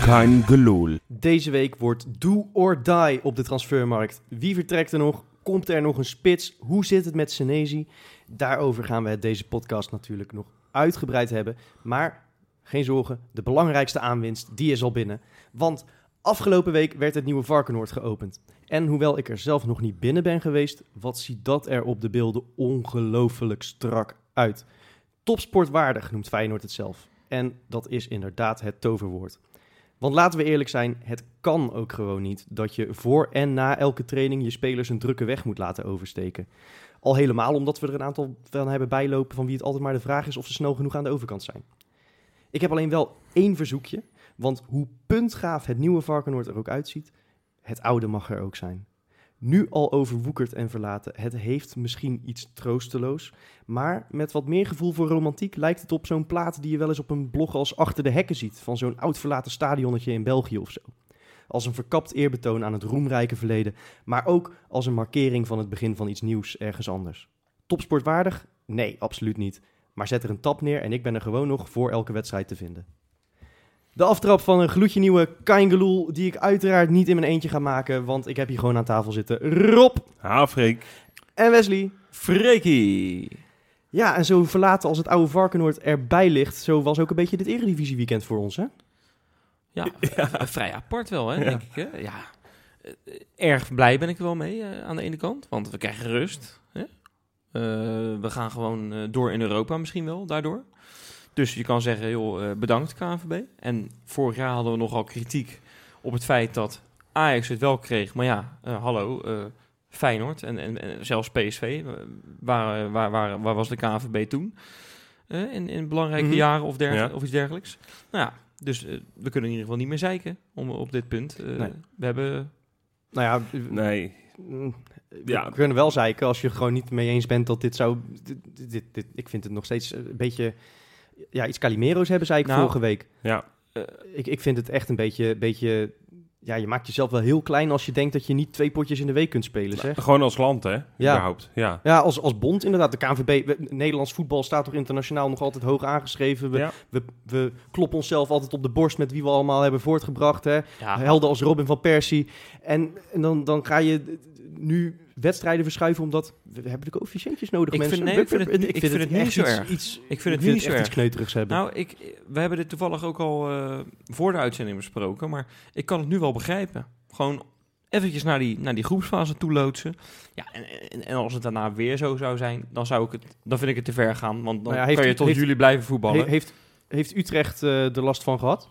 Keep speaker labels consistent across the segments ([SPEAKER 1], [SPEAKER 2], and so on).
[SPEAKER 1] Kein geloel.
[SPEAKER 2] Deze week wordt do or die op de transfermarkt. Wie vertrekt er nog? Komt er nog een spits? Hoe zit het met Senesi? Daarover gaan we het deze podcast natuurlijk nog uitgebreid hebben. Maar geen zorgen, de belangrijkste aanwinst die is al binnen. Want afgelopen week werd het nieuwe Varkenoord geopend. En hoewel ik er zelf nog niet binnen ben geweest, wat ziet dat er op de beelden ongelooflijk strak uit. Topsportwaardig noemt Feyenoord het zelf. En dat is inderdaad het toverwoord. Want laten we eerlijk zijn, het kan ook gewoon niet dat je voor en na elke training je spelers een drukke weg moet laten oversteken. Al helemaal omdat we er een aantal van hebben bijlopen van wie het altijd maar de vraag is of ze snel genoeg aan de overkant zijn. Ik heb alleen wel één verzoekje, want hoe puntgaaf het nieuwe Varkenoord er ook uitziet, het oude mag er ook zijn. Nu al overwoekerd en verlaten, het heeft misschien iets troosteloos, maar met wat meer gevoel voor romantiek lijkt het op zo'n plaat die je wel eens op een blog als Achter de Hekken ziet, van zo'n oud verlaten stadionnetje in België of zo. Als een verkapt eerbetoon aan het roemrijke verleden, maar ook als een markering van het begin van iets nieuws ergens anders. Topsportwaardig? Nee, absoluut niet. Maar zet er een tap neer en ik ben er gewoon nog voor elke wedstrijd te vinden. De aftrap van een gloedje nieuwe Kaingeloel, die ik uiteraard niet in mijn eentje ga maken, want ik heb hier gewoon aan tafel zitten. Rob
[SPEAKER 1] Hafrik.
[SPEAKER 2] en Wesley.
[SPEAKER 3] Freekie.
[SPEAKER 2] Ja, en zo verlaten als het oude Varkenoord erbij ligt, zo was ook een beetje dit Eredivisie weekend voor ons, hè?
[SPEAKER 3] Ja, eh, vrij apart wel, hè, denk ik. Hè? Ja. Eh, Erg blij ben ik er wel mee eh, aan de ene kant, want we krijgen rust. Hè? Eh, we gaan gewoon eh, door in Europa misschien wel, daardoor. Dus je kan zeggen, joh, eh, bedankt KNVB. En vorig jaar hadden we nogal kritiek op het feit dat Ajax het wel kreeg. Maar ja, eh, hallo, eh, Feyenoord en, en, en zelfs PSV. eh, Waar, waar, waar, waar was de KNVB toen? Eh, in, in belangrijke
[SPEAKER 2] Mhm.
[SPEAKER 3] jaren of, derg-
[SPEAKER 1] Ja.
[SPEAKER 3] of iets dergelijks. Nou ja, dus eh, we kunnen in ieder geval niet meer zeiken om, op dit punt. Eh,
[SPEAKER 2] Nee.
[SPEAKER 3] We hebben...
[SPEAKER 2] Nou ja,
[SPEAKER 1] Nee.
[SPEAKER 2] mm, we
[SPEAKER 1] Ja.
[SPEAKER 2] kunnen wel zeiken als je er gewoon niet mee eens bent dat dit zou... Dit, dit, dit- ik vind het nog steeds een beetje... Ja, iets Calimero's hebben, zei ik
[SPEAKER 3] Nou,
[SPEAKER 2] vorige week.
[SPEAKER 1] Ja.
[SPEAKER 3] eh,
[SPEAKER 2] ik, ik vind het echt een beetje, beetje... Ja, je maakt jezelf wel heel klein als je denkt dat je niet twee potjes in de week kunt spelen, zeg.
[SPEAKER 1] Gewoon als land, hè?
[SPEAKER 2] Ja.
[SPEAKER 1] Überhaupt. Ja.
[SPEAKER 2] Ja, als, als bond inderdaad. De KNVB, we- Nederlands voetbal staat toch internationaal nog altijd hoog aangeschreven. We,
[SPEAKER 1] Ja.
[SPEAKER 2] we, we kloppen onszelf altijd op de borst met wie we allemaal hebben voortgebracht. Hè?
[SPEAKER 3] ja,
[SPEAKER 2] Helden als Robin van Persie. En, en dan, dan ga je eh, nu wedstrijden verschuiven omdat... We hebben natuurlijk officiëntjes nodig,
[SPEAKER 3] Ik
[SPEAKER 2] mensen.
[SPEAKER 3] vind- nee,
[SPEAKER 2] We-
[SPEAKER 3] ik vind
[SPEAKER 2] we-
[SPEAKER 3] het- ik vind het niet
[SPEAKER 2] echt
[SPEAKER 3] zo
[SPEAKER 2] iets-
[SPEAKER 3] erg.
[SPEAKER 2] Iets,
[SPEAKER 3] ik vind het
[SPEAKER 2] nu
[SPEAKER 3] niet zo
[SPEAKER 2] echt iets
[SPEAKER 3] erg.
[SPEAKER 2] kneuterigs hebben.
[SPEAKER 3] Nou, ik, we hebben dit toevallig ook al eh, voor de uitzending besproken, maar ik kan het nu wel begrijpen. Gewoon eventjes naar die, naar die groepsfase toe loodsen. Ja, en, en, en als het daarna weer zo zou zijn, dan, zou ik het, dan vind ik het te ver gaan, want dan
[SPEAKER 2] Nou ja, heeft-
[SPEAKER 3] kan je tot
[SPEAKER 2] heeft-
[SPEAKER 3] jullie blijven
[SPEAKER 2] He-
[SPEAKER 3] voetballen.
[SPEAKER 2] heeft, heeft Utrecht eh er last van gehad?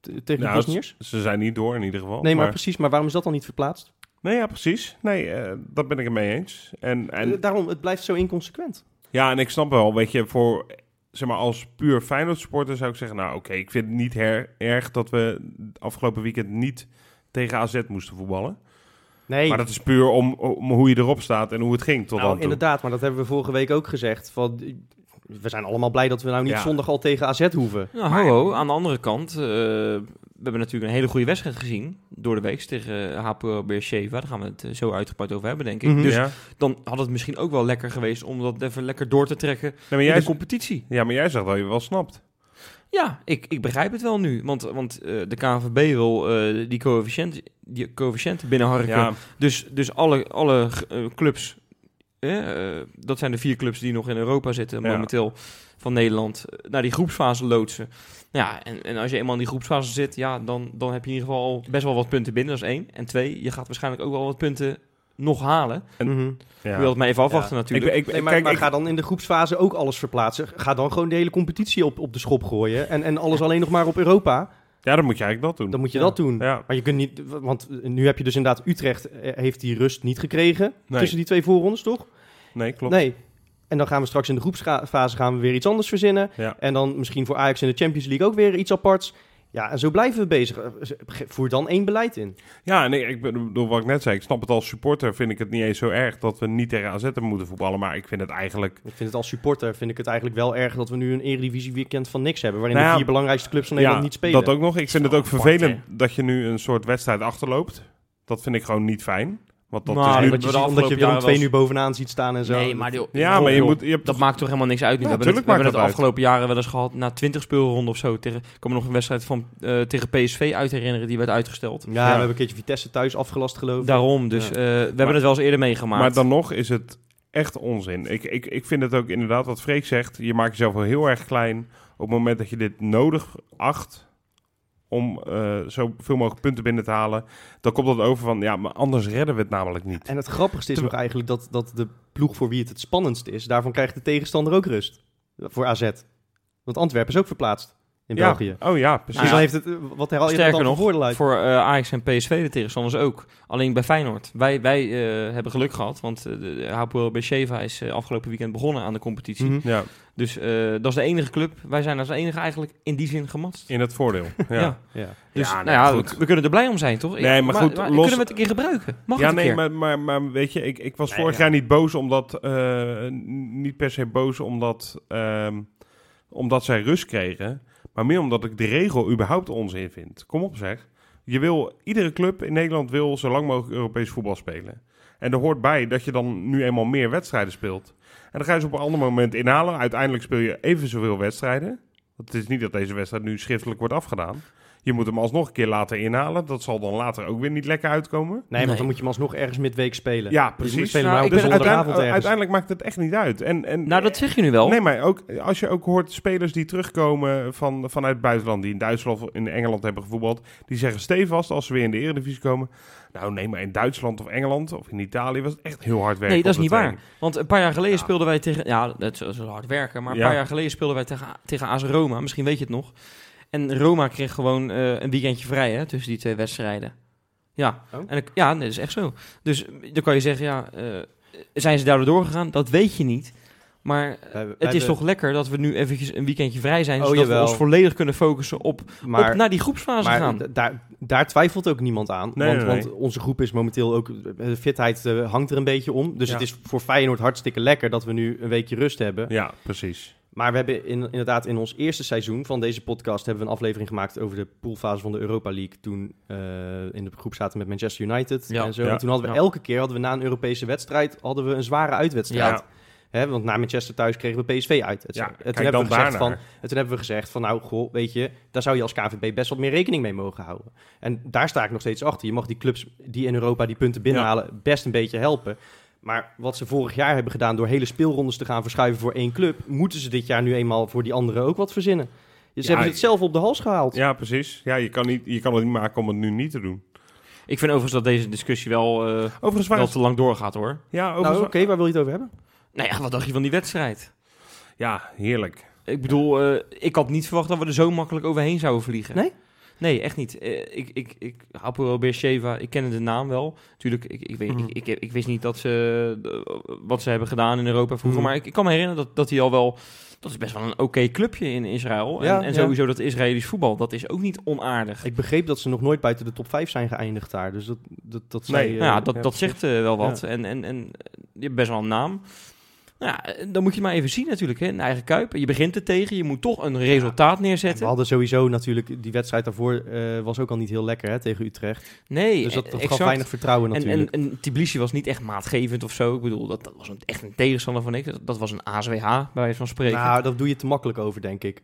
[SPEAKER 2] T- tegen
[SPEAKER 1] Nou, Oh,
[SPEAKER 2] de Bosniërs?
[SPEAKER 1] Ze zijn niet door in ieder geval.
[SPEAKER 2] Nee, maar, precies. Maar waarom is dat dan niet verplaatst?
[SPEAKER 1] nee ja, precies. Nee, eh, dat ben ik het mee eens. En,
[SPEAKER 2] Eh,
[SPEAKER 1] en,
[SPEAKER 2] Daarom, het blijft zo inconsequent.
[SPEAKER 1] ja, en ik snap wel, weet je, voor... Zeg maar, als puur Feyenoord supporter zou ik zeggen... Nou, oké, ik vind het niet her- erg dat we afgelopen weekend niet tegen AZ moesten voetballen.
[SPEAKER 2] Nee,
[SPEAKER 1] Maar dat is puur om, om hoe je erop staat en hoe het ging tot
[SPEAKER 2] nou,
[SPEAKER 1] dan toe.
[SPEAKER 2] inderdaad. Maar dat hebben we vorige week ook gezegd. Van, eh, we zijn allemaal blij dat we nou niet
[SPEAKER 1] Ja.
[SPEAKER 2] zondag al tegen AZ hoeven.
[SPEAKER 3] Nou, hallo. Aan de andere kant, eh, we hebben natuurlijk een hele goede wedstrijd gezien door de week tegen eh, HPO Beersheva. Daar gaan we het eh, zo uitgebreid over hebben, denk ik.
[SPEAKER 2] Mhm.
[SPEAKER 3] Dus
[SPEAKER 1] ja.
[SPEAKER 3] dan had het misschien ook wel lekker geweest om dat even lekker door te trekken
[SPEAKER 1] Nee, maar
[SPEAKER 3] in
[SPEAKER 1] jij,
[SPEAKER 3] de competitie.
[SPEAKER 1] ja, maar jij zegt dat je wel snapt.
[SPEAKER 3] Ja, ik, ik begrijp het wel nu. Want, want eh, de KNVB wil eh, die, coëfficiënt, die coëfficiënten binnenharken.
[SPEAKER 1] Ja,
[SPEAKER 3] Dus, dus alle, alle eh, clubs, eh, eh, dat zijn de vier clubs die nog in Europa zitten
[SPEAKER 1] Ja.
[SPEAKER 3] momenteel van Nederland, eh, naar die groepsfase loodsen. Ja, en, en als je eenmaal in die groepsfase zit, ja, dan, dan heb je in ieder geval al best wel wat punten binnen, dat is één. En twee, je gaat waarschijnlijk ook wel wat punten nog halen.
[SPEAKER 1] En-
[SPEAKER 2] Mhm.
[SPEAKER 1] ja.
[SPEAKER 3] Je wilt maar even afwachten
[SPEAKER 2] Ja.
[SPEAKER 1] Ik,
[SPEAKER 3] natuurlijk.
[SPEAKER 1] ik,
[SPEAKER 2] Nee,
[SPEAKER 1] Eh,
[SPEAKER 2] maar,
[SPEAKER 1] kijk,
[SPEAKER 2] maar
[SPEAKER 1] ik-
[SPEAKER 2] ga dan in de groepsfase ook alles verplaatsen. Ga dan gewoon de hele competitie op, op de schop gooien. En, en alles alleen nog maar op Europa.
[SPEAKER 1] ja, dan moet je eigenlijk dat doen.
[SPEAKER 2] Dan moet je
[SPEAKER 3] Ja.
[SPEAKER 2] dat doen.
[SPEAKER 1] Ja.
[SPEAKER 2] Maar je kunt niet, want nu heb je dus inderdaad Utrecht eh, heeft die rust niet gekregen
[SPEAKER 1] Nee.
[SPEAKER 2] tussen die twee voorrondes, toch?
[SPEAKER 1] Nee, klopt.
[SPEAKER 2] Nee. En dan gaan we straks in de groepsfase gaan we weer iets anders verzinnen.
[SPEAKER 1] Ja.
[SPEAKER 2] En dan misschien voor Ajax in de Champions League ook weer iets aparts. Ja, en zo blijven we bezig. Eh, ge- Voer dan één beleid in.
[SPEAKER 1] Ja, nee, ik bedoel wat ik net zei. Ik snap het als supporter, vind ik het niet eens zo erg dat we niet tegen AZ hebben moeten voetballen. Maar ik vind het eigenlijk...
[SPEAKER 2] Ik vind het als supporter vind ik het eigenlijk wel erg dat we nu een eredivisie weekend van niks hebben. Waarin
[SPEAKER 1] Nou
[SPEAKER 2] de
[SPEAKER 1] ja,
[SPEAKER 2] vier belangrijkste clubs van Nederland niet spelen.
[SPEAKER 1] dat ook nog. Ik vind het
[SPEAKER 3] wel
[SPEAKER 1] ook
[SPEAKER 3] apart,
[SPEAKER 1] vervelend dat je nu een soort wedstrijd achterloopt. Dat vind ik gewoon niet fijn. Want dat
[SPEAKER 3] Nou,
[SPEAKER 1] is nu...
[SPEAKER 2] omdat
[SPEAKER 3] dat we de
[SPEAKER 2] je, Oh, omdat je
[SPEAKER 3] afgelopen
[SPEAKER 2] Willem
[SPEAKER 3] jaren wel
[SPEAKER 2] II
[SPEAKER 3] eens-
[SPEAKER 2] nu bovenaan ziet staan en zo.
[SPEAKER 3] Nee, maar die-
[SPEAKER 1] Ja, maar je moet... Je hebt
[SPEAKER 3] Dat maakt toch helemaal niks uit
[SPEAKER 1] Ja,
[SPEAKER 3] nu. we hebben het,
[SPEAKER 1] tuurlijk
[SPEAKER 3] we hebben
[SPEAKER 1] maakt
[SPEAKER 3] het de
[SPEAKER 1] dat
[SPEAKER 3] afgelopen jaren wel eens gehad. Na 20 speelronden of zo. Tegen, ik kan me nog een wedstrijd van, eh, tegen PSV uit herinneren. Die werd uitgesteld.
[SPEAKER 2] Ja, we hebben een keertje Vitesse thuis afgelast geloof ik.
[SPEAKER 3] Daarom. Dus
[SPEAKER 2] Ja.
[SPEAKER 3] eh, we hebben het wel eens eerder meegemaakt.
[SPEAKER 1] Maar dan nog is het echt onzin. Ik, ik, ik vind het ook inderdaad wat Freek zegt. Je maakt jezelf wel heel erg klein op het moment dat je dit nodig acht om eh zoveel mogelijk punten binnen te halen. Dan komt dat over van, ja, maar anders redden we het namelijk niet.
[SPEAKER 2] En het grappigste is
[SPEAKER 1] Te-
[SPEAKER 2] nog eigenlijk dat, dat de ploeg voor wie het het spannendst is, daarvan krijgt de tegenstander ook rust. Voor AZ. Want Antwerpen is ook verplaatst in
[SPEAKER 1] ja.
[SPEAKER 2] België.
[SPEAKER 1] Oh ja,
[SPEAKER 2] Dus
[SPEAKER 1] precies.
[SPEAKER 3] Nou
[SPEAKER 2] dan
[SPEAKER 3] ja.
[SPEAKER 2] heeft het, eh, wat haal je er
[SPEAKER 3] Sterker
[SPEAKER 2] dan nog,
[SPEAKER 3] nog,
[SPEAKER 2] voordeel uit?
[SPEAKER 3] Voor eh, Ajax en PSV de tegenstanders ook. Alleen bij Feyenoord. Wij, wij eh, hebben geluk gehad, want eh, de Hapoel Beersheva is eh, afgelopen weekend begonnen aan de competitie.
[SPEAKER 2] Mhm.
[SPEAKER 1] Ja,
[SPEAKER 3] Dus eh, dat is de enige club. Wij zijn als enige eigenlijk in die zin gematst.
[SPEAKER 1] in het voordeel. Ja,
[SPEAKER 3] Ja.
[SPEAKER 2] Ja.
[SPEAKER 3] Dus
[SPEAKER 1] Ja, nee,
[SPEAKER 3] nou ja,
[SPEAKER 1] goed.
[SPEAKER 3] we, we kunnen er blij om zijn, toch? Ik-
[SPEAKER 1] Nee, maar goed, los-
[SPEAKER 3] Kunnen we het een keer gebruiken? Mag
[SPEAKER 1] Ja,
[SPEAKER 3] het een
[SPEAKER 1] nee,
[SPEAKER 3] keer?
[SPEAKER 1] maar, maar, maar weet je, ik, ik was
[SPEAKER 2] Nee,
[SPEAKER 1] vorig
[SPEAKER 2] ja.
[SPEAKER 1] jaar niet boos omdat... eh, n- niet per se boos omdat, ehm, omdat zij rust kregen. Maar meer omdat ik de regel überhaupt onzin vind. Kom op zeg. Je wil, iedere club in Nederland wil zo lang mogelijk Europees voetbal spelen. En er hoort bij dat je dan nu eenmaal meer wedstrijden speelt. En dan ga je ze op een ander moment inhalen. Uiteindelijk speel je even zoveel wedstrijden. Want het is niet dat deze wedstrijd nu schriftelijk wordt afgedaan. Je moet hem alsnog een keer laten inhalen. Dat zal dan later ook weer niet lekker uitkomen.
[SPEAKER 2] Nee, want
[SPEAKER 3] Nee.
[SPEAKER 2] dan moet je hem alsnog ergens midweek spelen.
[SPEAKER 1] Ja,
[SPEAKER 2] Dus je moet
[SPEAKER 1] precies.
[SPEAKER 2] spelen
[SPEAKER 3] Nou,
[SPEAKER 2] maar op
[SPEAKER 3] ik
[SPEAKER 2] de
[SPEAKER 1] Dus
[SPEAKER 3] ben
[SPEAKER 2] zondagavond
[SPEAKER 1] uiteindelijk,
[SPEAKER 2] ergens.
[SPEAKER 1] uiteindelijk maakt het echt niet uit. En, en,
[SPEAKER 3] Nou, dat zeg je nu wel.
[SPEAKER 1] Nee, maar ook als je ook hoort spelers die terugkomen van, vanuit het buitenland, die in Duitsland of in Engeland hebben gevoetbald, die zeggen stevast als ze weer in de Eredivisie komen, nou nee, maar in Duitsland of Engeland of in Italië was het echt heel hard werken.
[SPEAKER 3] Nee, dat
[SPEAKER 1] op
[SPEAKER 3] is
[SPEAKER 1] de
[SPEAKER 3] niet waar.
[SPEAKER 1] training.
[SPEAKER 3] Want een paar jaar geleden
[SPEAKER 1] Ja.
[SPEAKER 3] speelden wij tegen... Ja, dat is, dat is wel hard werken. Maar een
[SPEAKER 1] Ja.
[SPEAKER 3] paar jaar geleden speelden wij tegen, tegen AS Roma. Misschien weet je het nog. En Roma kreeg gewoon eh, een weekendje vrij hè, tussen die twee wedstrijden. Ja,
[SPEAKER 2] Oh.
[SPEAKER 3] en, ik- ja nee, dat is echt zo. Dus eh, dan kan je zeggen, ja, eh, zijn ze daardoor doorgegaan? Dat weet je niet. Maar het
[SPEAKER 2] Wij- wij
[SPEAKER 3] is
[SPEAKER 2] hebben-
[SPEAKER 3] toch lekker dat we nu eventjes een weekendje vrij zijn...
[SPEAKER 2] Oh,
[SPEAKER 3] zodat
[SPEAKER 2] jawel.
[SPEAKER 3] we ons volledig kunnen focussen op, op naar die groepsfase
[SPEAKER 2] maar
[SPEAKER 3] gaan.
[SPEAKER 2] d- daar, daar twijfelt ook niemand aan.
[SPEAKER 1] Nee,
[SPEAKER 2] want,
[SPEAKER 1] nee, nee.
[SPEAKER 2] want onze groep is momenteel ook... De fitheid eh, hangt er een beetje om. Dus
[SPEAKER 1] Ja.
[SPEAKER 2] het is voor Feyenoord hartstikke lekker dat we nu een weekje rust hebben.
[SPEAKER 1] Ja, precies.
[SPEAKER 2] Maar we hebben in, inderdaad in ons eerste seizoen van deze podcast... hebben we een aflevering gemaakt over de poolfase van de Europa League. Toen eh, in de groep zaten met Manchester United
[SPEAKER 3] Ja.
[SPEAKER 2] en zo.
[SPEAKER 1] Ja.
[SPEAKER 2] En toen hadden we
[SPEAKER 3] Ja.
[SPEAKER 2] elke keer, hadden we na een Europese wedstrijd... hadden we een zware uitwedstrijd.
[SPEAKER 3] Ja.
[SPEAKER 2] Hè, want na Manchester thuis kregen we PSV uit. et
[SPEAKER 1] Ja,
[SPEAKER 2] cetera. en,
[SPEAKER 1] kijk
[SPEAKER 2] toen hebben we
[SPEAKER 1] dan
[SPEAKER 2] gezegd van,
[SPEAKER 1] daarnaar.
[SPEAKER 2] en toen hebben we gezegd van... nou, goh, weet je, daar zou je als KVB best wat meer rekening mee mogen houden. En daar sta ik nog steeds achter. Je mag die clubs die in Europa die punten binnenhalen... best een beetje helpen. Maar wat ze vorig jaar hebben gedaan door hele speelrondes te gaan verschuiven voor één club, moeten ze dit jaar nu eenmaal voor die anderen ook wat verzinnen. Dus Ze
[SPEAKER 1] Ja,
[SPEAKER 2] hebben het zelf op de hals gehaald.
[SPEAKER 1] Ja, precies. Ja, je kan, niet, je kan het niet maken om het nu niet te doen.
[SPEAKER 3] Ik vind overigens dat deze discussie wel, eh,
[SPEAKER 1] Overigens waar
[SPEAKER 3] wel
[SPEAKER 1] is...
[SPEAKER 3] te lang doorgaat, hoor.
[SPEAKER 1] Ja,
[SPEAKER 2] nou,
[SPEAKER 1] overigens
[SPEAKER 2] oké, waar wil je het over hebben?
[SPEAKER 3] Nou ja, wat dacht je van die wedstrijd?
[SPEAKER 1] ja, heerlijk.
[SPEAKER 3] Ik bedoel, eh, ik had niet verwacht dat we er zo makkelijk overheen zouden vliegen.
[SPEAKER 2] Nee?
[SPEAKER 3] Nee, echt niet. Eh, ik, ik, ik, Hapoel Beersheva, ik kende de naam wel. Tuurlijk, ik, ik, weet,
[SPEAKER 2] Mhm.
[SPEAKER 3] ik, ik, ik wist niet dat ze, eh, wat ze hebben gedaan in Europa vroeger.
[SPEAKER 2] Mhm.
[SPEAKER 3] Maar ik, ik kan me herinneren dat, dat hij al wel... Dat is best wel een oké clubje in Israël. En,
[SPEAKER 2] Ja,
[SPEAKER 3] en
[SPEAKER 2] ja.
[SPEAKER 3] sowieso dat Israëlisch voetbal, dat is ook niet onaardig.
[SPEAKER 2] Ik begreep dat ze nog nooit buiten de top 5 zijn geëindigd daar. Dus dat, dat, dat
[SPEAKER 1] Nee,
[SPEAKER 2] zij, eh,
[SPEAKER 3] nou ja, dat,
[SPEAKER 1] ja,
[SPEAKER 3] dat zegt eh, wel wat. En, en, en eh, je hebt best wel een naam. Nou ja, eh, dan moet je maar even zien natuurlijk, hè, in eigen kuip. Je begint er tegen, je moet toch een resultaat
[SPEAKER 2] We
[SPEAKER 3] neerzetten.
[SPEAKER 2] hadden sowieso natuurlijk, die wedstrijd daarvoor eh, was ook al niet heel lekker hè, tegen Utrecht.
[SPEAKER 3] Nee,
[SPEAKER 2] Dus dat, dat gaf
[SPEAKER 3] exact.
[SPEAKER 2] weinig vertrouwen
[SPEAKER 3] En,
[SPEAKER 2] natuurlijk.
[SPEAKER 3] en, en Tbilisi was niet echt maatgevend of zo. Ik bedoel, dat, dat was een, echt een tegenstander van ik. Dat, dat was een ASWH, bij wijze van spreken.
[SPEAKER 2] nou, dat doe je te makkelijk over, denk ik.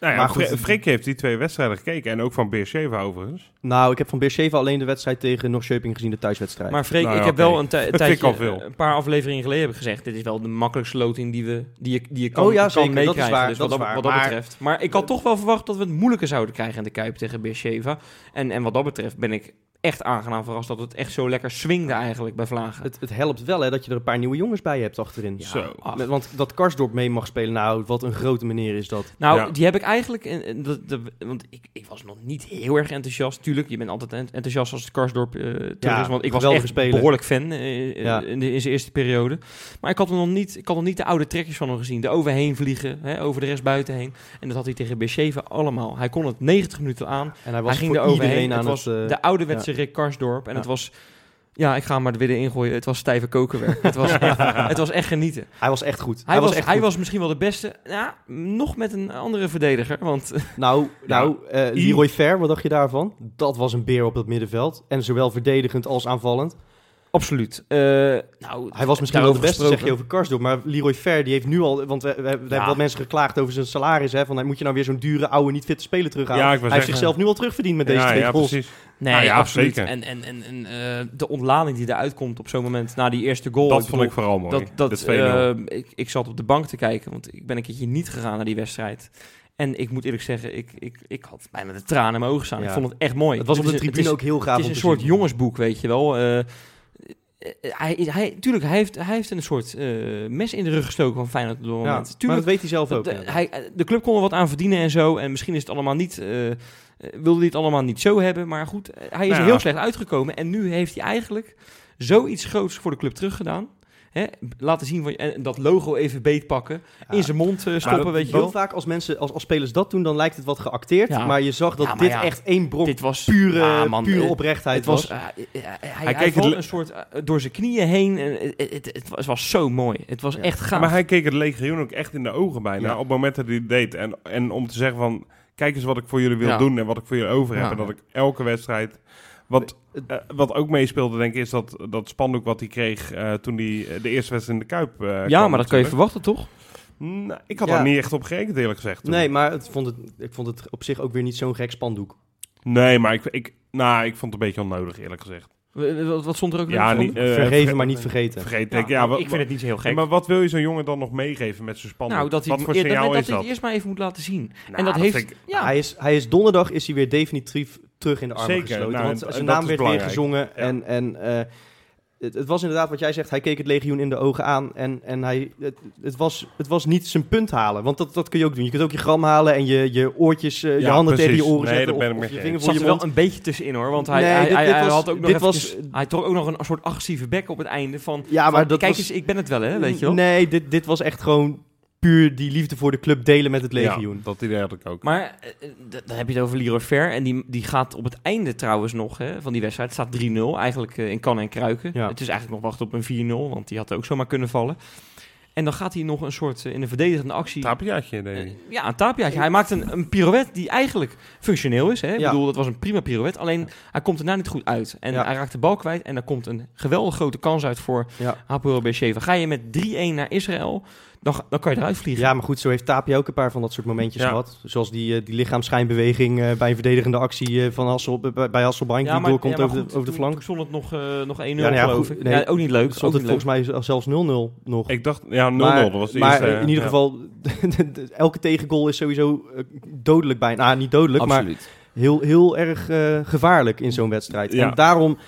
[SPEAKER 1] Nou ja,
[SPEAKER 2] Maar
[SPEAKER 1] Fre-
[SPEAKER 2] goed.
[SPEAKER 1] Freek heeft die twee wedstrijden gekeken en ook van Beersheva overigens.
[SPEAKER 2] Nou, ik heb van Beersheva alleen de wedstrijd tegen Norrköping gezien, de thuiswedstrijd.
[SPEAKER 3] maar Freek,
[SPEAKER 1] nou ja,
[SPEAKER 3] ik heb
[SPEAKER 1] oké.
[SPEAKER 3] wel een, ti- een
[SPEAKER 1] vind ik
[SPEAKER 3] tijdje,
[SPEAKER 1] al veel.
[SPEAKER 3] een paar afleveringen geleden heb ik gezegd... dit is wel de makkelijkste loting die, we, die, je, die je kan,
[SPEAKER 2] Oh ja,
[SPEAKER 3] kan
[SPEAKER 2] zeker. Dat is
[SPEAKER 3] meekrijgen.
[SPEAKER 2] waar,
[SPEAKER 3] Dus
[SPEAKER 2] dat
[SPEAKER 3] wat,
[SPEAKER 2] is waar.
[SPEAKER 3] wat dat
[SPEAKER 2] Maar-
[SPEAKER 3] betreft. Maar ik had toch wel verwacht dat we het moeilijker zouden krijgen in de Kuip tegen Beersheva. En, en wat dat betreft ben ik echt aangenaam verrast dat het echt zo lekker swingde eigenlijk bij Vlagen.
[SPEAKER 2] Het, het helpt wel hè, dat je er een paar nieuwe jongens bij hebt achterin.
[SPEAKER 3] Ja,
[SPEAKER 1] Zo.
[SPEAKER 3] ach.
[SPEAKER 2] Met- Want dat Karsdorp mee mag spelen, nou, wat een grote meneer is dat.
[SPEAKER 3] Nou,
[SPEAKER 1] Ja.
[SPEAKER 3] die heb ik eigenlijk. en- en dat- dat- want ik, ik was nog niet heel erg enthousiast. Tuurlijk, je bent altijd ent- enthousiast als het Karsdorp eh terug
[SPEAKER 2] Ja,
[SPEAKER 3] is. Want ik was
[SPEAKER 2] geweldige
[SPEAKER 3] echt
[SPEAKER 2] speler.
[SPEAKER 3] behoorlijk fan eh, eh,
[SPEAKER 2] Ja.
[SPEAKER 3] in, de, in zijn eerste periode. Maar ik had hem nog niet, ik had nog niet de oude trekjes van hem gezien. De overheen vliegen, hè, over de rest buiten heen. En dat had hij tegen Beerscheven allemaal. Hij kon het 90 minuten aan.
[SPEAKER 2] En hij was
[SPEAKER 3] Hij ging
[SPEAKER 2] voor
[SPEAKER 3] er overheen.
[SPEAKER 2] iedereen
[SPEAKER 3] Het
[SPEAKER 2] aan
[SPEAKER 3] was
[SPEAKER 2] het... eh,
[SPEAKER 3] de ouderwetse Rick Karsdorp. En
[SPEAKER 2] Ja.
[SPEAKER 3] het was. Ja, ik ga hem maar er weer ingooien. Het was stijve kokenwerk. het, was echt, het was echt genieten.
[SPEAKER 2] Hij was echt goed.
[SPEAKER 3] Hij, was,
[SPEAKER 2] echt
[SPEAKER 3] hij
[SPEAKER 2] goed.
[SPEAKER 3] was misschien wel de beste. Ja, nog met een andere verdediger. Want eh,
[SPEAKER 2] Nou, nou eh,
[SPEAKER 1] I-
[SPEAKER 2] Leroy Fer, wat dacht je daarvan? Dat was een beer op het middenveld. En zowel verdedigend als aanvallend.
[SPEAKER 3] absoluut. Eh, nou,
[SPEAKER 2] Hij was misschien wel de
[SPEAKER 3] daarover
[SPEAKER 2] beste, zeg je
[SPEAKER 3] gesproken.
[SPEAKER 2] over Karsdorp. Maar Leroy Fer, die heeft nu al... Want we, we- we hebben wat mensen geklaagd over zijn salaris. Hè, van, moet je nou weer zo'n dure, oude, niet fitte speler terughalen?
[SPEAKER 1] Ja, ik wou
[SPEAKER 2] hij heeft
[SPEAKER 1] zeggen.
[SPEAKER 2] zichzelf nu al terugverdiend met deze
[SPEAKER 1] ja,
[SPEAKER 2] twee
[SPEAKER 1] ja,
[SPEAKER 2] goals.
[SPEAKER 1] precies.
[SPEAKER 3] Nee,
[SPEAKER 1] Nou ja,
[SPEAKER 3] absoluut.
[SPEAKER 1] zeker.
[SPEAKER 3] En, en, en, en eh, de ontlading die eruit komt op zo'n moment na die eerste goal.
[SPEAKER 1] dat vond
[SPEAKER 3] bedoel,
[SPEAKER 1] ik vooral mooi.
[SPEAKER 3] Dat, dat,
[SPEAKER 1] 2-0.
[SPEAKER 3] eh, ik, ik zat op de bank te kijken, want ik ben een keertje niet gegaan naar die wedstrijd. En ik moet eerlijk zeggen, ik, ik, ik had bijna de tranen in mijn ogen staan.
[SPEAKER 2] Ja.
[SPEAKER 3] Ik vond het echt mooi.
[SPEAKER 2] Het was op
[SPEAKER 3] is
[SPEAKER 2] de
[SPEAKER 3] een- het
[SPEAKER 2] tribune
[SPEAKER 3] is-
[SPEAKER 2] ook heel gaaf
[SPEAKER 3] Het is
[SPEAKER 2] om
[SPEAKER 3] een
[SPEAKER 2] te
[SPEAKER 3] soort
[SPEAKER 2] zien.
[SPEAKER 3] jongensboek, weet je wel. Eh, eh, hij, hij, tuurlijk, hij heeft, hij heeft een soort eh, mes in de rug gestoken van Feyenoord op dat
[SPEAKER 2] Ja,
[SPEAKER 3] moment.
[SPEAKER 2] maar
[SPEAKER 3] Tuurlijk,
[SPEAKER 2] dat weet hij zelf ook.
[SPEAKER 3] de,
[SPEAKER 2] ja.
[SPEAKER 3] hij, de club kon er wat aan verdienen en zo. En misschien is het allemaal niet. eh, eh, wilde hij het allemaal niet zo hebben. Maar goed, eh, hij is
[SPEAKER 1] Nou
[SPEAKER 3] er
[SPEAKER 1] ja.
[SPEAKER 3] heel slecht uitgekomen. En nu heeft hij eigenlijk zoiets groots voor de club teruggedaan. Hè? Laten zien van, en dat logo even beetpakken.
[SPEAKER 2] Ja.
[SPEAKER 3] In zijn mond eh, stoppen,
[SPEAKER 1] dat-
[SPEAKER 3] weet je
[SPEAKER 2] Heel
[SPEAKER 3] wel.
[SPEAKER 2] vaak als, mensen, als, als spelers dat doen, dan lijkt het wat geacteerd.
[SPEAKER 3] Ja.
[SPEAKER 2] Maar je zag dat
[SPEAKER 3] Ja, maar
[SPEAKER 2] dit Ah,
[SPEAKER 3] ja.
[SPEAKER 2] echt één bron
[SPEAKER 3] Dit was
[SPEAKER 2] pure,
[SPEAKER 3] Ja, man,
[SPEAKER 2] pure
[SPEAKER 3] eh,
[SPEAKER 2] oprechtheid
[SPEAKER 3] Het was, eh, eh, eh, hij, hij
[SPEAKER 1] keek
[SPEAKER 3] valt
[SPEAKER 1] het le-
[SPEAKER 3] een soort eh, door zijn knieën heen. en Het, het, het was- het was zo mooi. Het was
[SPEAKER 2] Ja.
[SPEAKER 3] echt gaaf.
[SPEAKER 1] Maar hij keek het legioen ook echt in de ogen bijna.
[SPEAKER 3] Ja.
[SPEAKER 1] Op het moment dat hij het deed. En, en om te zeggen van... Kijk eens wat ik voor jullie wil
[SPEAKER 3] Ja.
[SPEAKER 1] doen. En wat ik voor jullie over heb.
[SPEAKER 3] Ja.
[SPEAKER 1] En dat ik elke wedstrijd... Wat, eh, wat ook meespeelde, denk ik, is dat, dat spandoek wat hij kreeg eh, toen hij eh, de eerste wedstrijd in de Kuip eh, kwam.
[SPEAKER 3] ja, maar dat kan je
[SPEAKER 1] natuurlijk.
[SPEAKER 3] verwachten, toch?
[SPEAKER 1] Nou, ik had
[SPEAKER 2] Ja.
[SPEAKER 1] daar niet echt op gerekend, eerlijk gezegd. toen.
[SPEAKER 2] Nee, maar het vond het, ik vond het op zich ook weer niet zo'n gek spandoek.
[SPEAKER 1] nee maar ik, ik, nou, ik vond het een beetje onnodig, eerlijk gezegd.
[SPEAKER 3] W- w- Wat, wat stond er ook
[SPEAKER 1] Ja,
[SPEAKER 3] weer?
[SPEAKER 1] niet, eh,
[SPEAKER 2] Vergeven,
[SPEAKER 1] verge-
[SPEAKER 2] maar niet vergeten.
[SPEAKER 1] Vergeet
[SPEAKER 3] Ja, nou,
[SPEAKER 1] ik. Ja, wat,
[SPEAKER 3] ik vind het niet zo heel
[SPEAKER 1] Ja,
[SPEAKER 3] gek.
[SPEAKER 1] Maar wat wil je zo'n jongen dan nog meegeven met zijn spanning?
[SPEAKER 3] Nou, dat hij,
[SPEAKER 1] wat voor
[SPEAKER 3] ja, dat-
[SPEAKER 1] signaal
[SPEAKER 3] dat,
[SPEAKER 1] is
[SPEAKER 3] hij
[SPEAKER 1] dat?
[SPEAKER 3] het eerst maar even moet laten zien.
[SPEAKER 1] Nou,
[SPEAKER 3] en dat,
[SPEAKER 1] dat
[SPEAKER 3] heeft...
[SPEAKER 1] vind ik-
[SPEAKER 3] Ja,
[SPEAKER 2] Hij, is, hij is donderdag is hij weer definitief terug in de armen
[SPEAKER 1] Zeker,
[SPEAKER 2] gesloten.
[SPEAKER 1] nou,
[SPEAKER 2] want
[SPEAKER 1] en-
[SPEAKER 2] zijn
[SPEAKER 1] en dat
[SPEAKER 2] naam
[SPEAKER 1] is
[SPEAKER 2] werd weer
[SPEAKER 1] belangrijk.
[SPEAKER 2] gezongen. En, en eh, het, het was inderdaad wat jij zegt. Hij keek het legioen in de ogen aan. En, en hij, het, het, was, het was niet zijn punt halen. Want dat, dat kun je ook doen. Je kunt ook je gram halen en je, je oortjes, eh, je
[SPEAKER 1] Ja,
[SPEAKER 2] handen
[SPEAKER 1] precies.
[SPEAKER 2] tegen je oren
[SPEAKER 1] Nee, dat
[SPEAKER 2] zetten.
[SPEAKER 1] ben ik
[SPEAKER 2] of- of
[SPEAKER 1] met
[SPEAKER 2] je
[SPEAKER 1] je
[SPEAKER 2] vinger
[SPEAKER 3] het
[SPEAKER 2] voor
[SPEAKER 3] zat
[SPEAKER 2] je
[SPEAKER 3] er wel
[SPEAKER 2] mond.
[SPEAKER 3] een beetje tussenin hoor. Want hij,
[SPEAKER 2] Nee,
[SPEAKER 3] hij,
[SPEAKER 2] dit-
[SPEAKER 3] hij,
[SPEAKER 2] dit
[SPEAKER 3] hij
[SPEAKER 2] was-
[SPEAKER 3] had ook nog
[SPEAKER 2] dit
[SPEAKER 3] eventjes-
[SPEAKER 2] was-
[SPEAKER 3] hij trok ook nog een soort agressieve bek op het einde. Van,
[SPEAKER 2] Ja, maar
[SPEAKER 3] van,
[SPEAKER 2] dat
[SPEAKER 3] kijk
[SPEAKER 2] was-
[SPEAKER 3] eens, ik ben het wel hè, weet je wel.
[SPEAKER 2] Nee, dit, dit was echt gewoon puur die liefde voor de club delen met het legioen.
[SPEAKER 1] Ja, dat idee had ik ook.
[SPEAKER 3] Maar eh, eh, d- dan heb je het over Leroy Fair. En die, die gaat op het einde trouwens nog hè, van die wedstrijd. Het staat 3-0 eigenlijk eh, in kan en kruiken.
[SPEAKER 2] Ja.
[SPEAKER 3] Het is eigenlijk nog wachten op een 4-0. Want die had ook zomaar kunnen vallen. En dan gaat hij nog een soort eh, in een verdedigende actie.
[SPEAKER 1] Tapiaatje, nee.
[SPEAKER 3] Eh, ja, een tapiaatje. Hij maakt een, een pirouette die eigenlijk functioneel is. Hè? Ik
[SPEAKER 2] Ja.
[SPEAKER 3] bedoel, dat was een prima pirouette. Alleen hij komt er nou niet goed uit. En
[SPEAKER 2] Ja.
[SPEAKER 3] hij raakt de bal kwijt. En daar komt een geweldig grote kans uit voor
[SPEAKER 2] Ja.
[SPEAKER 3] Hapoel Beersheva. Ga je met 3-1 naar Israël, dan, ga- dan kan je eruit vliegen.
[SPEAKER 2] Ja, maar goed, zo heeft Tapia ook een paar van dat soort momentjes
[SPEAKER 1] Ja.
[SPEAKER 2] gehad. Zoals die, eh, die lichaamschijnbeweging eh, bij een verdedigende actie eh, van Hassel, bij, bij Hasselbank die doorkomt over, de, over de flank.
[SPEAKER 3] stond het nog, eh, nog 1-0,
[SPEAKER 2] nou ja,
[SPEAKER 3] geloof
[SPEAKER 2] goed,
[SPEAKER 3] ik.
[SPEAKER 2] nee,
[SPEAKER 3] ja, ook niet leuk.
[SPEAKER 2] Stond
[SPEAKER 3] ook
[SPEAKER 2] het
[SPEAKER 3] niet
[SPEAKER 2] volgens mij zelfs 0-0 nog.
[SPEAKER 1] Ik dacht, ja, 0-0,
[SPEAKER 2] maar,
[SPEAKER 1] dat was de
[SPEAKER 2] maar
[SPEAKER 1] eerste.
[SPEAKER 2] in ieder
[SPEAKER 1] ja.
[SPEAKER 2] geval, elke tegengoal is sowieso eh, dodelijk bijna. Nou, niet dodelijk,
[SPEAKER 3] leuk.
[SPEAKER 2] maar
[SPEAKER 3] Absoluut.
[SPEAKER 2] heel, heel erg eh, gevaarlijk in zo'n wedstrijd.
[SPEAKER 1] Ja.
[SPEAKER 2] En daarom,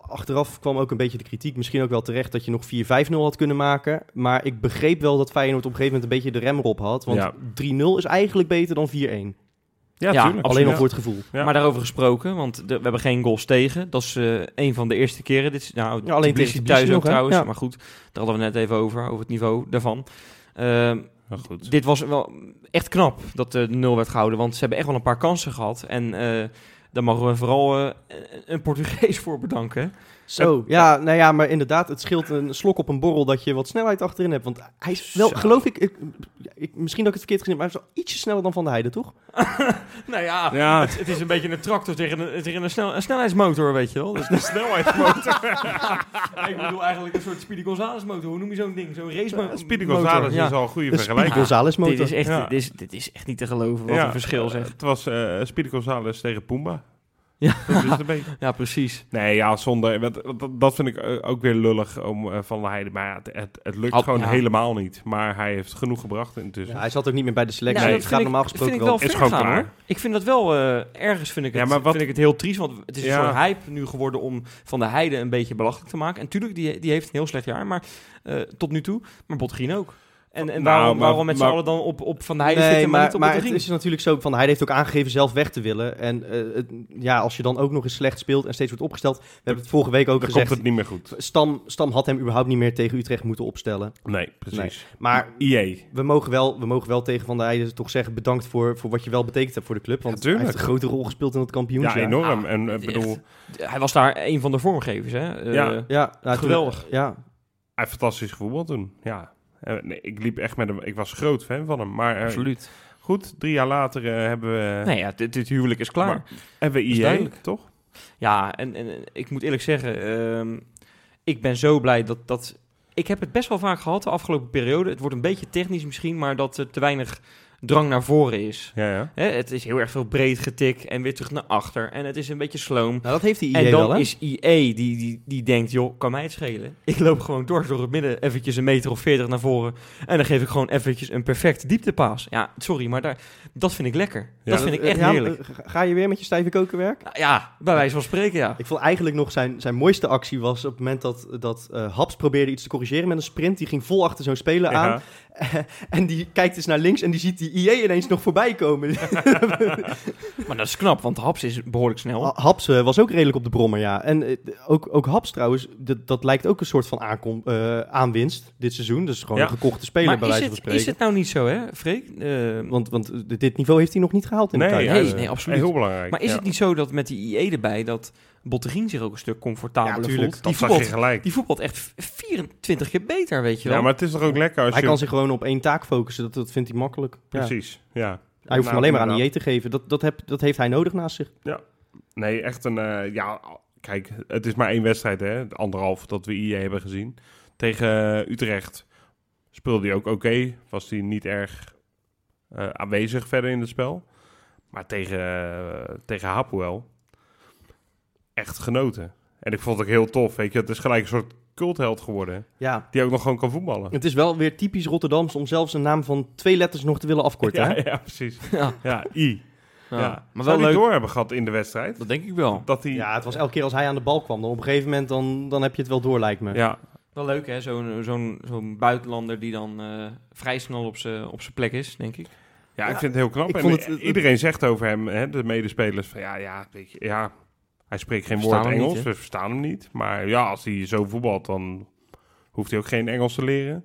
[SPEAKER 2] achteraf kwam ook een beetje de kritiek, misschien ook wel terecht, dat je nog 4-5-0 had kunnen maken. Maar ik begreep wel dat Feyenoord op een gegeven moment een beetje de rem erop had. Want
[SPEAKER 1] Ja.
[SPEAKER 2] 3-0 is eigenlijk beter dan 4-1.
[SPEAKER 1] Ja,
[SPEAKER 3] Ja,
[SPEAKER 1] tuurlijk.
[SPEAKER 2] Alleen al
[SPEAKER 1] Ja.
[SPEAKER 2] voor het gevoel.
[SPEAKER 1] Ja.
[SPEAKER 3] Maar daarover gesproken, want de- we hebben geen goals tegen. Dat is eh, een van de eerste keren. Dit is, nou,
[SPEAKER 2] Ja, alleen
[SPEAKER 3] Tbilisi
[SPEAKER 2] tegen
[SPEAKER 3] thuis
[SPEAKER 2] Tbilisi
[SPEAKER 3] ook
[SPEAKER 2] nog, hè?
[SPEAKER 3] trouwens.
[SPEAKER 2] Ja.
[SPEAKER 3] Maar goed, daar hadden we net even over, over het niveau daarvan. Ehm,
[SPEAKER 1] Maar goed.
[SPEAKER 3] dit was wel echt knap dat eh, de nul werd gehouden, want ze hebben echt wel een paar kansen gehad. En eh, daar mogen we vooral eh, een Portugees voor bedanken.
[SPEAKER 2] Zo, ja, nou ja, maar inderdaad, het scheelt een slok op een borrel dat je wat snelheid achterin hebt. Want hij is wel,
[SPEAKER 3] Zo.
[SPEAKER 2] geloof ik, ik, ik- misschien dat ik het verkeerd gezien heb, maar hij is wel ietsje sneller dan Van der Heijden, toch?
[SPEAKER 3] Nou ja,
[SPEAKER 1] Ja,
[SPEAKER 3] het, het is een beetje een tractor tegen een, tegen een, snel, een snelheidsmotor, weet je wel. Dus
[SPEAKER 1] de snelheidsmotor.
[SPEAKER 3] ik bedoel eigenlijk een soort Speedy Gonzales motor. Hoe noem je zo'n ding? Zo'n race motor.
[SPEAKER 1] Speedy González
[SPEAKER 3] ja.
[SPEAKER 1] is al een goede
[SPEAKER 2] De Speedy
[SPEAKER 1] vergelijking.
[SPEAKER 2] González motor.
[SPEAKER 3] Dit is, echt,
[SPEAKER 1] Ja.
[SPEAKER 3] dit, is, dit is echt niet te geloven wat
[SPEAKER 1] Ja.
[SPEAKER 3] een verschil zeg.
[SPEAKER 1] Het was eh Speedy González tegen Pumba.
[SPEAKER 3] Ja.
[SPEAKER 1] Dat is het een beetje.
[SPEAKER 3] Ja, precies.
[SPEAKER 1] Nee, ja, zonder. want Dat, dat vind ik eh, ook weer lullig om eh, van Leiden. Maar ja, het, het, het lukt
[SPEAKER 3] Had-
[SPEAKER 1] gewoon
[SPEAKER 3] ja.
[SPEAKER 1] helemaal niet. Maar hij heeft genoeg gebracht intussen.
[SPEAKER 2] Ja, hij zat ook niet meer bij de selectie.
[SPEAKER 1] Nou,
[SPEAKER 3] dat
[SPEAKER 1] Nee.
[SPEAKER 2] het
[SPEAKER 3] vind
[SPEAKER 2] gaat
[SPEAKER 3] ik-
[SPEAKER 2] normaal
[SPEAKER 3] vind
[SPEAKER 2] gesproken
[SPEAKER 3] ik
[SPEAKER 2] wel.
[SPEAKER 3] wel
[SPEAKER 1] Is
[SPEAKER 3] ver
[SPEAKER 1] gewoon
[SPEAKER 3] gaan,
[SPEAKER 1] klaar.
[SPEAKER 3] hoor. Ik vind dat wel eh, ergens vind ik, het,
[SPEAKER 1] Ja, maar wat-
[SPEAKER 3] vind ik het heel triest. Want het is
[SPEAKER 1] Ja.
[SPEAKER 3] een soort hype nu geworden om van de Heide een beetje belachelijk te maken. En tuurlijk, die, die heeft een heel slecht jaar, maar eh, tot nu toe. Maar Botgrien ook. En,
[SPEAKER 1] Nou,
[SPEAKER 3] en waarom,
[SPEAKER 1] maar-
[SPEAKER 3] waarom met z'n
[SPEAKER 1] maar-
[SPEAKER 3] allen dan op, op Van de
[SPEAKER 2] Nee,
[SPEAKER 3] Heide zitten, maar, niet op
[SPEAKER 2] maar het
[SPEAKER 3] Botgrien?
[SPEAKER 2] is natuurlijk zo van hij heeft ook aangegeven zelf weg te willen. En eh, het- ja, als je dan ook nog eens slecht speelt en steeds wordt opgesteld. We hebben het vorige week ook
[SPEAKER 1] Dan komt
[SPEAKER 2] gezegd.
[SPEAKER 1] het niet meer goed.
[SPEAKER 2] Stam, Stam had hem überhaupt niet meer tegen Utrecht moeten opstellen.
[SPEAKER 1] Nee, precies.
[SPEAKER 2] Maar
[SPEAKER 1] IE.
[SPEAKER 2] we mogen wel, we mogen wel tegen Van der Heijden toch zeggen bedankt voor, voor wat je wel betekend hebt voor de club. Want hij
[SPEAKER 1] tuurlijk.
[SPEAKER 2] heeft een grote rol gespeeld in dat
[SPEAKER 1] Ja,
[SPEAKER 2] kampioenschap.
[SPEAKER 1] enorm.
[SPEAKER 3] Ah,
[SPEAKER 1] En eh,
[SPEAKER 3] echt.
[SPEAKER 1] bedoel,
[SPEAKER 3] Hij was daar een van de vormgevers, hè? Eh,
[SPEAKER 1] Ja.
[SPEAKER 2] Ja, nou, toen-
[SPEAKER 3] Geweldig.
[SPEAKER 2] ja,
[SPEAKER 1] hij heeft fantastisch voetbal toen. Ja. Eh, nee, ik liep echt met hem. Ik was groot fan van hem. Maar eh,
[SPEAKER 3] Absoluut.
[SPEAKER 1] goed, drie jaar later eh, hebben we,
[SPEAKER 3] Nee, ja, dit, dit huwelijk is klaar.
[SPEAKER 1] Maar- hebben we
[SPEAKER 3] is
[SPEAKER 1] IE,
[SPEAKER 3] duidelijk.
[SPEAKER 1] toch?
[SPEAKER 3] Ja, en, en eh, ik moet eerlijk zeggen, ehm, ik ben zo blij dat, dat... Ik heb het best wel vaak gehad de afgelopen periode. Het wordt een beetje technisch misschien, maar dat er te weinig drang naar voren is.
[SPEAKER 1] Ja, ja.
[SPEAKER 3] Hè, het is heel erg veel breed getik en weer terug naar achter. En het is een beetje sloom.
[SPEAKER 2] nou dat heeft hij
[SPEAKER 3] En
[SPEAKER 2] IE
[SPEAKER 3] dan
[SPEAKER 2] wel, hè?
[SPEAKER 3] is IE die, die, die denkt, joh, kan mij het schelen? Ik loop gewoon door, door het midden, eventjes een meter of veertig naar voren. En dan geef ik gewoon eventjes een perfect dieptepaas. Ja, sorry, maar daar, dat vind ik lekker.
[SPEAKER 1] Ja,
[SPEAKER 3] dat vind ik echt
[SPEAKER 2] Ja,
[SPEAKER 3] heerlijk.
[SPEAKER 2] eh, ga- Ga je weer met je stijve kokenwerk?
[SPEAKER 3] Nou ja, bij wijze van spreken, ja.
[SPEAKER 2] Ik vond eigenlijk nog zijn, zijn mooiste actie was op het moment dat, dat eh, Haps probeerde iets te corrigeren met een sprint. Die ging vol achter zo'n speler
[SPEAKER 1] Ja.
[SPEAKER 2] aan. en die kijkt eens naar links en die ziet die IE ineens nog voorbij komen.
[SPEAKER 3] Maar dat is knap, want Haps is behoorlijk snel.
[SPEAKER 2] Haps eh, was ook redelijk op de brommer, ja. En eh, ook, ook Haps trouwens, dat, dat lijkt ook een soort van aankom, eh, aanwinst dit seizoen. Dus gewoon
[SPEAKER 1] Ja.
[SPEAKER 2] een gekochte speler bij
[SPEAKER 3] maar is
[SPEAKER 2] wijze van
[SPEAKER 3] het,
[SPEAKER 2] spreken.
[SPEAKER 3] is het nou niet zo, hè, Freek? Eh,
[SPEAKER 2] Want, want dit- dit niveau heeft hij nog niet gehaald in de tijd.
[SPEAKER 3] Nee,
[SPEAKER 1] hij is-
[SPEAKER 3] nee, absoluut.
[SPEAKER 1] eh, Heel belangrijk.
[SPEAKER 3] maar is
[SPEAKER 1] ja.
[SPEAKER 3] het niet zo dat met die IE erbij dat Bottegien zich ook een stuk
[SPEAKER 2] Ja,
[SPEAKER 3] comfortabeler
[SPEAKER 2] tuurlijk.
[SPEAKER 3] voelt?
[SPEAKER 1] Dat
[SPEAKER 3] Die
[SPEAKER 1] zag je
[SPEAKER 3] voetbalt,
[SPEAKER 1] gelijk.
[SPEAKER 3] die voetbalt echt v- 24 keer beter, weet je wel.
[SPEAKER 1] Ja, maar het is toch ook lekker als
[SPEAKER 2] Hij
[SPEAKER 1] je...
[SPEAKER 2] kan zich gewoon op één taak focussen, dat, dat vindt hij makkelijk. Ja.
[SPEAKER 1] Precies, ja.
[SPEAKER 2] Hij hoeft hem
[SPEAKER 1] Nou,
[SPEAKER 2] alleen maar aan IE
[SPEAKER 1] inderdaad.
[SPEAKER 2] te geven. Dat, dat, heb, dat heeft hij nodig naast zich.
[SPEAKER 1] Nee, echt een... eh, ja, kijk, het is maar één wedstrijd, hè. De Anderhalf dat we IE hebben gezien. Tegen eh, Utrecht speelde hij ook oké. was hij niet erg eh, aanwezig verder in het spel. Maar tegen, eh, tegen Hapoel echt genoten. En ik vond het ook heel tof, weet je. Het is gelijk een soort cultheld geworden.
[SPEAKER 2] Ja,
[SPEAKER 1] Die ook nog gewoon kan voetballen.
[SPEAKER 2] Het is wel weer typisch Rotterdams om zelfs een naam van twee letters nog te willen afkorten.
[SPEAKER 1] Ja,
[SPEAKER 2] hè?
[SPEAKER 1] ja, precies.
[SPEAKER 3] Ja.
[SPEAKER 1] Ja, I. Ja. Zou
[SPEAKER 3] maar wel
[SPEAKER 1] die
[SPEAKER 3] leuk.
[SPEAKER 1] door hebben gehad in de wedstrijd?
[SPEAKER 3] Dat denk ik wel.
[SPEAKER 1] Dat hij...
[SPEAKER 2] ja, het was elke keer als hij aan de bal kwam. Dan op een gegeven moment dan, dan heb je het wel door, lijkt me.
[SPEAKER 1] ja,
[SPEAKER 3] Wel leuk, hè? Zo'n zo'n zo'n buitenlander die dan eh, vrij snel op zijn op zijn plek is, denk ik.
[SPEAKER 1] Ja,
[SPEAKER 2] Ja,
[SPEAKER 1] ik vind het heel knap.
[SPEAKER 2] ik
[SPEAKER 1] En
[SPEAKER 2] vond het-
[SPEAKER 1] i- iedereen zegt over hem, hè, de medespelers, van ja, ja, weet je, ja, hij spreekt geen
[SPEAKER 3] We
[SPEAKER 1] woord
[SPEAKER 3] verstaan hem
[SPEAKER 1] Engels,
[SPEAKER 3] niet, hè?
[SPEAKER 1] we verstaan hem niet. Maar ja, als hij zo voetbalt, dan hoeft hij ook geen Engels te leren.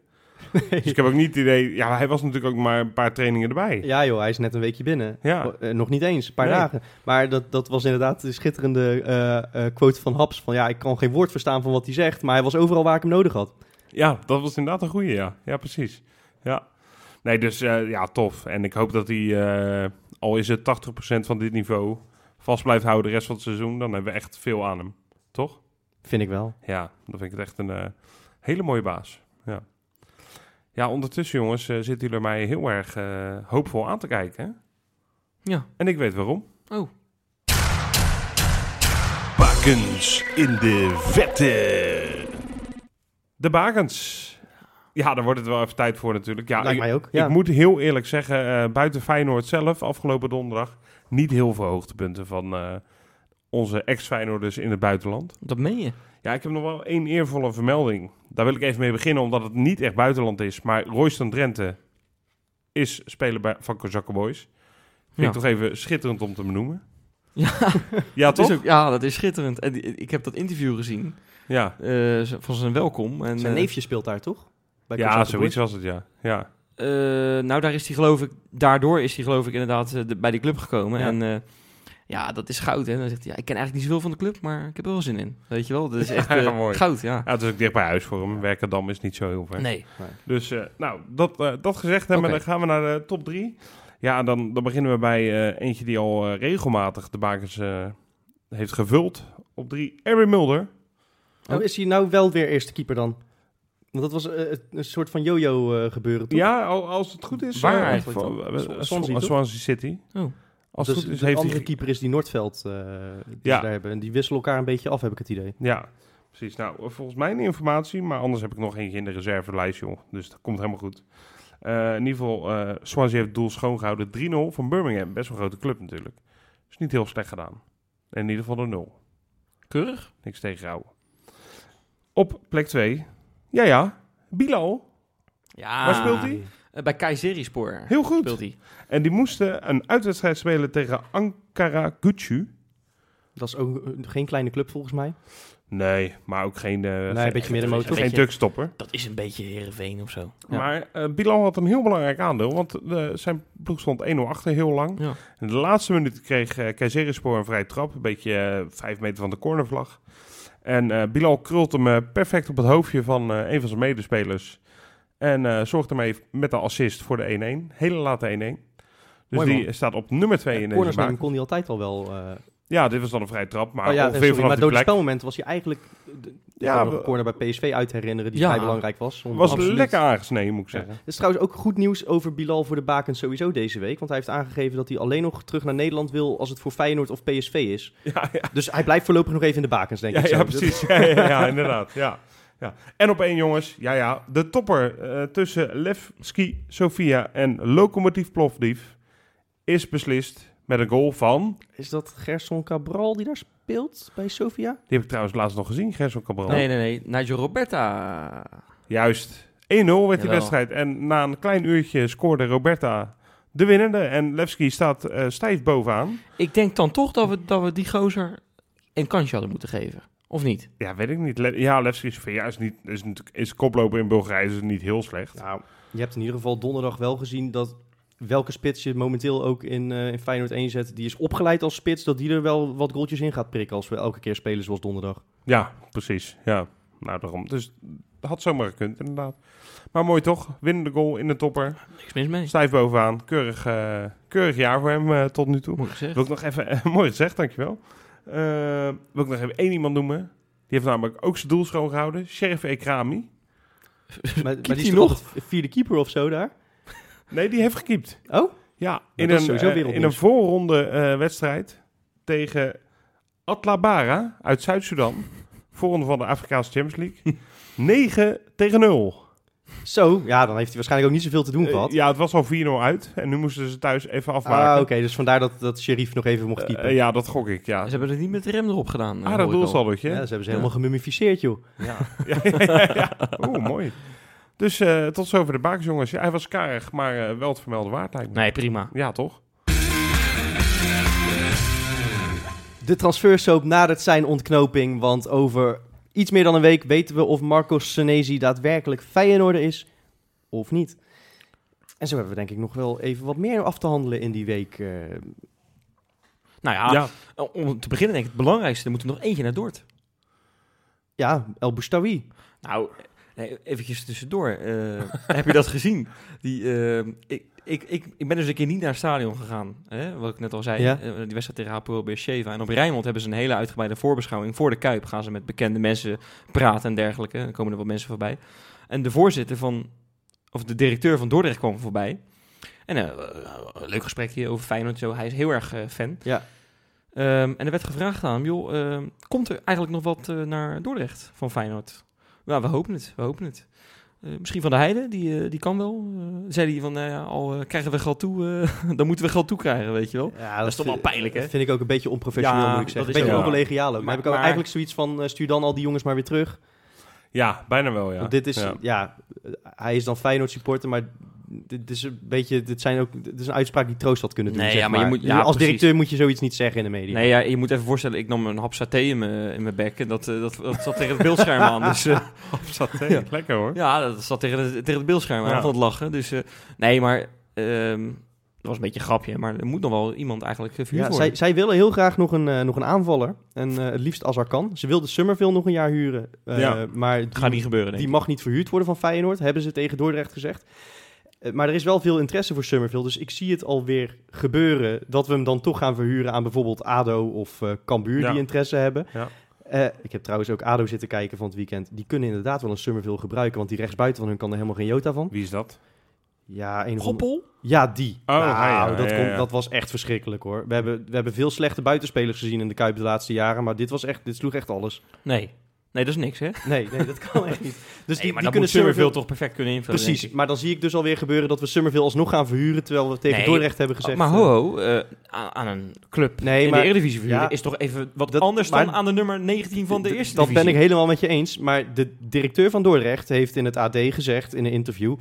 [SPEAKER 1] Dus ik heb ook niet het idee, ja, hij was natuurlijk ook maar een paar trainingen erbij.
[SPEAKER 2] Ja joh, hij is net een weekje binnen.
[SPEAKER 1] Ja.
[SPEAKER 2] Eh, nog niet eens, een paar
[SPEAKER 1] Nee.
[SPEAKER 2] dagen. Maar dat, dat was inderdaad de schitterende eh, eh, quote van Haps. Van ja, ik kan geen woord verstaan van wat hij zegt. Maar hij was overal waar ik hem nodig had.
[SPEAKER 1] Ja, dat was inderdaad een goede, ja. Ja, precies. Ja. Nee, dus eh, ja, tof. En ik hoop dat hij, eh, al is het 80% van dit niveau, vast blijft houden de rest van het seizoen. Dan hebben we echt veel aan hem, toch?
[SPEAKER 2] Vind ik wel.
[SPEAKER 1] Ja, dan vind ik het echt een eh, hele mooie baas. Ja, ja ondertussen jongens, eh, zitten jullie mij heel erg eh, hoopvol aan te kijken. hè?
[SPEAKER 3] Ja.
[SPEAKER 1] En ik weet waarom.
[SPEAKER 3] Oh.
[SPEAKER 4] Bakens in de vette.
[SPEAKER 1] De bakens. Ja, daar wordt het wel even tijd voor natuurlijk. Ja,
[SPEAKER 2] Lijkt
[SPEAKER 1] ik,
[SPEAKER 2] mij ook.
[SPEAKER 1] ik
[SPEAKER 2] Ja.
[SPEAKER 1] moet heel eerlijk zeggen, eh, buiten Feyenoord zelf afgelopen donderdag... niet heel veel hoogtepunten van eh, onze ex-Feyenoorders in het buitenland.
[SPEAKER 3] Dat meen je.
[SPEAKER 1] Ja, ik heb nog wel één eervolle vermelding. Daar wil ik even mee beginnen, omdat het niet echt buitenland is. Maar Royston Drenthe is speler bij, van Kozakke Boys. Vind
[SPEAKER 3] Ja.
[SPEAKER 1] ik toch even schitterend om te benoemen.
[SPEAKER 3] Ja,
[SPEAKER 1] Ja,
[SPEAKER 3] dat
[SPEAKER 1] toch?
[SPEAKER 3] is ook, ja, dat is schitterend. En die- ik heb dat interview gezien
[SPEAKER 1] Ja,
[SPEAKER 3] eh, z- van zijn welkom. En,
[SPEAKER 2] Zijn
[SPEAKER 3] eh,
[SPEAKER 2] neefje speelt daar toch? Bij
[SPEAKER 1] ja
[SPEAKER 2] Kozakkenboys.
[SPEAKER 1] zoiets was het, ja. ja.
[SPEAKER 3] Eh, nou, daar is hij geloof ik, daardoor is hij geloof ik inderdaad eh, de- bij die club gekomen.
[SPEAKER 1] Ja.
[SPEAKER 3] En eh, ja, dat is goud. Hè? Dan zegt hij, ja, ik ken eigenlijk niet zoveel van de club, maar ik heb er wel zin in. Weet je wel, dat is echt eh,
[SPEAKER 1] Ja, mooi.
[SPEAKER 3] goud, ja.
[SPEAKER 1] Ja, het is ook dicht bij huis voor hem. Werkendam is niet zo heel ver.
[SPEAKER 3] Nee.
[SPEAKER 1] Dus, eh, nou, dat, eh, dat gezegd hebben,
[SPEAKER 3] Oké.
[SPEAKER 1] dan gaan we naar de top drie. Ja, dan, dan beginnen we bij eh, eentje die al eh, regelmatig de bakens eh, heeft gevuld. Op drie, Erwin Mulder.
[SPEAKER 2] Oh, is hij nou wel weer eerste keeper dan? Want dat was eh, een soort van jojo eh, gebeuren toch?
[SPEAKER 1] Ja, al- als het goed is.
[SPEAKER 3] Waar
[SPEAKER 1] eh,
[SPEAKER 3] eigenlijk
[SPEAKER 1] van-
[SPEAKER 3] dan?
[SPEAKER 1] eh,
[SPEAKER 2] Swansea,
[SPEAKER 1] Swan-
[SPEAKER 2] toch?
[SPEAKER 1] Swansea City.
[SPEAKER 3] Oh.
[SPEAKER 1] Als
[SPEAKER 2] dus
[SPEAKER 1] het goed is,
[SPEAKER 2] de
[SPEAKER 1] heeft hij...
[SPEAKER 2] andere
[SPEAKER 1] ge-
[SPEAKER 2] keeper is die Noordveld eh, die
[SPEAKER 1] Ja.
[SPEAKER 2] ze daar hebben. En die wisselen elkaar een beetje af, heb ik het idee.
[SPEAKER 1] Ja, precies. Nou, volgens mijn informatie, maar anders heb ik nog eentje in de reservelijst, joh. Dus dat komt helemaal goed. Eh, in ieder geval, eh Swansea heeft het doel schoongehouden. 3-0 van Birmingham. Best wel een grote club natuurlijk. Dus niet heel slecht gedaan. En in ieder geval de 0.
[SPEAKER 3] Keurig.
[SPEAKER 1] Niks tegenhouden. Op plek 2. Ja, ja. Bilal.
[SPEAKER 3] Ja.
[SPEAKER 1] Waar speelt hij?
[SPEAKER 3] Eh, Bij Kayserispor
[SPEAKER 1] Heel
[SPEAKER 3] speelt
[SPEAKER 1] goed.
[SPEAKER 3] hij.
[SPEAKER 1] En die moesten een uitwedstrijd spelen tegen Ankara Gucu.
[SPEAKER 2] Dat is ook eh, geen kleine club volgens mij.
[SPEAKER 1] Nee, maar ook geen... eh, geen-
[SPEAKER 2] nee, een beetje middenmoot.
[SPEAKER 3] Een
[SPEAKER 2] toch?
[SPEAKER 1] Geen
[SPEAKER 3] beetje-
[SPEAKER 1] tukstopper.
[SPEAKER 3] Dat is een beetje Herenveen of zo.
[SPEAKER 2] Ja.
[SPEAKER 1] Maar eh, Bilal had een heel belangrijk aandeel, want eh, zijn ploeg stond 1-0 achter heel lang.
[SPEAKER 3] Ja.
[SPEAKER 1] In de laatste minuut kreeg eh Kayserispor een vrije trap, een beetje eh, vijf meter van de cornervlag. En eh, Bilal krult hem eh, perfect op het hoofdje van eh, een van zijn medespelers. En eh zorgt ermee met de assist voor de 1-1. Hele late 1-1. Dus
[SPEAKER 2] Mooi,
[SPEAKER 1] die staat op nummer 2 in
[SPEAKER 2] Corners
[SPEAKER 1] deze
[SPEAKER 2] nemen
[SPEAKER 1] maak.
[SPEAKER 2] kon hij altijd al wel. eh,
[SPEAKER 1] Ja, dit was dan een vrije trap, maar
[SPEAKER 2] oh ja, eh,
[SPEAKER 1] ongeveer
[SPEAKER 2] sorry,
[SPEAKER 1] vanaf
[SPEAKER 2] maar
[SPEAKER 1] die
[SPEAKER 2] door het
[SPEAKER 1] plek.
[SPEAKER 2] spelmoment was hij eigenlijk.
[SPEAKER 1] Ja,
[SPEAKER 2] Ja, nog
[SPEAKER 1] we-
[SPEAKER 2] een corner bij PSV uit herinneren die
[SPEAKER 3] Ja.
[SPEAKER 2] vrij belangrijk was. om-
[SPEAKER 1] was
[SPEAKER 2] Absoluut.
[SPEAKER 1] lekker aangesneden, moet ik
[SPEAKER 2] Ja.
[SPEAKER 1] zeggen.
[SPEAKER 2] Het is trouwens ook goed nieuws over Bilal voor de Bakens sowieso deze week. Want hij heeft aangegeven dat hij alleen nog terug naar Nederland wil als het voor Feyenoord of PSV is.
[SPEAKER 1] Ja, ja.
[SPEAKER 2] Dus hij blijft voorlopig nog even in de Bakens, denk
[SPEAKER 1] Ja,
[SPEAKER 2] ik. zo.
[SPEAKER 1] ja precies. Ja, ja, ja, inderdaad. Ja. Ja. En op één, jongens. Ja, ja. De topper eh, tussen Levski, Sofia en Lokomotief Plovdiv is beslist met een goal van...
[SPEAKER 2] Is dat Gerson Cabral die daar speelt bij Sofia?
[SPEAKER 1] Die heb ik trouwens laatst nog gezien, Gerson Cabral.
[SPEAKER 3] Nee, nee, nee. Nigel Roberta.
[SPEAKER 1] Juist. 1-0 werd die
[SPEAKER 3] Jawel.
[SPEAKER 1] wedstrijd. En na een klein uurtje scoorde Roberta de winnende. En Levski staat eh, stijf bovenaan.
[SPEAKER 3] Ik denk dan toch dat we, dat we die gozer een kansje hadden moeten geven. Of niet?
[SPEAKER 1] Ja, weet ik niet. Le- ja, Levski Sofia is, niet, is, natuurlijk- is koploper in Bulgarije, dus niet heel slecht.
[SPEAKER 2] Nou, je hebt in ieder geval donderdag wel gezien dat welke spits je momenteel ook in, eh, in Feyenoord 1 zet. Die is opgeleid als spits, dat die er wel wat goaltjes in gaat prikken als we elke keer spelen zoals donderdag.
[SPEAKER 1] Ja, precies. Ja, nou daarom. Dus dat had zomaar gekund, inderdaad. Maar mooi toch, winnende goal in de topper.
[SPEAKER 3] Niks mis mee.
[SPEAKER 1] Stijf bovenaan. Keurig, eh, keurig jaar voor hem eh, tot nu toe.
[SPEAKER 3] Moet ik zeggen.
[SPEAKER 1] Wil ik nog even, eh, mooi gezegd, dankjewel. Eh, wil ik nog even één iemand noemen. Die heeft namelijk ook zijn doel schoongehouden. Sheriff Ekrami.
[SPEAKER 2] Maar, maar die
[SPEAKER 3] hij
[SPEAKER 2] is toch
[SPEAKER 3] nog?
[SPEAKER 2] altijd vierde keeper of zo daar?
[SPEAKER 1] Nee, die heeft gekiept.
[SPEAKER 2] Oh?
[SPEAKER 1] Ja,
[SPEAKER 2] dat
[SPEAKER 1] in
[SPEAKER 2] is
[SPEAKER 1] een,
[SPEAKER 2] sowieso
[SPEAKER 1] eh, in
[SPEAKER 2] wereldnieuws.
[SPEAKER 1] een voorronde eh, wedstrijd tegen Atlabara uit Zuid-Sudan. Voorronde van de Afrikaanse Champions League. 9 tegen 0.
[SPEAKER 2] Zo, ja, dan heeft hij waarschijnlijk ook niet zoveel te doen
[SPEAKER 1] Eh,
[SPEAKER 2] gehad.
[SPEAKER 1] Ja, het was al 4-0 uit. En nu moesten ze thuis even afmaken.
[SPEAKER 2] Ah, oké, dus vandaar dat, dat Sheriff nog even mocht keeper.
[SPEAKER 1] Eh, ja, dat gok ik, ja.
[SPEAKER 3] Ze hebben het niet met de rem erop gedaan. eh,
[SPEAKER 1] Ah,
[SPEAKER 3] hoor ik
[SPEAKER 1] dat
[SPEAKER 3] al.
[SPEAKER 1] doelsaldootje.
[SPEAKER 2] Ja, ze
[SPEAKER 1] Ja,
[SPEAKER 2] hebben ze helemaal gemummificeerd, joh.
[SPEAKER 1] ja, ja, ja. Oeh, mooi. Dus eh, tot zover de bakens, jongens. Ja, hij was karig, maar eh, wel het vermelde waard, lijkt me.
[SPEAKER 3] Nee, prima.
[SPEAKER 1] Ja, toch?
[SPEAKER 2] De transfersoap nadert zijn ontknoping, want over iets meer dan een week weten we of Marco Senesi daadwerkelijk Feyenoorder is of niet. En zo hebben we denk ik nog wel even wat meer af te handelen in die week. eh.
[SPEAKER 3] Nou
[SPEAKER 2] Ah.
[SPEAKER 3] ja, eh, om te beginnen denk ik het belangrijkste. Er moet er nog eentje naar Dordt.
[SPEAKER 2] ja, El Boustawi.
[SPEAKER 3] Nou, nee, eventjes tussendoor. eh, heb je dat gezien? Die, eh, ik, ik, ik, ik ben dus een keer niet naar het stadion gegaan. Hè? Wat ik net al zei,
[SPEAKER 2] Ja.
[SPEAKER 3] eh, die wedstrijd tegen Hapoel Beersheva. En op Rijnmond hebben ze een hele uitgebreide voorbeschouwing. Voor de Kuip gaan ze met bekende mensen praten en dergelijke. Dan komen er wat mensen voorbij. En de voorzitter van, of de directeur van Dordrecht kwam voorbij. En eh, een leuk gesprekje over Feyenoord en zo. Hij is heel erg eh, fan.
[SPEAKER 2] Ja.
[SPEAKER 3] Ehm, en er werd gevraagd aan hem, joh, ehm, komt er eigenlijk nog wat eh, naar Dordrecht van Feyenoord? Nou, we hopen het, we hopen het. Eh, misschien van de Heide, die, eh, die kan wel. Eh, zei hij van, nou ja, al eh, krijgen we geld toe, eh, dan moeten we geld toe krijgen, weet je wel.
[SPEAKER 2] Ja,
[SPEAKER 3] is toch wel
[SPEAKER 2] vind-
[SPEAKER 3] pijnlijk, hè?
[SPEAKER 2] Dat vind ik ook een beetje onprofessioneel,
[SPEAKER 3] Ja,
[SPEAKER 2] moet ik zeggen.
[SPEAKER 3] dat
[SPEAKER 2] Een
[SPEAKER 3] is
[SPEAKER 2] beetje
[SPEAKER 1] ook wel.
[SPEAKER 2] oncollegiaal ook. Maar,
[SPEAKER 3] Maar-
[SPEAKER 2] heb ik ook
[SPEAKER 3] maar-
[SPEAKER 2] eigenlijk zoiets van, eh, stuur dan al die jongens maar weer terug.
[SPEAKER 1] Ja, bijna wel, ja.
[SPEAKER 2] Want dit is,
[SPEAKER 1] Ja.
[SPEAKER 2] ja, eh, hij is dan Feyenoord supporter, maar dit is een beetje, dit, zijn ook, dit is een uitspraak die troost had kunnen doen,
[SPEAKER 3] Nee,
[SPEAKER 2] zeg
[SPEAKER 3] ja,
[SPEAKER 2] maar.
[SPEAKER 3] maar je moet- ja,
[SPEAKER 2] Als
[SPEAKER 3] precies.
[SPEAKER 2] directeur moet je zoiets niet zeggen in de media.
[SPEAKER 3] Nee, ja, je moet even voorstellen, ik nam een hap saté in mijn in mijn bek en dat, eh, dat, dat zat tegen het beeldscherm aan. Dus eh,
[SPEAKER 1] Saté,
[SPEAKER 3] Ja.
[SPEAKER 1] Lekker, hoor.
[SPEAKER 3] ja, dat zat tegen het, tegen het beeldscherm aan
[SPEAKER 1] Ja.
[SPEAKER 3] van het lachen. Dus eh, nee, maar ehm, dat was een beetje een grapje, maar er moet nog wel iemand eigenlijk eh, verhuurd
[SPEAKER 2] Ja,
[SPEAKER 3] worden.
[SPEAKER 2] zij, zij willen heel graag nog een, eh, nog een aanvaller. En eh, het liefst als er kan. Ze wilden Summerville nog een jaar huren. eh,
[SPEAKER 1] Ja.
[SPEAKER 2] Maar die,
[SPEAKER 3] Dat gaat niet gebeuren, denk
[SPEAKER 2] die
[SPEAKER 3] ik.
[SPEAKER 2] mag niet verhuurd worden van Feyenoord, hebben ze tegen Dordrecht gezegd. Eh, maar er is wel veel interesse voor Summerville. Dus ik zie het alweer gebeuren dat we hem dan toch gaan verhuren aan bijvoorbeeld ADO of eh Cambuur
[SPEAKER 1] Ja.
[SPEAKER 2] die interesse hebben.
[SPEAKER 1] Ja.
[SPEAKER 2] Eh, ik heb trouwens ook ADO zitten kijken van het weekend. Die kunnen inderdaad wel een Summerville gebruiken, want die rechtsbuiten van hun kan er helemaal geen jota van.
[SPEAKER 1] Wie is dat?
[SPEAKER 2] Ja, een of andere-
[SPEAKER 3] Goppel?
[SPEAKER 2] Ja, die.
[SPEAKER 1] Oh,
[SPEAKER 2] nou,
[SPEAKER 1] hij, ja,
[SPEAKER 2] dat,
[SPEAKER 1] ja,
[SPEAKER 2] kon-
[SPEAKER 1] ja.
[SPEAKER 2] dat was echt verschrikkelijk hoor. We hebben, we hebben veel slechte buitenspelers gezien in de Kuip de laatste jaren, maar dit, was echt, dit sloeg echt alles.
[SPEAKER 3] Nee. Nee, dat is niks, hè?
[SPEAKER 2] Nee, nee dat kan echt niet. Dus die,
[SPEAKER 3] Nee, maar
[SPEAKER 2] die kunnen
[SPEAKER 3] dat moet Summerville
[SPEAKER 2] Summerville
[SPEAKER 3] toch perfect kunnen invullen.
[SPEAKER 2] Precies,
[SPEAKER 3] denk ik.
[SPEAKER 2] maar dan zie ik dus alweer gebeuren dat we Summerville alsnog gaan verhuren, terwijl we tegen
[SPEAKER 3] Nee,
[SPEAKER 2] Dordrecht hebben gezegd...
[SPEAKER 3] maar
[SPEAKER 2] eh,
[SPEAKER 3] ho, ho eh, aan, aan een club
[SPEAKER 2] Nee,
[SPEAKER 3] in
[SPEAKER 2] maar-
[SPEAKER 3] de Eredivisie verhuren
[SPEAKER 2] ja.
[SPEAKER 3] is toch even wat
[SPEAKER 2] Dat-
[SPEAKER 3] anders dan
[SPEAKER 2] maar-
[SPEAKER 3] aan de nummer 19 van de
[SPEAKER 2] D-
[SPEAKER 3] eerste
[SPEAKER 2] Dat ben
[SPEAKER 3] divisie.
[SPEAKER 2] ik helemaal met je eens. Maar de directeur van Dordrecht heeft in het AD gezegd in een interview: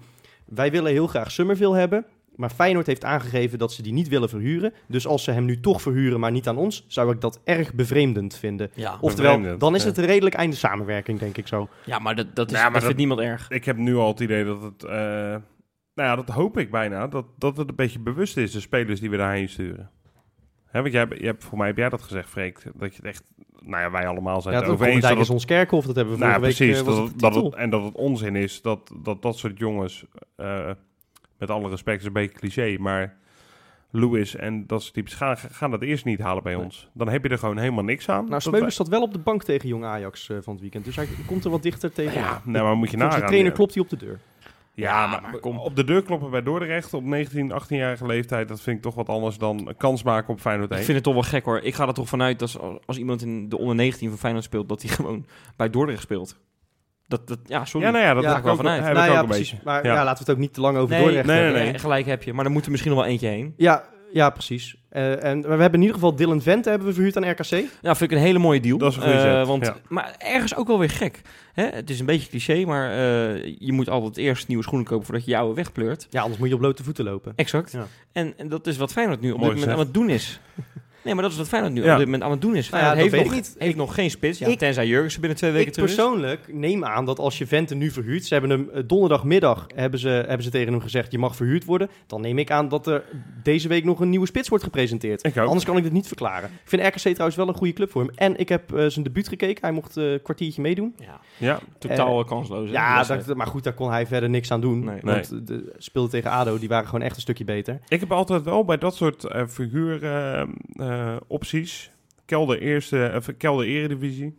[SPEAKER 2] Wij willen heel graag Summerville hebben. Maar Feyenoord heeft aangegeven dat ze die niet willen verhuren. Dus als ze hem nu toch verhuren, maar niet aan ons, zou ik dat erg bevreemdend vinden.
[SPEAKER 3] Ja,
[SPEAKER 1] Bevreemdend,
[SPEAKER 2] Oftewel, dan is
[SPEAKER 1] ja.
[SPEAKER 2] het een redelijk einde samenwerking, denk ik zo.
[SPEAKER 3] ja maar dat, dat, is,
[SPEAKER 1] Nou, maar
[SPEAKER 3] dat
[SPEAKER 1] dat-
[SPEAKER 3] vindt niemand erg.
[SPEAKER 1] Ik heb nu al het idee dat het... eh, nou ja, dat hoop ik bijna. Dat, dat het een beetje bewust is, de spelers die we daarheen sturen. Hè, want jij, hebt- je hebt, voor mij heb jij dat gezegd, Freek. Dat je het echt... Nou ja, wij allemaal zijn
[SPEAKER 2] Ja,
[SPEAKER 1] het
[SPEAKER 2] dat
[SPEAKER 1] over eens. Dat
[SPEAKER 2] Komendijk
[SPEAKER 1] het,
[SPEAKER 2] is ons kerkhof, dat hebben we
[SPEAKER 1] nou ja,
[SPEAKER 2] vorige week.
[SPEAKER 1] precies.
[SPEAKER 2] eh, was
[SPEAKER 1] dat,
[SPEAKER 2] het
[SPEAKER 1] het-
[SPEAKER 2] de
[SPEAKER 1] dat
[SPEAKER 2] titel.
[SPEAKER 1] het, en dat het onzin is dat dat, dat soort jongens... eh, met alle respect, is een beetje cliché, maar... Lewis en dat soort types gaan, gaan dat eerst niet halen bij
[SPEAKER 3] Nee.
[SPEAKER 1] ons. Dan heb je er gewoon helemaal niks aan.
[SPEAKER 2] Nou,
[SPEAKER 1] Dat
[SPEAKER 2] Smeulens zat wel op de bank tegen jong Ajax eh, van het weekend. Dus hij komt er wat dichter tegen.
[SPEAKER 1] wij- Ja, nou, maar moet je
[SPEAKER 2] Volgens
[SPEAKER 1] nagaan.
[SPEAKER 2] de trainer
[SPEAKER 1] ja.
[SPEAKER 2] klopt hij op de deur.
[SPEAKER 1] Ja,
[SPEAKER 3] Ja,
[SPEAKER 1] maar,
[SPEAKER 3] maar kom.
[SPEAKER 1] op de deur kloppen bij Dordrecht op 19, 18-jarige leeftijd, dat vind ik toch wat anders dan kans maken op Feyenoord 1.
[SPEAKER 3] Ik vind het toch wel gek hoor. Ik ga er toch vanuit dat als, als iemand in de onder 19 van Feyenoord speelt, dat hij gewoon bij Dordrecht speelt. Dat, dat, ja, sorry.
[SPEAKER 1] Ja, nou ja, dat
[SPEAKER 2] Ja,
[SPEAKER 1] ga ik
[SPEAKER 3] wel
[SPEAKER 1] ook,
[SPEAKER 3] vanuit.
[SPEAKER 1] heb
[SPEAKER 2] nou
[SPEAKER 1] ik
[SPEAKER 2] ja,
[SPEAKER 1] ook een
[SPEAKER 2] precies.
[SPEAKER 1] beetje.
[SPEAKER 2] Maar
[SPEAKER 1] Ja.
[SPEAKER 2] ja. laten we het ook niet te lang over
[SPEAKER 3] Nee,
[SPEAKER 2] Dordrecht
[SPEAKER 1] nee,
[SPEAKER 2] hebben.
[SPEAKER 1] nee.
[SPEAKER 3] Ja, gelijk heb je. Maar er moet er misschien nog wel eentje heen.
[SPEAKER 2] Ja, ja precies. Eh, en, maar we hebben in ieder geval Dylan Vente hebben we verhuurd aan RKC.
[SPEAKER 3] Ja, Nou, vind ik een hele mooie deal.
[SPEAKER 1] Dat is een goede zet,
[SPEAKER 3] Eh, want,
[SPEAKER 1] ja.
[SPEAKER 3] Maar ergens ook wel weer gek. Hè? Het is een beetje cliché, maar eh, je moet altijd eerst nieuwe schoenen kopen voordat je je oude wegpleurt.
[SPEAKER 2] Ja, anders moet je op blote voeten lopen.
[SPEAKER 3] Exact.
[SPEAKER 2] Ja.
[SPEAKER 3] En, en dat is wat Feyenoord nu op
[SPEAKER 1] Mooi
[SPEAKER 3] dit moment aan
[SPEAKER 1] gezegd.
[SPEAKER 3] het doen is. Nee, maar dat is wat Feyenoord nu
[SPEAKER 1] Ja.
[SPEAKER 3] op dit moment aan het doen is.
[SPEAKER 2] Nou ja,
[SPEAKER 3] Feyenoord
[SPEAKER 2] dat
[SPEAKER 3] heeft, nog,
[SPEAKER 2] weet
[SPEAKER 3] heeft nog geen spits. Ja,
[SPEAKER 2] ik-
[SPEAKER 3] tenzij Jurgensen binnen twee weken
[SPEAKER 2] Ik
[SPEAKER 3] terug is.
[SPEAKER 2] persoonlijk neem aan dat als je Vente nu verhuurt, ze hebben hem eh, donderdagmiddag hebben ze, hebben ze tegen hem gezegd je mag verhuurd worden, dan neem ik aan dat er deze week nog een nieuwe spits wordt gepresenteerd.
[SPEAKER 1] Ik ook.
[SPEAKER 2] Anders kan ik dit niet verklaren. Ik vind RKC trouwens wel een goede club voor hem. En ik heb eh, zijn debuut gekeken, hij mocht eh, een kwartiertje meedoen.
[SPEAKER 3] Ja,
[SPEAKER 1] Ja,
[SPEAKER 3] totaal kansloos. hè, die
[SPEAKER 2] Eh, Ja,
[SPEAKER 3] wedstrijd.
[SPEAKER 2] dat- maar goed, daar kon hij verder niks aan doen.
[SPEAKER 3] Nee.
[SPEAKER 2] Want eh, de speelde tegen ADO, die waren gewoon echt een stukje beter.
[SPEAKER 1] ik heb altijd wel bij dat soort eh, figuuropties, eh, kelder eerste, of kelder eredivisie,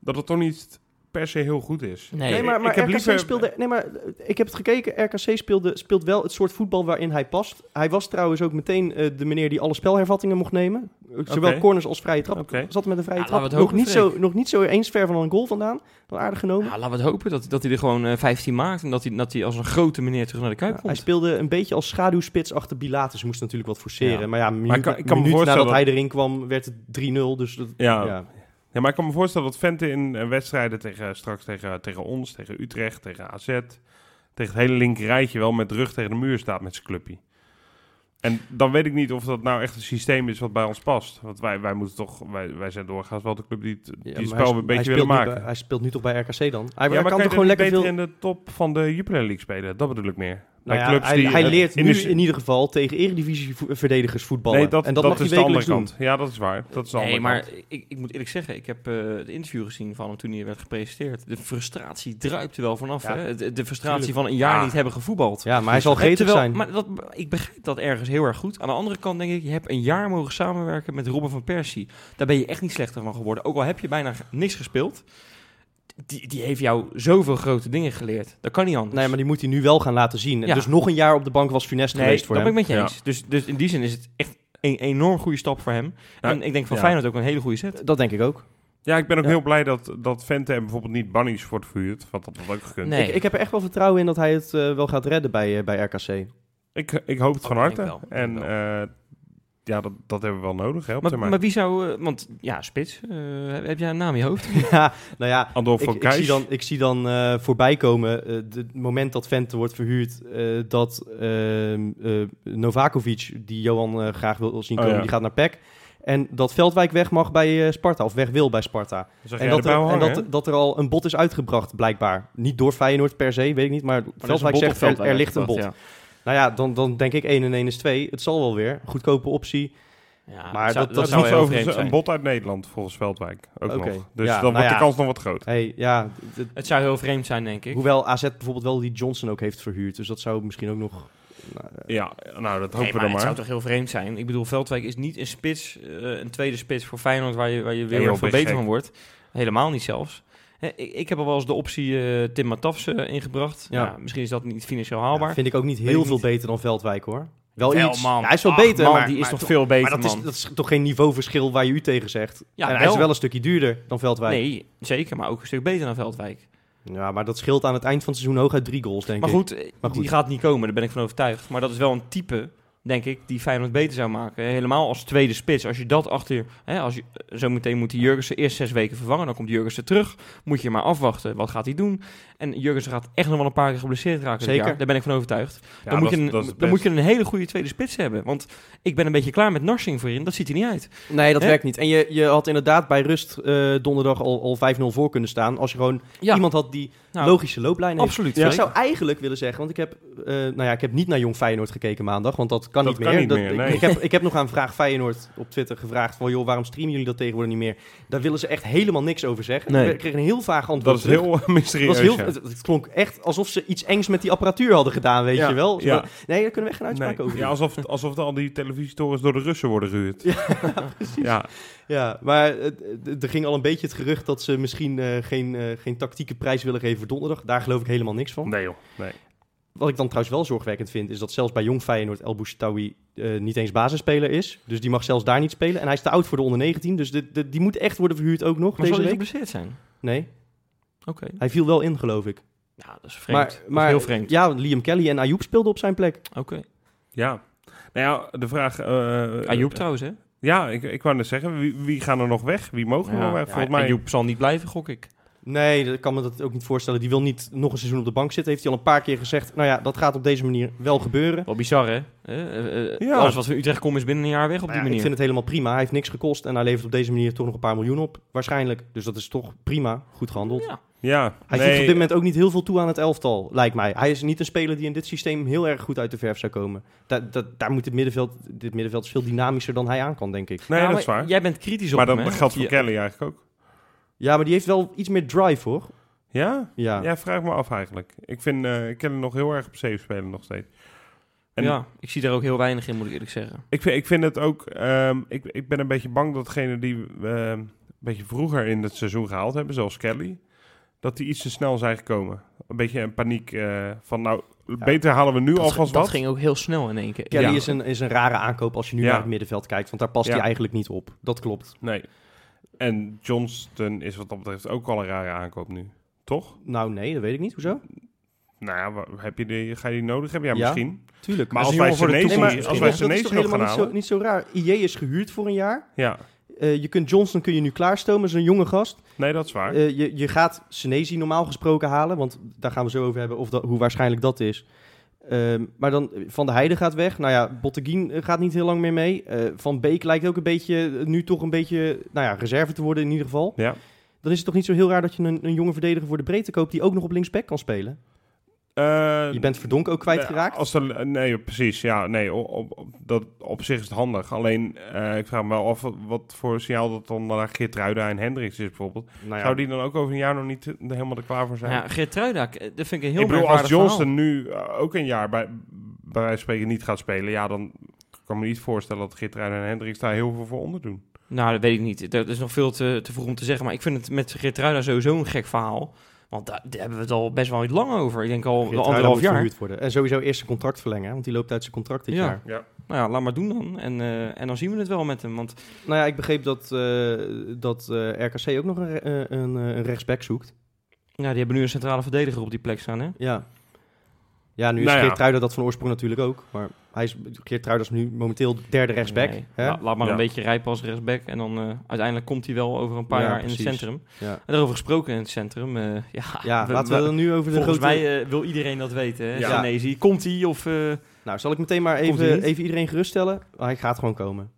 [SPEAKER 1] dat het toch niet per se heel goed is.
[SPEAKER 3] Nee,
[SPEAKER 2] Nee, maar, maar
[SPEAKER 1] ik heb
[SPEAKER 2] RKC
[SPEAKER 1] liever-
[SPEAKER 2] speelde... Nee, maar eh, ik heb het gekeken. RKC speelde, speelt wel het soort voetbal waarin hij past. Hij was trouwens ook meteen eh, de meneer die alle spelhervattingen mocht nemen. Eh, Zowel
[SPEAKER 1] Oké.
[SPEAKER 2] corners als vrije trap.
[SPEAKER 1] Oké.
[SPEAKER 2] Zat met een vrije
[SPEAKER 3] Ja,
[SPEAKER 2] trap.
[SPEAKER 3] laten we het
[SPEAKER 2] Nog
[SPEAKER 3] hopen,
[SPEAKER 2] niet, zo, nog niet zo eens ver van een goal vandaan. Wel aardig genomen.
[SPEAKER 3] Ja, laten we het hopen dat, dat hij er gewoon eh, 15 maakt. En dat hij, dat hij als een grote meneer terug naar de Kuip
[SPEAKER 2] Ja, hij
[SPEAKER 3] komt.
[SPEAKER 2] speelde een beetje als schaduwspits achter Bilatus. Moest natuurlijk wat forceren.
[SPEAKER 3] Ja.
[SPEAKER 2] Maar ja, een minuut,
[SPEAKER 1] Maar ik kan- ik kan me
[SPEAKER 2] minuut nadat
[SPEAKER 1] voorstellen Nou,
[SPEAKER 2] hij erin kwam, werd het 3-0. Dus dat,
[SPEAKER 1] Ja.
[SPEAKER 2] ja.
[SPEAKER 1] Ja, maar ik kan me voorstellen dat Vente in eh, wedstrijden tegen, straks tegen, tegen ons, tegen Utrecht, tegen AZ, tegen het hele linkerrijtje wel met de rug tegen de muur staat met zijn clubje. En dan weet ik niet of dat nou echt een systeem is wat bij ons past. Want wij, wij, moeten toch, wij, wij zijn doorgaans wel de club die het
[SPEAKER 2] Ja,
[SPEAKER 1] die
[SPEAKER 2] maar
[SPEAKER 1] het
[SPEAKER 2] hij
[SPEAKER 1] spel weer een
[SPEAKER 2] sp- hij
[SPEAKER 1] beetje
[SPEAKER 2] speelt
[SPEAKER 1] willen
[SPEAKER 2] nu
[SPEAKER 1] maken.
[SPEAKER 2] bij- hij speelt nu toch bij RKC dan? Hij,
[SPEAKER 1] ja,
[SPEAKER 2] hij
[SPEAKER 1] maar
[SPEAKER 2] kan
[SPEAKER 1] je
[SPEAKER 2] toch gewoon
[SPEAKER 1] niet
[SPEAKER 2] lekker veel...
[SPEAKER 1] beter in de top van de Jupiler League spelen? Dat bedoel ik meer.
[SPEAKER 2] Nou
[SPEAKER 1] Bij
[SPEAKER 2] ja,
[SPEAKER 1] clubs
[SPEAKER 2] hij,
[SPEAKER 1] die,
[SPEAKER 2] hij
[SPEAKER 1] eh,
[SPEAKER 2] leert
[SPEAKER 1] in
[SPEAKER 2] nu
[SPEAKER 1] de-
[SPEAKER 2] in ieder geval tegen eredivisie-verdedigers voetballen.
[SPEAKER 1] Nee, dat,
[SPEAKER 2] en
[SPEAKER 1] dat,
[SPEAKER 2] dat, mag
[SPEAKER 1] is
[SPEAKER 2] hij
[SPEAKER 1] de andere
[SPEAKER 2] wekelijks doen.
[SPEAKER 1] kant. Ja, dat is waar. Dat is de
[SPEAKER 3] Nee,
[SPEAKER 1] andere
[SPEAKER 3] maar
[SPEAKER 1] kant.
[SPEAKER 3] ik, ik moet eerlijk zeggen, ik heb eh het interview gezien van hem toen hij werd gepresenteerd. De frustratie druipt er wel vanaf.
[SPEAKER 1] Ja,
[SPEAKER 3] hè? De, de frustratie
[SPEAKER 1] tuurlijk.
[SPEAKER 3] van een jaar
[SPEAKER 1] Ja.
[SPEAKER 3] niet hebben gevoetbald.
[SPEAKER 2] Ja, maar hij zal
[SPEAKER 3] Eh,
[SPEAKER 2] gretig
[SPEAKER 3] terwijl-
[SPEAKER 2] zijn.
[SPEAKER 3] Maar dat, ik begrijp dat ergens heel erg goed. Aan de andere kant denk ik, je hebt een jaar mogen samenwerken met Robin van Persie. Daar ben je echt niet slechter van geworden. Ook al heb je bijna g- niks gespeeld. Die, die heeft jou zoveel grote dingen geleerd. Dat kan niet anders.
[SPEAKER 2] Nee, maar die moet hij nu wel gaan laten zien. En
[SPEAKER 3] Ja.
[SPEAKER 2] Dus nog een jaar op de bank was funest
[SPEAKER 3] Nee,
[SPEAKER 2] geweest voor
[SPEAKER 3] dat
[SPEAKER 2] hem.
[SPEAKER 3] ben ik met je
[SPEAKER 1] Ja.
[SPEAKER 3] eens. Dus, dus in die zin is het echt een enorm goede stap voor hem.
[SPEAKER 1] Nou,
[SPEAKER 3] en ik denk van
[SPEAKER 1] ja.
[SPEAKER 3] Feyenoord ook een hele goede set.
[SPEAKER 2] Dat denk ik ook.
[SPEAKER 1] Ja, ik ben ook heel blij dat, dat Vente hem bijvoorbeeld niet bannies wordt verhuurd. Want dat had ook gekund.
[SPEAKER 3] Nee.
[SPEAKER 2] Ik, ik heb er echt wel vertrouwen in dat hij het eh, wel gaat redden bij, eh, bij RKC.
[SPEAKER 1] Ik, ik hoop het
[SPEAKER 3] Oh,
[SPEAKER 1] van
[SPEAKER 3] dat denk
[SPEAKER 1] harte.
[SPEAKER 3] ik wel, dat
[SPEAKER 1] En
[SPEAKER 3] denk ik
[SPEAKER 1] eh, ja, dat, dat hebben we wel nodig. Hè, op
[SPEAKER 3] Maar,
[SPEAKER 1] termijn.
[SPEAKER 3] maar wie zou... eh, want ja, Spits, eh, heb, heb jij een naam in je hoofd?
[SPEAKER 2] ja, nou ja,
[SPEAKER 1] Andor
[SPEAKER 2] ik,
[SPEAKER 1] van
[SPEAKER 2] ik zie
[SPEAKER 1] Kijk.
[SPEAKER 2] dan, ik zie dan eh, voorbij komen, eh, de- het moment dat Vente wordt verhuurd, eh, dat ehm, eh, Novakovic, die Johan eh, graag wil zien
[SPEAKER 1] Oh,
[SPEAKER 2] komen,
[SPEAKER 1] ja.
[SPEAKER 2] die gaat naar PEC. En dat Veldwijk weg mag bij eh, Sparta, of weg wil bij Sparta. En, dat er, en dat, dat er al een bod is uitgebracht, blijkbaar. Niet door Feyenoord per se, weet ik niet, maar, Veldwijk zegt er, er ligt een bod.
[SPEAKER 3] Ja.
[SPEAKER 2] Nou ja, dan, dan denk ik 1 en 1 is 2. Het zal wel weer. Goedkope optie.
[SPEAKER 3] Ja,
[SPEAKER 2] Maar
[SPEAKER 3] het zou-
[SPEAKER 2] dat- dat
[SPEAKER 3] dat zou
[SPEAKER 1] is
[SPEAKER 3] heel vreemd
[SPEAKER 1] overigens een
[SPEAKER 3] zijn.
[SPEAKER 1] bot uit Nederland, volgens Veldwijk. Ook
[SPEAKER 2] Oké.
[SPEAKER 1] nog. Dus
[SPEAKER 2] Ja,
[SPEAKER 1] dan
[SPEAKER 2] nou
[SPEAKER 1] wordt
[SPEAKER 2] ja.
[SPEAKER 1] de kans nog wat groot.
[SPEAKER 2] Hey, ja, d- d-
[SPEAKER 3] Het zou heel vreemd zijn, denk ik.
[SPEAKER 2] hoewel AZ bijvoorbeeld wel die Johnson ook heeft verhuurd. Dus dat zou misschien ook nog... nou, eh,
[SPEAKER 1] Ja, nou, dat hopen we
[SPEAKER 3] Nee, maar
[SPEAKER 1] dan
[SPEAKER 3] het
[SPEAKER 1] maar.
[SPEAKER 3] zou toch heel vreemd zijn? Ik bedoel, Veldwijk is niet een spits, eh, een tweede spits voor Feyenoord waar je, waar je weer
[SPEAKER 1] joh, ben je
[SPEAKER 3] beter
[SPEAKER 1] gek.
[SPEAKER 3] van wordt. Helemaal niet zelfs. En Hè, ik, ik heb al wel eens de optie eh Tim Matafs eh, ingebracht.
[SPEAKER 2] Ja.
[SPEAKER 3] Ja. misschien is dat niet financieel haalbaar.
[SPEAKER 2] vind ik ook niet
[SPEAKER 3] Weet
[SPEAKER 2] heel
[SPEAKER 3] ik
[SPEAKER 2] veel
[SPEAKER 3] niet.
[SPEAKER 2] beter dan Veldwijk, hoor. Wel,
[SPEAKER 3] Wel,
[SPEAKER 2] iets.
[SPEAKER 3] man.
[SPEAKER 2] Ja, hij is wel
[SPEAKER 3] Ach,
[SPEAKER 2] beter,
[SPEAKER 3] man,
[SPEAKER 2] maar,
[SPEAKER 3] die is
[SPEAKER 2] maar
[SPEAKER 3] toch
[SPEAKER 2] toch-
[SPEAKER 3] veel beter,
[SPEAKER 2] Maar dat is,
[SPEAKER 3] man.
[SPEAKER 2] dat is toch geen niveauverschil waar je u tegen zegt?
[SPEAKER 3] Ja,
[SPEAKER 2] en hij
[SPEAKER 3] wel.
[SPEAKER 2] is wel een stukje duurder dan Veldwijk.
[SPEAKER 3] Nee, zeker, maar ook een stuk beter dan Veldwijk.
[SPEAKER 2] Ja, maar dat scheelt aan het eind van het seizoen hooguit drie goals, denk
[SPEAKER 3] Maar
[SPEAKER 2] ik.
[SPEAKER 3] goed, eh,
[SPEAKER 2] Maar
[SPEAKER 3] die
[SPEAKER 2] goed.
[SPEAKER 3] gaat niet komen, daar ben ik van overtuigd. Maar dat is wel een type, denk ik, die Feyenoord beter zou maken. Helemaal als tweede spits. Als je dat achter... Hè, als je, eh, zo meteen moet die Jurgensen eerst zes weken vervangen. Dan komt Jurgensen terug. Moet je maar afwachten. Wat gaat hij doen? En Jurgensen gaat echt nog wel een paar keer geblesseerd raken. dit
[SPEAKER 2] Zeker.
[SPEAKER 3] jaar. Daar ben ik van overtuigd.
[SPEAKER 1] Ja,
[SPEAKER 3] dan moet,
[SPEAKER 1] dat is-
[SPEAKER 3] je een,
[SPEAKER 1] dat is het
[SPEAKER 3] dan moet
[SPEAKER 1] beste.
[SPEAKER 3] je een hele goede tweede spits hebben. Want ik ben een beetje klaar met Narsing voorin. Dat ziet er niet uit.
[SPEAKER 2] Nee, dat
[SPEAKER 3] Hè?
[SPEAKER 2] werkt niet. En je, je had inderdaad bij rust eh, donderdag al, al 5-0 voor kunnen staan. Als je gewoon
[SPEAKER 3] Ja,
[SPEAKER 2] iemand had die
[SPEAKER 3] nou,
[SPEAKER 2] logische looplijn heeft.
[SPEAKER 3] absoluut.
[SPEAKER 2] Ik
[SPEAKER 3] zeker.
[SPEAKER 2] zou eigenlijk willen zeggen, want ik heb, eh, nou ja, ik heb niet naar Jong Feyenoord gekeken maandag, want dat kan
[SPEAKER 1] Dat
[SPEAKER 2] niet
[SPEAKER 1] kan
[SPEAKER 2] meer.
[SPEAKER 1] niet meer,
[SPEAKER 2] ik-
[SPEAKER 1] nee.
[SPEAKER 2] ik, heb, ik heb nog aan Vraag Feyenoord op Twitter gevraagd van, joh, waarom streamen jullie dat tegenwoordig niet meer? Daar willen ze echt helemaal niks over zeggen.
[SPEAKER 3] Nee.
[SPEAKER 2] Ik kreeg een heel vaag antwoord
[SPEAKER 1] Dat is
[SPEAKER 2] terug.
[SPEAKER 1] heel mysterieus.
[SPEAKER 2] Het, was heel,
[SPEAKER 1] ja.
[SPEAKER 2] het, het klonk echt alsof ze iets engs met die apparatuur hadden gedaan, weet
[SPEAKER 1] Ja,
[SPEAKER 2] je wel? Ze
[SPEAKER 1] ja.
[SPEAKER 2] wa- Nee, daar kunnen we echt geen uitspraak
[SPEAKER 1] Nee.
[SPEAKER 2] over
[SPEAKER 1] Ja,
[SPEAKER 2] doen.
[SPEAKER 1] alsof, alsof al die televisietorens door de Russen worden gehuurd. Ja, Ja,
[SPEAKER 2] Ja, maar eh, d- d- er ging al een beetje het gerucht dat ze misschien eh, geen, eh, geen tactieke prijs willen geven voor donderdag. Daar geloof ik helemaal niks van.
[SPEAKER 1] nee joh. Nee.
[SPEAKER 2] Wat ik dan trouwens wel zorgwekkend vind, is dat zelfs bij Jong Feyenoord El Bouchtawi eh, niet eens basisspeler is. Dus die mag zelfs daar niet spelen. En hij is te oud voor de onder 19, dus dit- dit- die moet echt worden verhuurd ook nog
[SPEAKER 3] maar zal
[SPEAKER 2] deze
[SPEAKER 3] hij
[SPEAKER 2] week.
[SPEAKER 3] geblesseerd zijn?
[SPEAKER 2] Nee,
[SPEAKER 3] Oké.
[SPEAKER 2] hij viel wel in, geloof ik.
[SPEAKER 3] Ja, dat is vreemd.
[SPEAKER 2] Maar,
[SPEAKER 3] Dat is
[SPEAKER 2] maar
[SPEAKER 3] heel vreemd.
[SPEAKER 2] ja, Liam Kelly en Ayoub speelden op zijn plek.
[SPEAKER 3] Oké.
[SPEAKER 1] Ja. Nou ja, de vraag... eh
[SPEAKER 3] Ayoub trouwens, hè?
[SPEAKER 1] Ja, ik, ik wou net zeggen, wie, wie gaan er nog weg? Wie mogen er nog weg? Volgens mij...
[SPEAKER 3] Ayoub zal niet blijven, gok ik.
[SPEAKER 2] Nee, dat kan me dat ook niet voorstellen. Die wil niet nog een seizoen op de bank zitten. Heeft hij al een paar keer gezegd, nou ja, dat gaat op deze manier wel gebeuren.
[SPEAKER 3] Wel bizar, hè? Eh, eh, eh,
[SPEAKER 1] Ja.
[SPEAKER 3] Alles wat van Utrecht komt is binnen een jaar weg op
[SPEAKER 2] Maar
[SPEAKER 3] die
[SPEAKER 2] ja,
[SPEAKER 3] manier.
[SPEAKER 2] ik vind het helemaal prima. Hij heeft niks gekost en hij levert op deze manier toch nog een paar miljoen op. Waarschijnlijk. Dus dat is toch prima. Goed gehandeld.
[SPEAKER 3] Ja.
[SPEAKER 1] Ja,
[SPEAKER 2] Hij
[SPEAKER 1] nee,
[SPEAKER 2] voegt op dit moment ook niet heel veel toe aan het elftal, lijkt mij. Hij is niet een speler die in dit systeem heel erg goed uit de verf zou komen. Da da- daar moet het middenveld, dit middenveld is veel dynamischer dan hij aan kan, denk ik.
[SPEAKER 1] nee
[SPEAKER 3] Ja,
[SPEAKER 1] dat is
[SPEAKER 3] maar
[SPEAKER 1] waar.
[SPEAKER 3] Jij bent kritisch op
[SPEAKER 1] maar
[SPEAKER 3] hem,
[SPEAKER 1] dat
[SPEAKER 3] hè?
[SPEAKER 1] geldt voor
[SPEAKER 3] Want je-
[SPEAKER 1] Kelly eigenlijk ook.
[SPEAKER 2] Ja, maar die heeft wel iets meer drive, hoor.
[SPEAKER 1] Ja?
[SPEAKER 2] Ja,
[SPEAKER 1] ja? vraag me af eigenlijk. Ik vind eh Kelly nog heel erg op zeven spelen nog steeds. En
[SPEAKER 3] Ja, ik zie daar ook heel weinig in, moet ik eerlijk zeggen.
[SPEAKER 1] ik, vind, ik vind het ook... ehm, ik, ik ben een beetje bang dat degene die we ehm, een beetje vroeger in het seizoen gehaald hebben, zoals Kelly, dat die iets te snel zijn gekomen. Een beetje een paniek eh, van nou, beter halen we nu alvast
[SPEAKER 3] dat
[SPEAKER 1] wat.
[SPEAKER 3] ging ook heel snel in één keer.
[SPEAKER 2] Kelly
[SPEAKER 1] Ja.
[SPEAKER 2] is, een, is een rare aankoop als je nu
[SPEAKER 1] Ja.
[SPEAKER 2] naar het middenveld kijkt, want daar past
[SPEAKER 1] Ja.
[SPEAKER 2] hij eigenlijk niet op. Dat klopt.
[SPEAKER 1] Nee. En Johnston is wat dat betreft ook al een rare aankoop nu. Toch?
[SPEAKER 2] Nou, nee, dat weet ik niet. Hoezo?
[SPEAKER 1] Nou ja, wa- heb je die, ga je die nodig hebben? Ja,
[SPEAKER 2] Ja.
[SPEAKER 1] misschien.
[SPEAKER 2] Tuurlijk.
[SPEAKER 1] Maar als
[SPEAKER 3] Dat is
[SPEAKER 1] wij
[SPEAKER 3] een jongen voor de
[SPEAKER 1] Senesi
[SPEAKER 3] toekomst
[SPEAKER 1] nee,
[SPEAKER 3] misschien.
[SPEAKER 1] als wij
[SPEAKER 2] dat is
[SPEAKER 1] Senesi
[SPEAKER 2] toch
[SPEAKER 1] nog gaan
[SPEAKER 2] helemaal niet zo,
[SPEAKER 1] halen...
[SPEAKER 2] niet zo raar. IE is gehuurd voor een jaar.
[SPEAKER 1] Ja,
[SPEAKER 2] Eh, je kunt Johnson kun je nu klaarstomen, zo'n jonge gast.
[SPEAKER 1] nee, dat is waar.
[SPEAKER 2] Eh, je, je gaat Senesi normaal gesproken halen, want daar gaan we zo over hebben of dat, hoe waarschijnlijk dat is. Ehm, maar dan eh, Van de Heide gaat weg. Nou ja, Botteguin eh, gaat niet heel lang meer mee. Eh, van Beek lijkt ook een beetje, eh, nu toch een beetje, nou ja, reserve te worden in ieder geval.
[SPEAKER 1] ja.
[SPEAKER 2] Dan is het toch niet zo heel raar dat je een, een jonge verdediger voor de breedte koopt die ook nog op linksback kan spelen.
[SPEAKER 1] Eh,
[SPEAKER 2] Je bent Verdonk ook
[SPEAKER 1] eh,
[SPEAKER 2] kwijtgeraakt.
[SPEAKER 1] Als er, nee, precies. Ja, nee, o- op, op- dat, op zich is het handig. Alleen, eh, ik vraag me wel af wat- wat voor signaal dat dan naar Geertruida en Hendricks is bijvoorbeeld.
[SPEAKER 2] Nou ja,
[SPEAKER 1] Zou die dan ook over een jaar nog niet eh, helemaal er klaar voor zijn?
[SPEAKER 3] Ja, Geertruida, k- dat vind ik een heel
[SPEAKER 1] ik bedoel, als
[SPEAKER 3] merkwaardig
[SPEAKER 1] Johnston
[SPEAKER 3] verhaal.
[SPEAKER 1] nu eh, ook een jaar bij, bij wijze van spreken niet gaat spelen, ja, dan kan ik me niet voorstellen dat Gitterijn en Hendricks daar heel veel voor onder doen.
[SPEAKER 3] Nou, dat weet ik niet. Dat is nog veel te, te vroeg om te zeggen. Maar ik vind het met Geertruida sowieso een gek verhaal. Want daar, daar hebben we het al best wel niet lang over. Ik denk al
[SPEAKER 2] Geertruida
[SPEAKER 3] anderhalf
[SPEAKER 2] moet
[SPEAKER 3] jaar.
[SPEAKER 2] verhuurd worden. En sowieso eerst zijn contract verlengen, hè, want die loopt uit zijn contract dit
[SPEAKER 3] Ja.
[SPEAKER 2] jaar.
[SPEAKER 3] Nou ja, laat maar doen dan. En, eh, en dan zien we het wel met hem. Want
[SPEAKER 2] Nou ja, ik begreep dat, eh, dat eh, RKC ook nog een, re- eh, een, eh, een rechtsback zoekt.
[SPEAKER 3] ja, die hebben nu een centrale verdediger op die plek staan, hè?
[SPEAKER 2] Ja. Ja, nu is
[SPEAKER 1] Nou ja.
[SPEAKER 2] Geertruida dat van oorsprong natuurlijk ook. Maar hij is, Geertruida is nu momenteel de derde rechtsback.
[SPEAKER 3] Nee.
[SPEAKER 2] Hè?
[SPEAKER 3] La- laat maar
[SPEAKER 1] Ja.
[SPEAKER 3] een beetje rijpen als rechtsback. En dan eh, uiteindelijk komt hij wel over een paar
[SPEAKER 2] Ja,
[SPEAKER 3] jaar in
[SPEAKER 2] precies.
[SPEAKER 3] het centrum.
[SPEAKER 2] Ja.
[SPEAKER 3] En daarover gesproken in het centrum. eh, ja,
[SPEAKER 2] Ja,
[SPEAKER 3] we-
[SPEAKER 2] laten we
[SPEAKER 3] we-
[SPEAKER 2] dan nu over de
[SPEAKER 3] volgens
[SPEAKER 2] grote...
[SPEAKER 3] mij eh, wil iedereen dat weten. Hè?
[SPEAKER 1] Ja.
[SPEAKER 3] Senesi. komt hij of... eh,
[SPEAKER 2] Nou, zal ik meteen maar
[SPEAKER 3] Komt hij
[SPEAKER 2] even,
[SPEAKER 3] niet?
[SPEAKER 2] even iedereen geruststellen? Hij gaat gewoon komen.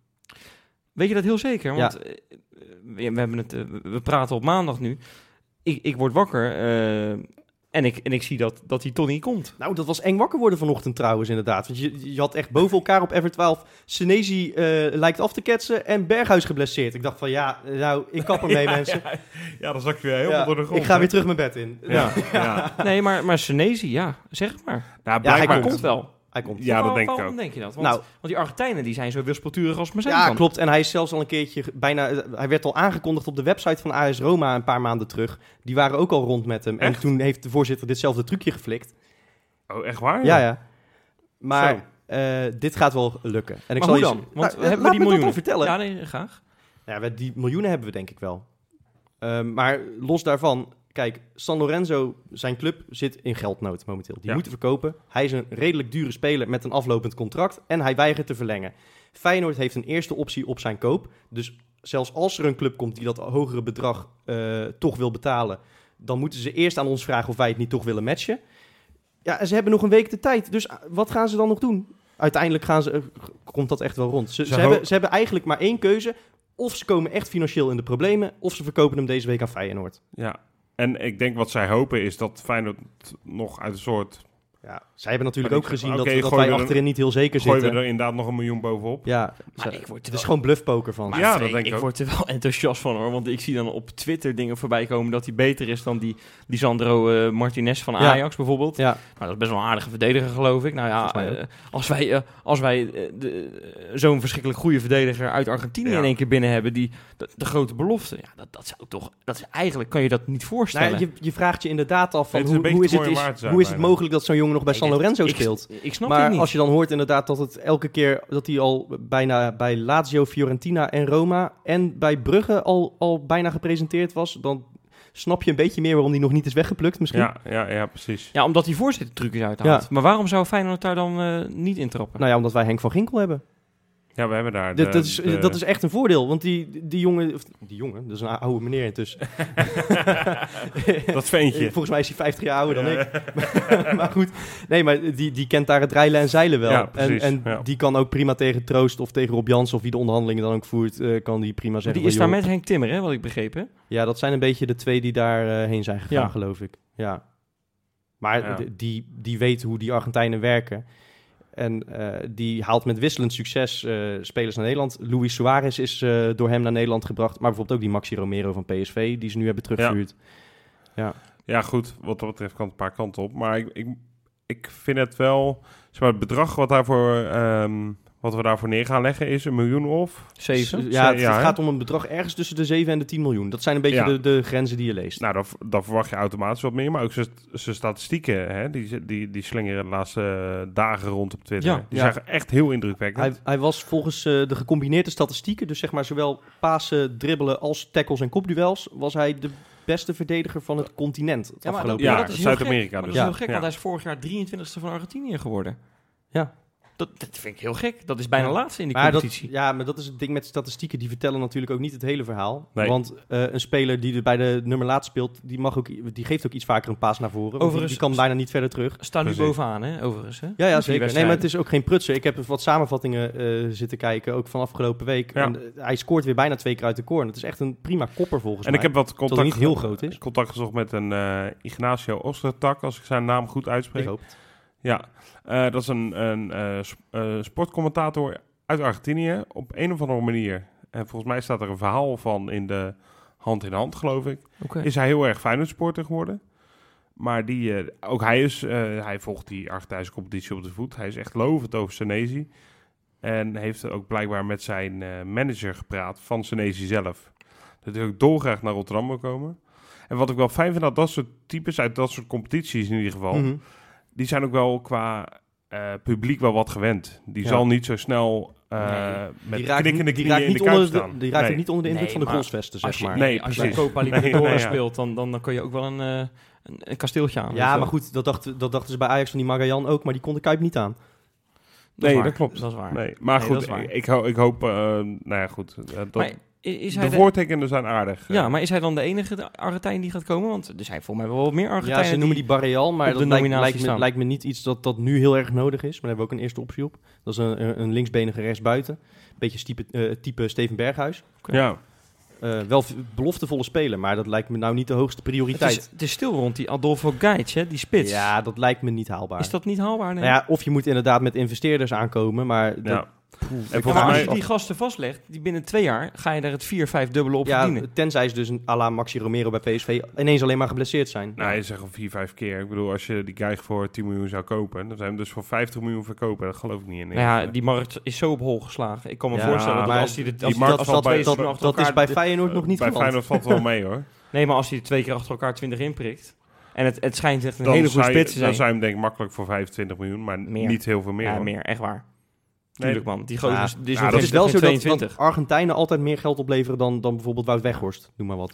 [SPEAKER 3] weet je dat heel zeker? Want eh, we, we hebben het, eh, we praten op maandag nu. Ik, ik word wakker eh, en, ik, en ik zie dat, dat die Tony komt.
[SPEAKER 2] Nou, dat was eng wakker worden vanochtend trouwens inderdaad. Want je, je had echt boven elkaar op Ever 12 Senesi eh, lijkt af te ketsen en Berghuis geblesseerd. Ik dacht van ja, nou, ik kap ermee mensen.
[SPEAKER 1] Ja, dan zak je weer
[SPEAKER 2] Ja, ik ga weer terug mijn bed in.
[SPEAKER 1] Ja, ja.
[SPEAKER 3] Nee, maar, maar Senesi, ja, zeg het maar.
[SPEAKER 1] Nou,
[SPEAKER 2] Ja, hij
[SPEAKER 1] blijkbaar,
[SPEAKER 3] Hij komt wel.
[SPEAKER 2] Hij Hij komt.
[SPEAKER 1] Ja, dat
[SPEAKER 3] Waarom-
[SPEAKER 1] denk ik
[SPEAKER 3] waarom
[SPEAKER 1] ook.
[SPEAKER 3] denk je dat? Want,
[SPEAKER 2] Nou,
[SPEAKER 3] want die Argentijnen die zijn zo wispelturig als maar zijn
[SPEAKER 2] ja,
[SPEAKER 3] kan.
[SPEAKER 2] klopt. En hij is zelfs al een keertje ge- bijna. eh, Hij werd al aangekondigd op de website van AS Roma een paar maanden terug. Die waren ook al rond met hem. En
[SPEAKER 1] Echt?
[SPEAKER 2] toen heeft de voorzitter ditzelfde trucje geflikt.
[SPEAKER 1] Oh, echt waar?
[SPEAKER 2] Ja, ja.
[SPEAKER 1] Zo.
[SPEAKER 2] Maar eh, dit gaat wel lukken. En ik
[SPEAKER 3] maar
[SPEAKER 2] zal
[SPEAKER 3] hoe
[SPEAKER 2] je-
[SPEAKER 3] dan? Want
[SPEAKER 2] Nou,
[SPEAKER 3] hebben
[SPEAKER 2] laat me
[SPEAKER 3] we die
[SPEAKER 2] dat
[SPEAKER 3] miljoenen?
[SPEAKER 2] dan vertellen.
[SPEAKER 3] Ja, nee, graag.
[SPEAKER 2] Ja, we- die miljoenen hebben we denk ik wel. Ehm, maar los daarvan, kijk, San Lorenzo, zijn club, zit in geldnood momenteel. Die
[SPEAKER 1] Ja.
[SPEAKER 2] moeten verkopen. Hij is een redelijk dure speler met een aflopend contract en hij weigert te verlengen. Feyenoord heeft een eerste optie op zijn koop. Dus zelfs als er een club komt die dat hogere bedrag eh, toch wil betalen, dan moeten ze eerst aan ons vragen of wij het niet toch willen matchen. Ja, en ze hebben nog een week de tijd. Dus ah, wat gaan ze dan nog doen? Uiteindelijk gaan ze, eh, g- komt dat echt wel rond. Ze,
[SPEAKER 1] Ze
[SPEAKER 2] ze,
[SPEAKER 1] ho-
[SPEAKER 2] hebben, ze hebben eigenlijk maar één keuze. Of ze komen echt financieel in de problemen, of ze verkopen hem deze week aan Feyenoord.
[SPEAKER 1] Ja. En ik denk wat zij hopen is dat Feyenoord nog uit een soort...
[SPEAKER 2] Ja, zij hebben natuurlijk
[SPEAKER 1] Maar
[SPEAKER 2] ook
[SPEAKER 1] ik-
[SPEAKER 2] gezien
[SPEAKER 1] oké,
[SPEAKER 2] dat, dat
[SPEAKER 1] gooi
[SPEAKER 2] wij
[SPEAKER 1] er-
[SPEAKER 2] achterin niet heel zeker
[SPEAKER 1] Gooien we
[SPEAKER 2] zitten.
[SPEAKER 1] er inderdaad nog een miljoen bovenop.
[SPEAKER 2] Ja,
[SPEAKER 3] Maar
[SPEAKER 2] ze-
[SPEAKER 3] ik word er
[SPEAKER 2] het is
[SPEAKER 3] wel-
[SPEAKER 2] gewoon bluffpoker van.
[SPEAKER 3] Maar
[SPEAKER 1] Ja,
[SPEAKER 3] Freek,
[SPEAKER 1] dat denk ik ook.
[SPEAKER 3] word er wel enthousiast van hoor. Want ik zie dan op Twitter dingen voorbij komen dat hij beter is dan die, die Sandro eh, Martinez van
[SPEAKER 2] Ja.
[SPEAKER 3] Ajax bijvoorbeeld.
[SPEAKER 2] Ja,
[SPEAKER 3] Nou, dat is best wel een aardige verdediger, geloof ik. Nou ja,
[SPEAKER 2] Volgens mij ook.
[SPEAKER 3] eh, als wij, eh, als wij eh, de- eh, zo'n verschrikkelijk goede verdediger uit Argentinië
[SPEAKER 1] Ja.
[SPEAKER 3] in één keer binnen hebben, die de, de grote belofte, ja, dat, dat zou toch, dat is, eigenlijk kan je dat niet voorstellen.
[SPEAKER 2] nou, ja, je, je vraagt je inderdaad af van
[SPEAKER 1] Het is een
[SPEAKER 2] hoe,
[SPEAKER 1] beetje
[SPEAKER 2] hoe, is,
[SPEAKER 1] te
[SPEAKER 2] het,
[SPEAKER 1] mooi om
[SPEAKER 2] is-
[SPEAKER 1] waar te zijn
[SPEAKER 2] hoe is het
[SPEAKER 1] bijna.
[SPEAKER 2] mogelijk dat zo'n jongen nog bij
[SPEAKER 3] Nee,
[SPEAKER 2] San
[SPEAKER 3] dit-
[SPEAKER 2] Lorenzo
[SPEAKER 3] ik-
[SPEAKER 2] speelt.
[SPEAKER 3] Ik, snap het
[SPEAKER 2] Maar
[SPEAKER 3] niet.
[SPEAKER 2] als je dan hoort inderdaad dat het elke keer dat hij al bijna bij Lazio, Fiorentina en Roma en bij Brugge al, al bijna gepresenteerd was, dan snap je een beetje meer waarom hij nog niet is weggeplukt misschien.
[SPEAKER 1] Ja, ja, ja, precies.
[SPEAKER 3] Ja, omdat die voorzitter trucjes uithaalt. Maar waarom zou Feyenoord daar dan eh, niet intrappen?
[SPEAKER 2] Nou ja, omdat wij Henk van Ginkel hebben.
[SPEAKER 1] Ja, we hebben daar...
[SPEAKER 2] Eh, Dat-
[SPEAKER 1] de-
[SPEAKER 2] dat, is,
[SPEAKER 1] de-
[SPEAKER 2] dat is echt een voordeel, want die, die jongen, of die jongen, dat is een oude meneer intussen.
[SPEAKER 1] dat veentje.
[SPEAKER 2] Volgens mij is hij 50 jaar ouder dan ik. maar goed, nee, maar die, die kent daar het reilen en zeilen wel.
[SPEAKER 1] Ja,
[SPEAKER 2] en
[SPEAKER 1] precies,
[SPEAKER 2] en
[SPEAKER 1] ja.
[SPEAKER 2] die kan ook prima tegen Troost of tegen Rob Jansen of wie de onderhandelingen dan ook voert, eh, kan die prima zeggen.
[SPEAKER 3] die
[SPEAKER 2] van,
[SPEAKER 3] is daar
[SPEAKER 2] joh,
[SPEAKER 3] met Henk Timmer, hè, wat ik begreep. Hè?
[SPEAKER 2] Ja, dat zijn een beetje de twee die daar eh, heen zijn gegaan,
[SPEAKER 3] Ja.
[SPEAKER 2] geloof ik. Ja. Maar
[SPEAKER 1] Ja.
[SPEAKER 2] d- die, die weet hoe die Argentijnen werken. En eh, die haalt met wisselend succes eh, spelers naar Nederland. Luis Suarez is eh, door hem naar Nederland gebracht. Maar bijvoorbeeld ook die Maxi Romero van PSV, die ze nu hebben teruggehuurd.
[SPEAKER 1] Ja, goed. Wat dat betreft kan het een paar kanten op. Maar ik, ik, ik vind het wel... Zeg maar, het bedrag wat, daarvoor, ehm, wat we daarvoor neer gaan leggen is een miljoen of...
[SPEAKER 3] Zeven.
[SPEAKER 2] Ja, het,
[SPEAKER 1] Ja,
[SPEAKER 2] het
[SPEAKER 1] hè?
[SPEAKER 2] gaat om een bedrag ergens tussen de 7 en de 10 miljoen. Dat zijn een beetje
[SPEAKER 1] Ja.
[SPEAKER 2] de, de grenzen die je leest.
[SPEAKER 1] Nou, dan, v- dan verwacht je automatisch wat meer. Maar ook zijn zijn statistieken, hè, die, z- die, die slingeren de laatste eh, dagen rond op Twitter.
[SPEAKER 3] Ja,
[SPEAKER 1] die
[SPEAKER 2] ja.
[SPEAKER 1] zijn echt heel indrukwekkend.
[SPEAKER 2] Hij, hij was volgens eh, de gecombineerde statistieken, dus zeg maar zowel pasen, dribbelen als tackles en kopduels, was hij de beste verdediger van het continent het
[SPEAKER 3] Ja, maar
[SPEAKER 2] afgelopen
[SPEAKER 3] dat-
[SPEAKER 1] ja,
[SPEAKER 2] jaar.
[SPEAKER 3] dat is heel
[SPEAKER 1] Zuid-Amerika
[SPEAKER 3] gek. Maar
[SPEAKER 1] dus.
[SPEAKER 3] Dat is
[SPEAKER 2] Ja.
[SPEAKER 3] heel gek,
[SPEAKER 1] Ja.
[SPEAKER 3] want hij is vorig jaar 23e van Argentinië geworden.
[SPEAKER 2] Ja.
[SPEAKER 3] Dat, dat vind ik heel gek. Dat is bijna
[SPEAKER 1] Ja.
[SPEAKER 3] laatste in die
[SPEAKER 2] Maar dat,
[SPEAKER 3] competitie.
[SPEAKER 2] ja, maar dat is het ding met statistieken. Die vertellen natuurlijk ook niet het hele verhaal.
[SPEAKER 1] Nee.
[SPEAKER 2] Want eh, een speler die er bij de nummer laat speelt, die, mag ook, die geeft ook iets vaker een paas naar voren. want die-
[SPEAKER 3] Overigens-
[SPEAKER 2] die kan bijna niet verder terug.
[SPEAKER 3] Staan nu
[SPEAKER 1] Precies.
[SPEAKER 3] bovenaan, hè, overigens. Hè?
[SPEAKER 2] Ja, ja
[SPEAKER 3] Die
[SPEAKER 2] zeker. Nee,
[SPEAKER 3] wedstrijden.
[SPEAKER 2] maar het is ook geen prutsen. Ik heb wat samenvattingen eh, zitten kijken, ook van afgelopen week.
[SPEAKER 1] Ja.
[SPEAKER 2] En, eh, hij scoort weer bijna twee keer uit de corner. Het is echt een prima kopper volgens
[SPEAKER 1] en
[SPEAKER 2] mij.
[SPEAKER 1] ik heb wat
[SPEAKER 2] Tot hij
[SPEAKER 1] contact,
[SPEAKER 2] niet heel groot is.
[SPEAKER 1] contact gezocht met een eh, Ignacio Ostertak, als ik zijn naam goed uitspreek.
[SPEAKER 2] Ik hoop het.
[SPEAKER 1] Ja, eh, dat is een, een eh, sp- eh, sportcommentator uit Argentinië op een of andere manier. En volgens mij staat er een verhaal van in de hand in hand, geloof ik.
[SPEAKER 3] Oké.
[SPEAKER 1] Is hij heel erg Feyenoord supporter geworden. Maar die, eh, ook hij is, eh, hij volgt die Argentijnse competitie op de voet. Hij is echt lovend over Senesi. En heeft ook blijkbaar met zijn eh, manager gepraat van Senesi zelf. Dat hij ook dolgraag naar Rotterdam wil komen. En wat ik wel fijn vind, dat dat soort types uit dat soort competities in ieder geval
[SPEAKER 2] Mhm.
[SPEAKER 1] die zijn ook wel qua eh, publiek wel wat gewend. Die
[SPEAKER 2] Ja.
[SPEAKER 1] zal niet zo snel eh,
[SPEAKER 3] Nee.
[SPEAKER 1] met
[SPEAKER 2] Die raakt,
[SPEAKER 1] knikkende
[SPEAKER 2] niet- die
[SPEAKER 1] knieën
[SPEAKER 2] raakt
[SPEAKER 1] in
[SPEAKER 2] niet
[SPEAKER 1] de kuip
[SPEAKER 2] onder de,
[SPEAKER 1] staan.
[SPEAKER 2] die raakt
[SPEAKER 1] Nee.
[SPEAKER 2] niet onder de invloed
[SPEAKER 3] Nee,
[SPEAKER 2] van de
[SPEAKER 3] maar
[SPEAKER 2] goalsvesten, zeg
[SPEAKER 3] Als je,
[SPEAKER 2] maar.
[SPEAKER 1] Nee,
[SPEAKER 3] als je
[SPEAKER 1] precies.
[SPEAKER 3] Copa
[SPEAKER 1] Nee,
[SPEAKER 3] Libertadores
[SPEAKER 1] nee, ja.
[SPEAKER 3] speelt, dan, dan, dan kan je ook wel een, eh, een, een kasteeltje aan. weet
[SPEAKER 2] Ja,
[SPEAKER 3] je
[SPEAKER 2] maar
[SPEAKER 3] wel.
[SPEAKER 2] goed, dat dachten, dat dachten ze bij Ajax van die Magallan ook, maar die kon de Kuip niet aan.
[SPEAKER 3] Dat is
[SPEAKER 1] Nee,
[SPEAKER 3] waar.
[SPEAKER 1] dat klopt.
[SPEAKER 3] Dat is waar.
[SPEAKER 1] Nee, maar
[SPEAKER 3] Nee, dat
[SPEAKER 1] goed,
[SPEAKER 3] is waar.
[SPEAKER 1] ik, ik, ho- ik hoop, eh, nou ja, goed. eh, dat,
[SPEAKER 3] Maar i- is hij
[SPEAKER 1] de
[SPEAKER 3] de-
[SPEAKER 1] voortekenen zijn aardig.
[SPEAKER 3] ja, maar is hij dan de enige Argentijn die gaat komen? Want er zijn volgens mij wel meer Argentijnen.
[SPEAKER 2] Ja, ze noemen die Barreal, maar
[SPEAKER 3] op
[SPEAKER 2] dat
[SPEAKER 3] de
[SPEAKER 2] lijkt,
[SPEAKER 3] nominatie
[SPEAKER 2] lijkt, me,
[SPEAKER 3] staan.
[SPEAKER 2] lijkt me niet iets dat, dat nu heel erg nodig is. Maar daar hebben we ook een eerste optie op. Dat is een, een- een linksbenige rechtsbuiten. Beetje type, eh, type Steven Berghuis.
[SPEAKER 1] Ja,
[SPEAKER 2] Eh, wel v- beloftevolle speler, maar dat lijkt me nou niet de hoogste
[SPEAKER 3] Het
[SPEAKER 2] prioriteit.
[SPEAKER 3] is, het is stil rond die Adolfo Gaits, hè, die spits.
[SPEAKER 2] Ja, dat lijkt me niet haalbaar.
[SPEAKER 3] Is dat niet haalbaar? Nee?
[SPEAKER 2] nou ja, of je moet inderdaad met investeerders aankomen, maar dat,
[SPEAKER 1] ja. En
[SPEAKER 3] Ja,
[SPEAKER 1] volgens
[SPEAKER 3] maar als
[SPEAKER 1] mij,
[SPEAKER 3] je die gasten vastlegt, die binnen twee jaar ga je daar het vier, vijf dubbele op
[SPEAKER 2] Ja,
[SPEAKER 3] verdienen.
[SPEAKER 2] tenzij ze dus een à la Maxi Romero bij PSV ineens alleen maar geblesseerd zijn.
[SPEAKER 1] nou, je zegt al vier, vijf keer. Ik bedoel, als je die guy voor 10 miljoen zou kopen, dan zou je hem dus voor 50 miljoen verkopen. Dat geloof ik niet in.
[SPEAKER 3] Nou ja, die markt is zo op hol geslagen. Ik kan me
[SPEAKER 2] Ja,
[SPEAKER 3] voorstellen dat
[SPEAKER 1] maar
[SPEAKER 3] als hij de
[SPEAKER 1] die
[SPEAKER 3] als hij
[SPEAKER 1] markt
[SPEAKER 3] dat,
[SPEAKER 1] valt
[SPEAKER 3] dat,
[SPEAKER 1] bij- eh,
[SPEAKER 3] twee
[SPEAKER 2] dat,
[SPEAKER 3] seizoenen
[SPEAKER 2] dat,
[SPEAKER 3] achter
[SPEAKER 2] is
[SPEAKER 3] elkaar-
[SPEAKER 2] bij Feyenoord nog niet
[SPEAKER 1] Bij
[SPEAKER 2] geland.
[SPEAKER 1] Feyenoord valt wel mee hoor.
[SPEAKER 3] Nee, maar als hij er twee keer achter elkaar 20 inprikt. En het, het schijnt echt een
[SPEAKER 1] Dan
[SPEAKER 3] hele goede
[SPEAKER 1] zou je-
[SPEAKER 3] spits te zijn.
[SPEAKER 1] Dan zou je hem denk ik makkelijk voor 25 miljoen, maar
[SPEAKER 3] Meer.
[SPEAKER 1] niet heel veel meer.
[SPEAKER 3] ja,
[SPEAKER 1] hoor.
[SPEAKER 3] meer, echt waar.
[SPEAKER 1] Nee,
[SPEAKER 3] Tuurlijk man, die gozer
[SPEAKER 2] Ja,
[SPEAKER 3] is- die is
[SPEAKER 1] ja, dat
[SPEAKER 3] nog
[SPEAKER 2] Het
[SPEAKER 3] geen-
[SPEAKER 2] is wel
[SPEAKER 3] geen
[SPEAKER 2] zo dat,
[SPEAKER 3] 22.
[SPEAKER 2] dat Argentijnen altijd meer geld opleveren dan, dan bijvoorbeeld Wout Weghorst. Noem maar wat.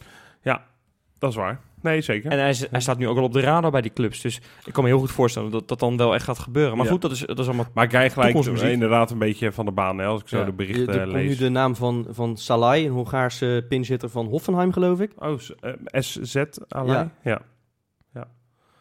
[SPEAKER 1] Dat is waar. Nee, zeker.
[SPEAKER 3] En hij, is- hij staat nu ook al op de radar bij die clubs. Dus ik kan me heel goed voorstellen dat dat dan wel echt gaat gebeuren. Maar
[SPEAKER 1] Ja.
[SPEAKER 3] goed, dat is, dat is allemaal...
[SPEAKER 1] maar Guy gelijk
[SPEAKER 3] Toekomstmuziek.
[SPEAKER 1] inderdaad een beetje van de baan, hè, als ik zo
[SPEAKER 3] Ja.
[SPEAKER 1] de
[SPEAKER 2] Je-
[SPEAKER 1] berichten
[SPEAKER 2] Er komt nu
[SPEAKER 1] lees.
[SPEAKER 2] de naam van, van Salai, een Hongaarse pinzitter van Hoffenheim, geloof ik.
[SPEAKER 1] Oh, s- eh, SZ alleen?
[SPEAKER 2] Ja.
[SPEAKER 1] ja.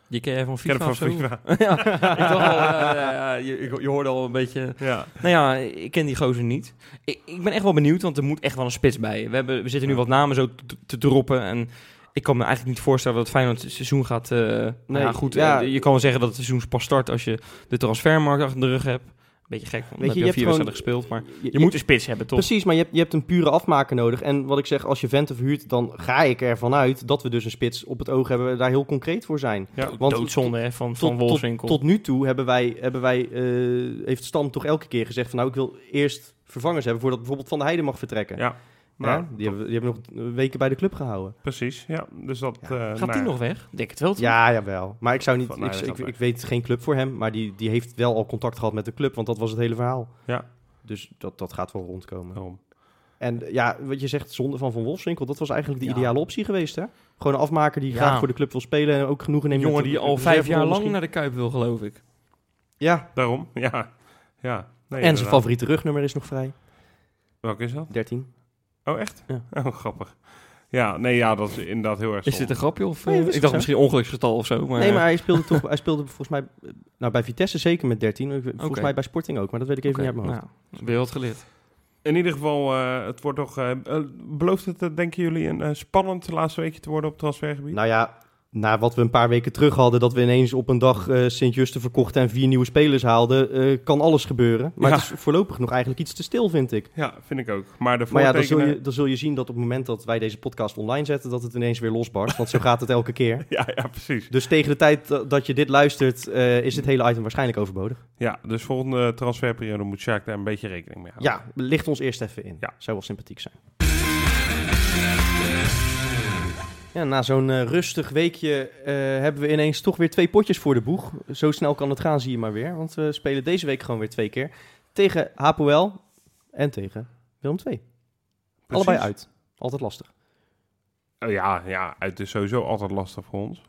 [SPEAKER 3] Je ken jij van
[SPEAKER 1] Ik ken
[SPEAKER 3] FIFA
[SPEAKER 1] hem
[SPEAKER 3] of zo?
[SPEAKER 1] van FIFA.
[SPEAKER 3] ja, ik dacht al, eh, ja, ja, je, ik- je hoorde al een beetje...
[SPEAKER 1] Ja.
[SPEAKER 3] Nou ja, ik ken die gozer niet. Ik, ik ben echt wel benieuwd, want er moet echt wel een spits bij. We, hebben, we zitten nu wat namen zo te, te droppen en... Ik kan me eigenlijk niet voorstellen dat Feyenoord het seizoen gaat... eh nou
[SPEAKER 2] Nee,
[SPEAKER 3] ja, goed,
[SPEAKER 2] ja.
[SPEAKER 3] eh, je kan wel zeggen dat het seizoen pas start als je de transfermarkt achter de rug hebt. Beetje gek, want dan
[SPEAKER 2] je,
[SPEAKER 3] heb je,
[SPEAKER 2] je
[SPEAKER 3] al
[SPEAKER 2] hebt
[SPEAKER 3] vier
[SPEAKER 2] gewoon-
[SPEAKER 3] wedstrijden gespeeld. Maar
[SPEAKER 2] Je-
[SPEAKER 3] je moet een spits hebben, toch?
[SPEAKER 2] Precies, maar je hebt, je hebt een pure afmaker nodig. En wat ik zeg, als je Vente verhuurt, dan ga ik ervan uit dat we dus een spits op het oog hebben en daar heel concreet voor zijn.
[SPEAKER 1] Ja.
[SPEAKER 2] Want
[SPEAKER 3] Doodzonde hè, van,
[SPEAKER 2] tot,
[SPEAKER 3] van
[SPEAKER 2] tot,
[SPEAKER 3] Wolfswinkel.
[SPEAKER 2] tot nu toe hebben wij, hebben wij eh, heeft Stam toch elke keer gezegd van nou, ik wil eerst vervangers hebben voordat bijvoorbeeld Van der Heijden mag vertrekken.
[SPEAKER 1] Ja.
[SPEAKER 2] Ja,
[SPEAKER 1] Nou,
[SPEAKER 2] die, hebben, die hebben nog eh, weken bij de club gehouden.
[SPEAKER 1] precies. Ja, dus dat... eh,
[SPEAKER 3] Gaat
[SPEAKER 1] nou
[SPEAKER 3] die
[SPEAKER 1] ja.
[SPEAKER 3] nog weg? Ik Denk het wel. toch?
[SPEAKER 2] Ja, jawel. Maar ik zou niet,
[SPEAKER 1] Van der
[SPEAKER 2] ik,
[SPEAKER 1] Heijden
[SPEAKER 2] ik,
[SPEAKER 1] gaat
[SPEAKER 2] ik weet geen club voor hem, maar die, die heeft wel al contact gehad met de club, want dat was het hele verhaal.
[SPEAKER 1] Ja.
[SPEAKER 2] Dus dat, dat gaat wel rondkomen.
[SPEAKER 1] Daarom.
[SPEAKER 2] En eh, ja, wat je zegt, zonde van Van Wolfswinkel, dat was eigenlijk de
[SPEAKER 3] Ja.
[SPEAKER 2] ideale optie geweest, hè? Gewoon een afmaker die
[SPEAKER 3] Ja.
[SPEAKER 2] graag voor de club wil spelen en ook genoegen
[SPEAKER 3] Een
[SPEAKER 2] neemt.
[SPEAKER 3] jongen
[SPEAKER 2] met-
[SPEAKER 3] die
[SPEAKER 2] met
[SPEAKER 3] al
[SPEAKER 2] de
[SPEAKER 3] vijf
[SPEAKER 2] reserverol
[SPEAKER 3] jaar lang
[SPEAKER 2] misschien.
[SPEAKER 3] naar de Kuip wil, geloof ik.
[SPEAKER 2] Ja,
[SPEAKER 1] Daarom, ja. ja. Nee,
[SPEAKER 2] en zijn
[SPEAKER 1] inderdaad.
[SPEAKER 2] favoriete rugnummer is nog vrij.
[SPEAKER 1] Welke is dat?
[SPEAKER 2] 13.
[SPEAKER 1] Oh, echt?
[SPEAKER 2] Ja.
[SPEAKER 1] Oh, grappig. Ja, nee, ja, dat is inderdaad heel erg
[SPEAKER 3] Is dit
[SPEAKER 1] zonde.
[SPEAKER 3] een grapje? Of,
[SPEAKER 2] Nee,
[SPEAKER 3] eh,
[SPEAKER 2] dat is
[SPEAKER 3] ik
[SPEAKER 2] toch
[SPEAKER 3] dacht
[SPEAKER 2] zo?
[SPEAKER 3] misschien ongeluksgetal of zo. Maar, eh,
[SPEAKER 2] nee, maar hij speelde, toch, hij speelde volgens mij... eh, Nou, bij Vitesse zeker met 13. Ik- Volgens
[SPEAKER 3] Oké.
[SPEAKER 2] mij bij Sporting ook, maar dat weet ik even
[SPEAKER 3] Oké,
[SPEAKER 2] niet uit mijn hoofd.
[SPEAKER 3] nou, weer wat geleerd.
[SPEAKER 1] In ieder geval, eh, het wordt toch... eh, eh, belooft het, eh, denken jullie, een eh, spannend laatste weekje te worden op het transfergebied?
[SPEAKER 2] Nou ja, na wat we een paar weken terug hadden... dat we ineens op een dag eh Sint-Justen verkochten en vier nieuwe spelers haalden... eh, kan alles gebeuren. Maar
[SPEAKER 1] Ja.
[SPEAKER 2] het is voorlopig nog eigenlijk iets te stil, vind ik.
[SPEAKER 1] Ja, vind ik ook. Maar de
[SPEAKER 2] Maar ja, dan
[SPEAKER 1] voortekenen...
[SPEAKER 2] zul, je, dan zul je zien dat op het moment dat wij deze podcast online zetten... dat het ineens weer losbarst, want zo gaat het elke keer.
[SPEAKER 1] ja, ja, precies.
[SPEAKER 2] Dus tegen de tijd dat- dat je dit luistert, eh, is dit hele item waarschijnlijk overbodig.
[SPEAKER 1] Ja, dus volgende transferperiode moet Sjaak daar een beetje rekening mee houden.
[SPEAKER 2] Ja, licht ons eerst even in.
[SPEAKER 1] Ja.
[SPEAKER 2] Zou wel sympathiek zijn. Ja, na zo'n eh, rustig weekje eh, hebben we ineens toch weer twee potjes voor de boeg. Zo snel kan het gaan, zie je maar weer. Want we spelen deze week gewoon weer twee keer. Tegen HPL en tegen Willem II.
[SPEAKER 1] Precies.
[SPEAKER 2] Allebei uit. Altijd lastig.
[SPEAKER 1] Oh, ja, ja, het is sowieso altijd lastig voor ons.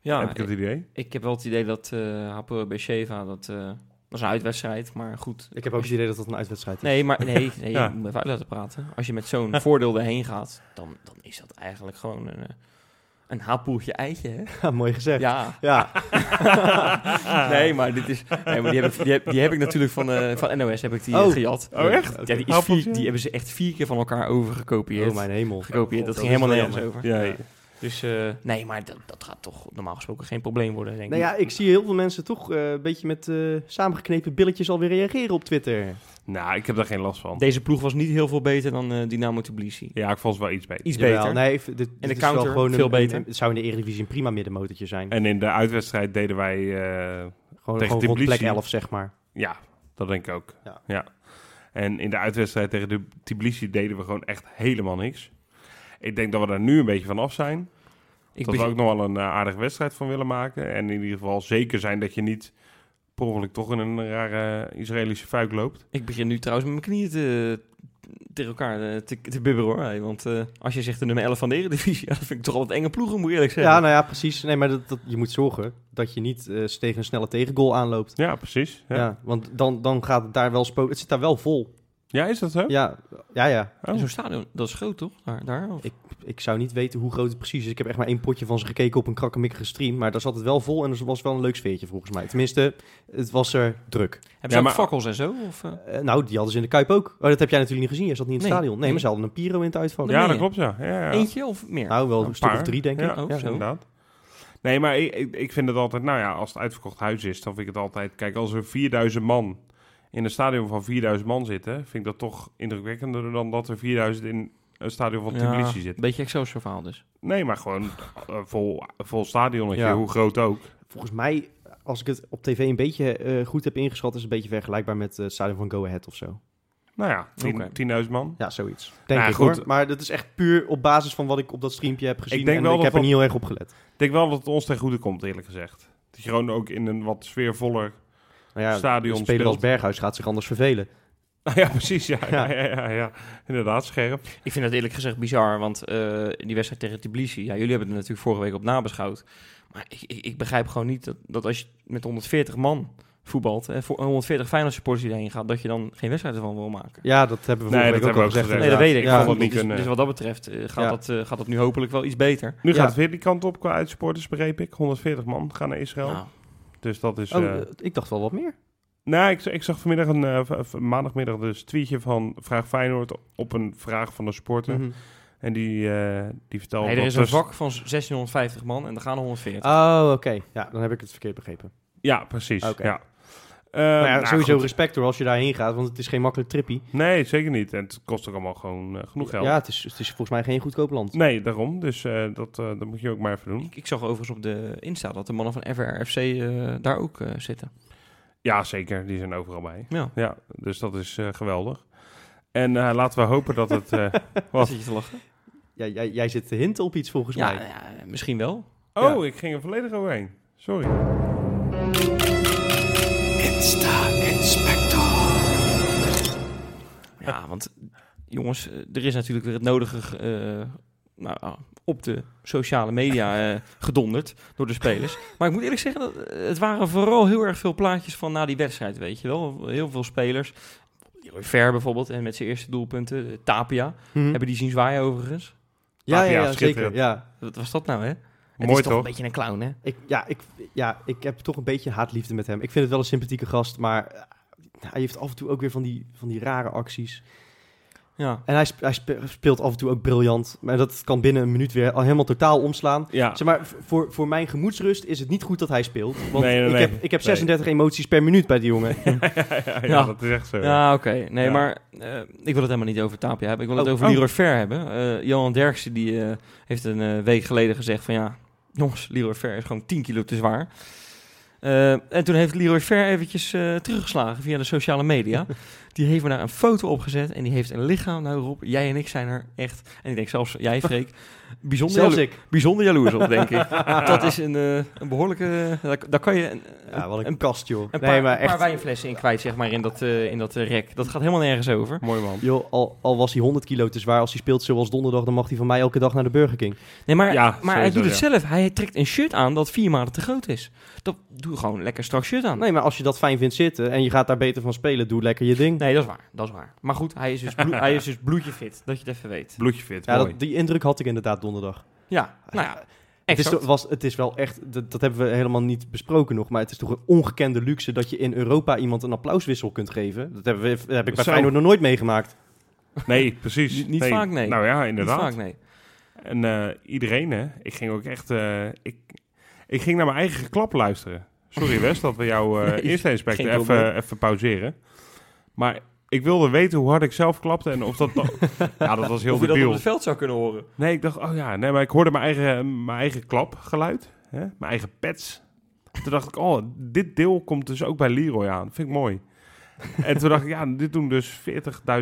[SPEAKER 3] Ja,
[SPEAKER 1] Heb ik het
[SPEAKER 3] ik,
[SPEAKER 1] idee?
[SPEAKER 3] ik heb wel het idee dat eh Hapoel bij Sheva, dat eh, was een uitwedstrijd, maar goed.
[SPEAKER 2] Ik heb ook het idee dat dat een uitwedstrijd is.
[SPEAKER 3] Nee, maar nee, nee
[SPEAKER 1] Ja.
[SPEAKER 3] je moet me even uit laten praten. Als je met zo'n voordeel erheen gaat, dan, dan is dat eigenlijk gewoon een, eh, een hapoeltje eitje, hè?
[SPEAKER 2] Ja, mooi gezegd. Ja.
[SPEAKER 3] Ja. nee, maar dit is. Nee, maar die heb ik, die heb, die heb ik natuurlijk van, eh, van NOS heb ik die eh,
[SPEAKER 2] Oh.
[SPEAKER 3] gejat.
[SPEAKER 1] Oh, echt?
[SPEAKER 3] Ja, die, is vier,
[SPEAKER 1] Appeltje?
[SPEAKER 3] die hebben ze echt vier keer van elkaar overgekopieerd.
[SPEAKER 2] Oh mijn hemel. Oh,
[SPEAKER 3] Gekopieerd, dat,
[SPEAKER 2] Dat
[SPEAKER 3] ging
[SPEAKER 2] is
[SPEAKER 3] helemaal
[SPEAKER 2] wel
[SPEAKER 3] nergens over.
[SPEAKER 1] Ja, ja.
[SPEAKER 3] Dus eh, nee, maar dat, dat gaat toch normaal gesproken geen probleem worden, denk
[SPEAKER 2] Nou
[SPEAKER 3] ik.
[SPEAKER 2] ja, ik zie heel veel mensen toch eh, een beetje met eh, samengeknepen billetjes alweer reageren op Twitter.
[SPEAKER 1] Nou, ik heb daar geen last van.
[SPEAKER 3] Deze ploeg was niet heel veel beter dan eh Dynamo Tbilisi.
[SPEAKER 1] Ja, ik vond ze wel iets beter.
[SPEAKER 3] Iets
[SPEAKER 2] Jawel,
[SPEAKER 3] beter.
[SPEAKER 2] Nee, ik vind- dit, dit
[SPEAKER 3] de
[SPEAKER 2] is wel
[SPEAKER 3] counter,
[SPEAKER 2] gewoon
[SPEAKER 3] veel
[SPEAKER 2] een,
[SPEAKER 3] beter.
[SPEAKER 2] een- het zou in de Eredivisie een prima middenmotortje zijn.
[SPEAKER 1] En in de uitwedstrijd deden wij... eh,
[SPEAKER 2] gewoon
[SPEAKER 1] tegen
[SPEAKER 2] gewoon rond plek
[SPEAKER 1] Tbilisi.
[SPEAKER 2] 11, zeg maar.
[SPEAKER 1] ja, dat denk ik ook. Ja.
[SPEAKER 2] Ja.
[SPEAKER 1] En in de uitwedstrijd tegen de Tbilisi deden we gewoon echt helemaal niks. Ik denk dat we daar nu een beetje van af zijn.
[SPEAKER 3] ik
[SPEAKER 1] dat we
[SPEAKER 3] begin-
[SPEAKER 1] ook nog wel een eh, aardige wedstrijd van willen maken. En in ieder geval zeker zijn dat je niet per ongeluk toch in een rare Israëlische fuik loopt.
[SPEAKER 3] Ik begin nu trouwens met mijn knieën te, tegen elkaar eh, te, te bibberen hoor. Hey, want eh, als je zegt de nummer 11 van de Eredivisie, ja, dat vind ik toch al wat enge ploegen, moet ik eerlijk zeggen.
[SPEAKER 2] Ja, nou ja, precies. Nee, maar dat, dat, je moet zorgen dat je niet eh, tegen een snelle tegengoal aanloopt.
[SPEAKER 1] Ja, precies.
[SPEAKER 2] Ja.
[SPEAKER 1] Ja, ja.
[SPEAKER 2] want dan, dan gaat het daar wel spook. Het zit daar wel vol.
[SPEAKER 1] is dat zo?
[SPEAKER 2] Ja, ja, ja.
[SPEAKER 1] Oh.
[SPEAKER 3] Zo'n stadion, dat is groot toch? Daar, daar of?
[SPEAKER 2] Ik, ik zou niet weten hoe groot het precies is. Ik heb echt maar één potje van ze gekeken op een krakkemikkige stream. Maar daar zat het wel vol en er was wel een leuk sfeertje volgens mij. Tenminste, het was er druk.
[SPEAKER 3] Hebben ze ook
[SPEAKER 1] maar-
[SPEAKER 3] fakkels en zo? Of, eh?
[SPEAKER 2] Eh, nou, die hadden ze in de Kuip ook. Oh, dat heb jij natuurlijk niet gezien. Je zat niet in het
[SPEAKER 3] Nee.
[SPEAKER 2] stadion. Nee, maar ze hadden een Piro in het uitvak.
[SPEAKER 1] Ja,
[SPEAKER 3] meen
[SPEAKER 1] dat
[SPEAKER 3] je.
[SPEAKER 1] klopt, ja. ja, ja.
[SPEAKER 3] Eentje of meer?
[SPEAKER 2] Nou, wel
[SPEAKER 1] Een
[SPEAKER 2] een stuk
[SPEAKER 1] paar.
[SPEAKER 2] of drie, denk ik.
[SPEAKER 1] Ja,
[SPEAKER 3] Oh,
[SPEAKER 1] ja,
[SPEAKER 3] zo.
[SPEAKER 1] inderdaad. Nee, maar ik, ik, ik vind het altijd, nou ja, als het uitverkocht huis is, dan vind ik het altijd, kijk, als er 4000 man in een stadion van 4000 man zitten, vind ik dat toch indrukwekkender dan dat er 4000 in een stadion van
[SPEAKER 3] Ja,
[SPEAKER 1] Tbilisi zitten.
[SPEAKER 3] Beetje Excelsior verhaal dus.
[SPEAKER 1] Nee, maar gewoon eh, vol, vol stadionnetje,
[SPEAKER 2] Ja.
[SPEAKER 1] hoe groot ook.
[SPEAKER 2] Volgens mij, als ik het op tv een beetje eh, goed heb ingeschat, is het een beetje vergelijkbaar met eh, het stadion van Go Ahead of zo.
[SPEAKER 1] Nou ja, tien- 10.000
[SPEAKER 3] Oké.
[SPEAKER 1] man.
[SPEAKER 2] Ja, zoiets. Denk
[SPEAKER 1] Nou ja,
[SPEAKER 2] ik
[SPEAKER 1] goed.
[SPEAKER 2] hoor. Maar dat is echt puur op basis van wat ik op dat streampje heb gezien.
[SPEAKER 1] Ik denk
[SPEAKER 2] en
[SPEAKER 1] wel
[SPEAKER 2] ik
[SPEAKER 1] dat
[SPEAKER 2] heb er
[SPEAKER 1] dat-
[SPEAKER 2] niet heel erg op gelet.
[SPEAKER 1] Ik denk wel dat het ons ten goede komt, eerlijk gezegd. Dat je gewoon ook in een wat sfeervoller...
[SPEAKER 2] Nou ja,
[SPEAKER 1] Stadion
[SPEAKER 2] een speler
[SPEAKER 1] speelt.
[SPEAKER 2] als Berghuis gaat zich anders vervelen.
[SPEAKER 1] Ah, ja, precies. Ja, ja.
[SPEAKER 2] Ja.
[SPEAKER 1] Ja, ja, ja. inderdaad, scherp.
[SPEAKER 3] Ik vind dat eerlijk gezegd bizar, want eh, die wedstrijd tegen Tbilisi, ja, jullie hebben het natuurlijk vorige week op nabeschouwd. Maar ik, ik, ik begrijp gewoon niet dat, dat als je met 140 man voetbalt, en voor 140 Feyenoord supporters die erheen gaat, dat je dan geen wedstrijd ervan wil maken.
[SPEAKER 2] Ja, dat hebben we
[SPEAKER 1] Nee,
[SPEAKER 2] vorige
[SPEAKER 1] dat hebben
[SPEAKER 2] week ook al
[SPEAKER 1] we ook
[SPEAKER 2] gezegd.
[SPEAKER 1] gezegd.
[SPEAKER 3] Nee,
[SPEAKER 2] inderdaad.
[SPEAKER 3] dat weet ik.
[SPEAKER 1] Ja,
[SPEAKER 3] Ja,
[SPEAKER 1] dat
[SPEAKER 3] dus,
[SPEAKER 1] niet kunnen.
[SPEAKER 3] dus wat dat betreft eh, gaat,
[SPEAKER 2] Ja.
[SPEAKER 3] dat, eh, gaat dat nu hopelijk wel iets beter.
[SPEAKER 1] Nu
[SPEAKER 2] Ja.
[SPEAKER 1] gaat het weer die kant op qua uitsporters, begreep ik. 140 man gaan naar Israël.
[SPEAKER 3] Nou,
[SPEAKER 1] Dus dat is... eh,
[SPEAKER 2] Oh, eh, ik dacht wel wat meer.
[SPEAKER 1] Nou, ik, ik zag vanmiddag een eh, v- v- maandagmiddag dus tweetje van Vraag Feyenoord op een vraag van een sporter.
[SPEAKER 2] Mhm.
[SPEAKER 1] En die, eh, die vertelde.
[SPEAKER 3] nee, er
[SPEAKER 1] dat
[SPEAKER 3] is een
[SPEAKER 1] dus-
[SPEAKER 3] vak van 1650 man en er gaan er 140.
[SPEAKER 2] Oh, oké. Ja, dan heb ik het verkeerd begrepen.
[SPEAKER 1] Ja, precies.
[SPEAKER 2] Oké.
[SPEAKER 1] Ja. Eh,
[SPEAKER 2] maar ja,
[SPEAKER 1] nou,
[SPEAKER 2] sowieso
[SPEAKER 1] goed.
[SPEAKER 2] respect hoor als je daarheen gaat, want het is geen makkelijk trippie.
[SPEAKER 1] Nee, zeker niet. En het kost ook allemaal gewoon eh, genoeg geld.
[SPEAKER 2] Ja, het is, het is volgens mij geen goedkoop land.
[SPEAKER 1] Nee, daarom. Dus eh, dat, eh, dat moet je ook maar even doen.
[SPEAKER 3] Ik, ik zag overigens op de Insta dat de mannen van FRFC eh, daar ook eh, zitten.
[SPEAKER 1] Ja, zeker. Die zijn overal bij.
[SPEAKER 3] Ja,
[SPEAKER 1] Ja, dus dat is eh, geweldig. En eh, laten we hopen dat het... eh,
[SPEAKER 3] Wat?
[SPEAKER 1] Wat?
[SPEAKER 3] zit je te lachen?
[SPEAKER 2] Ja, jij, jij zit te hinten op iets volgens
[SPEAKER 3] Ja, eh,
[SPEAKER 2] mij.
[SPEAKER 3] ja, misschien wel.
[SPEAKER 1] Oh, ik ging er volledig overheen. Sorry.
[SPEAKER 3] Ja, want jongens, eh, er is natuurlijk weer het nodige eh, nou, ah, op de sociale media eh, gedonderd door de spelers. Maar ik moet eerlijk zeggen, dat, eh, het waren vooral heel erg veel plaatjes van na die wedstrijd, weet je wel. Heel veel spelers. Roy Ver bijvoorbeeld, en met zijn eerste doelpunten. eh, Tapia,
[SPEAKER 1] Hm.
[SPEAKER 2] Mhm.
[SPEAKER 3] hebben die zien zwaaien overigens.
[SPEAKER 2] ja, ja,
[SPEAKER 1] Tapia,
[SPEAKER 2] ja, zeker.
[SPEAKER 1] schitterend.
[SPEAKER 2] Ja.
[SPEAKER 3] Wat was dat nou, hè? Het
[SPEAKER 1] Mooi
[SPEAKER 3] is toch
[SPEAKER 1] toch?
[SPEAKER 3] een beetje een clown, hè?
[SPEAKER 2] Ik, ja, ik, ja, ik heb toch een beetje haatliefde met hem. Ik vind het wel een sympathieke gast, maar eh, hij heeft af en toe ook weer van die, van die rare acties.
[SPEAKER 3] Ja.
[SPEAKER 2] En hij, sp- hij spe- speelt af en toe ook briljant. Maar dat kan binnen een minuut weer al helemaal totaal omslaan.
[SPEAKER 1] Ja.
[SPEAKER 2] Zeg maar, v- voor, voor mijn gemoedsrust is het niet goed dat hij speelt. Want
[SPEAKER 1] Nee, nee,
[SPEAKER 2] ik,
[SPEAKER 1] nee.
[SPEAKER 2] Heb, ik heb 36 emoties per minuut bij die jongen.
[SPEAKER 1] ja, ja, ja,
[SPEAKER 3] Ja.
[SPEAKER 1] dat is echt zo.
[SPEAKER 3] Ja, Ah, oké. Nee,
[SPEAKER 1] Ja.
[SPEAKER 3] maar eh, ik wil het helemaal niet over Tapia hebben. Ik wil het
[SPEAKER 2] Oh,
[SPEAKER 3] over
[SPEAKER 1] oh.
[SPEAKER 3] Leroy Ver hebben. Eh, Johan Derksen die, eh, heeft een eh, week geleden gezegd van ja, jongens, Leroy Ver is gewoon 10 kilo te zwaar. Eh, en toen heeft Leroy Ver eventjes eh, teruggeslagen via de sociale media. Die heeft me daar een foto opgezet en die heeft een lichaam. Nou Rob, jij en ik zijn er echt, en ik denk zelfs jij Freek, bijzonder,
[SPEAKER 2] Zelfs
[SPEAKER 3] jalo-
[SPEAKER 2] ik.
[SPEAKER 3] bijzonder jaloers op, denk ik. dat is een, eh, een behoorlijke, eh, daar, daar kan je een,
[SPEAKER 2] Ja, wat een,
[SPEAKER 3] een-
[SPEAKER 2] kast, joh.
[SPEAKER 3] een paar,
[SPEAKER 2] nee, maar
[SPEAKER 3] een paar
[SPEAKER 2] echt.
[SPEAKER 3] wijnflessen in kwijt, zeg maar, in dat, eh, in dat eh, rek. Dat gaat helemaal nergens over.
[SPEAKER 1] Mooi man.
[SPEAKER 2] Joh, al, al was hij 100 kilo te zwaar, als hij speelt zoals donderdag, dan mag hij van mij elke dag naar de Burger King.
[SPEAKER 3] Nee, maar,
[SPEAKER 1] Ja,
[SPEAKER 3] maar hij
[SPEAKER 1] sowieso,
[SPEAKER 3] doet het zelf. Hij trekt een shirt aan dat vier maanden te groot is. Dat doe gewoon lekker strak shirt aan. Nee,
[SPEAKER 2] Nee, maar als je dat fijn vindt zitten en je gaat daar beter van spelen, doe lekker je ding.
[SPEAKER 3] dat is waar. Dat is waar. Maar goed, hij is dus, bloe- hij is dus bloedje fit. Dat je het even weet.
[SPEAKER 1] Bloedje fit.
[SPEAKER 2] Ja,
[SPEAKER 1] mooi.
[SPEAKER 2] dat, die indruk had ik inderdaad donderdag.
[SPEAKER 3] Ja, nou ja.
[SPEAKER 2] Het is,
[SPEAKER 3] exact.
[SPEAKER 2] toch- was, het is wel echt, dat, dat hebben we helemaal niet besproken nog, maar het is toch een ongekende luxe dat je in Europa iemand een applauswissel kunt geven. Dat, hebben we, dat heb ik bij
[SPEAKER 1] Zo.
[SPEAKER 2] Feyenoord nog nooit meegemaakt.
[SPEAKER 1] Nee, precies.
[SPEAKER 3] Niet- niet vaak, nee.
[SPEAKER 1] Nou ja,
[SPEAKER 3] Niet
[SPEAKER 1] inderdaad.
[SPEAKER 3] vaak, nee.
[SPEAKER 1] En eh, iedereen, hè. Ik ging ook echt... eh, ik, ik ging naar mijn eigen geklap luisteren. Sorry Wes, dat we jouw eh,
[SPEAKER 3] Nee,
[SPEAKER 1] eerste aspect
[SPEAKER 3] geen
[SPEAKER 1] even,
[SPEAKER 3] probleem.
[SPEAKER 1] even pauzeren. Maar ik wilde weten hoe hard ik zelf klapte en of dat... ja, dat was heel
[SPEAKER 3] Of je dat op
[SPEAKER 1] debiel.
[SPEAKER 3] het veld zou kunnen horen.
[SPEAKER 1] Nee, ik dacht, oh ja, nee, maar ik hoorde mijn eigen, mijn eigen klapgeluid. Hè? Mijn eigen pets. Toen dacht ik, oh, dit deel komt dus ook bij Leroy aan. Vind ik mooi. En toen dacht ik, ja, dit doen dus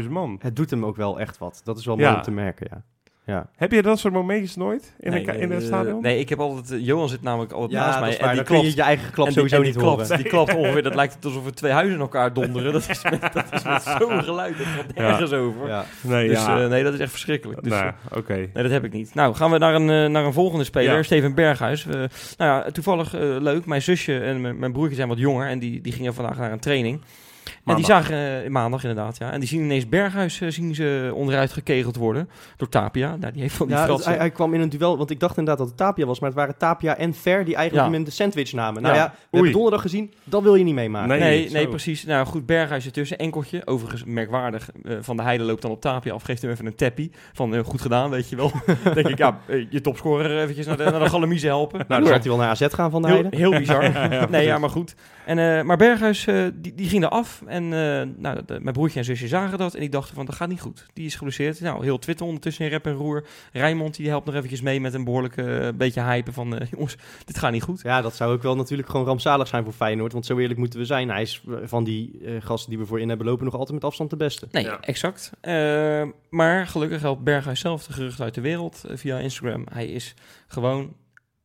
[SPEAKER 1] 40.000 man.
[SPEAKER 2] Het doet hem ook wel echt wat. Dat is wel mooi
[SPEAKER 1] Ja.
[SPEAKER 2] om te merken, ja. Ja,
[SPEAKER 1] Heb je dat soort momentjes nooit in,
[SPEAKER 3] nee,
[SPEAKER 1] een, ka- in
[SPEAKER 3] eh,
[SPEAKER 1] het stadion?
[SPEAKER 3] Nee, ik heb altijd... eh, Johan zit namelijk altijd naast mij. en
[SPEAKER 2] En
[SPEAKER 3] die
[SPEAKER 2] dan kun
[SPEAKER 3] klopt.
[SPEAKER 2] je je eigen klap
[SPEAKER 3] en die-
[SPEAKER 2] sowieso
[SPEAKER 3] en die
[SPEAKER 2] niet
[SPEAKER 3] klapt,
[SPEAKER 2] horen.
[SPEAKER 3] Die klapt ongeveer. Dat lijkt het alsof er twee huizen in elkaar donderen. Dat is met, dat is met zo'n geluid. Dat gaat nergens over.
[SPEAKER 2] Ja.
[SPEAKER 1] Nee,
[SPEAKER 3] Dus
[SPEAKER 1] ja.
[SPEAKER 3] eh, nee, dat is echt verschrikkelijk. Dus,
[SPEAKER 1] nou,
[SPEAKER 3] eh,
[SPEAKER 1] oké.
[SPEAKER 3] Nee, dat heb ik niet. Nou, gaan we naar een, eh, naar een volgende speler,
[SPEAKER 1] Ja.
[SPEAKER 3] Steven Berghuis. Eh, nou ja, toevallig eh, leuk. Mijn zusje en mijn- mijn broertje zijn wat jonger en die, die gingen vandaag naar een training. En die
[SPEAKER 1] Maandag.
[SPEAKER 3] zagen, eh, maandag inderdaad, ja. En die zien ineens Berghuis eh, zien ze onderuit gekegeld worden door Tapia. Nou, die heeft van die
[SPEAKER 2] Ja, dus
[SPEAKER 3] fratsen.
[SPEAKER 2] hij, hij kwam in een duel, want ik dacht inderdaad dat het Tapia was, maar het waren Tapia en Ver die eigenlijk
[SPEAKER 3] Ja.
[SPEAKER 2] hem in de sandwich namen. Nou
[SPEAKER 3] Ja.
[SPEAKER 2] ja, we hebben
[SPEAKER 1] Oei.
[SPEAKER 2] donderdag gezien, dat wil je niet meemaken.
[SPEAKER 1] Nee,
[SPEAKER 3] Nee,
[SPEAKER 1] zo.
[SPEAKER 3] nee, precies. Nou goed, Berghuis ertussen, enkeltje. Overigens merkwaardig, eh, Van der Heijden loopt dan op Tapia af, geeft hem even een tappie. Van eh, goed gedaan, weet je wel. denk ik, ja, eh, je topscorer eventjes naar de, naar de galamiezen helpen.
[SPEAKER 2] Nou, dan zou hij wel naar AZ gaan van de
[SPEAKER 3] Heel,
[SPEAKER 2] Heide.
[SPEAKER 3] heel bizar. nee, ja, maar goed. En, eh, maar Berghuis, eh, die, die ging eraf. af. En eh, nou, de- mijn broertje en zusje zagen dat. En die dachten van, dat gaat niet goed. Die is geblesseerd. Nou, heel Twitter ondertussen in rep en roer. Rijmond die helpt nog eventjes mee met een behoorlijke eh, beetje hypen van... eh, jongens, dit gaat niet goed.
[SPEAKER 2] Ja, dat zou ook wel natuurlijk gewoon rampzalig zijn voor Feyenoord. Want zo eerlijk moeten we zijn. Hij is eh, van die eh, gasten die we voor in hebben lopen nog altijd met afstand de beste.
[SPEAKER 3] Nee,
[SPEAKER 1] Ja.
[SPEAKER 3] exact. Eh, maar gelukkig helpt Berghuis zelf de geruchten uit de wereld eh, via Instagram. Hij is gewoon,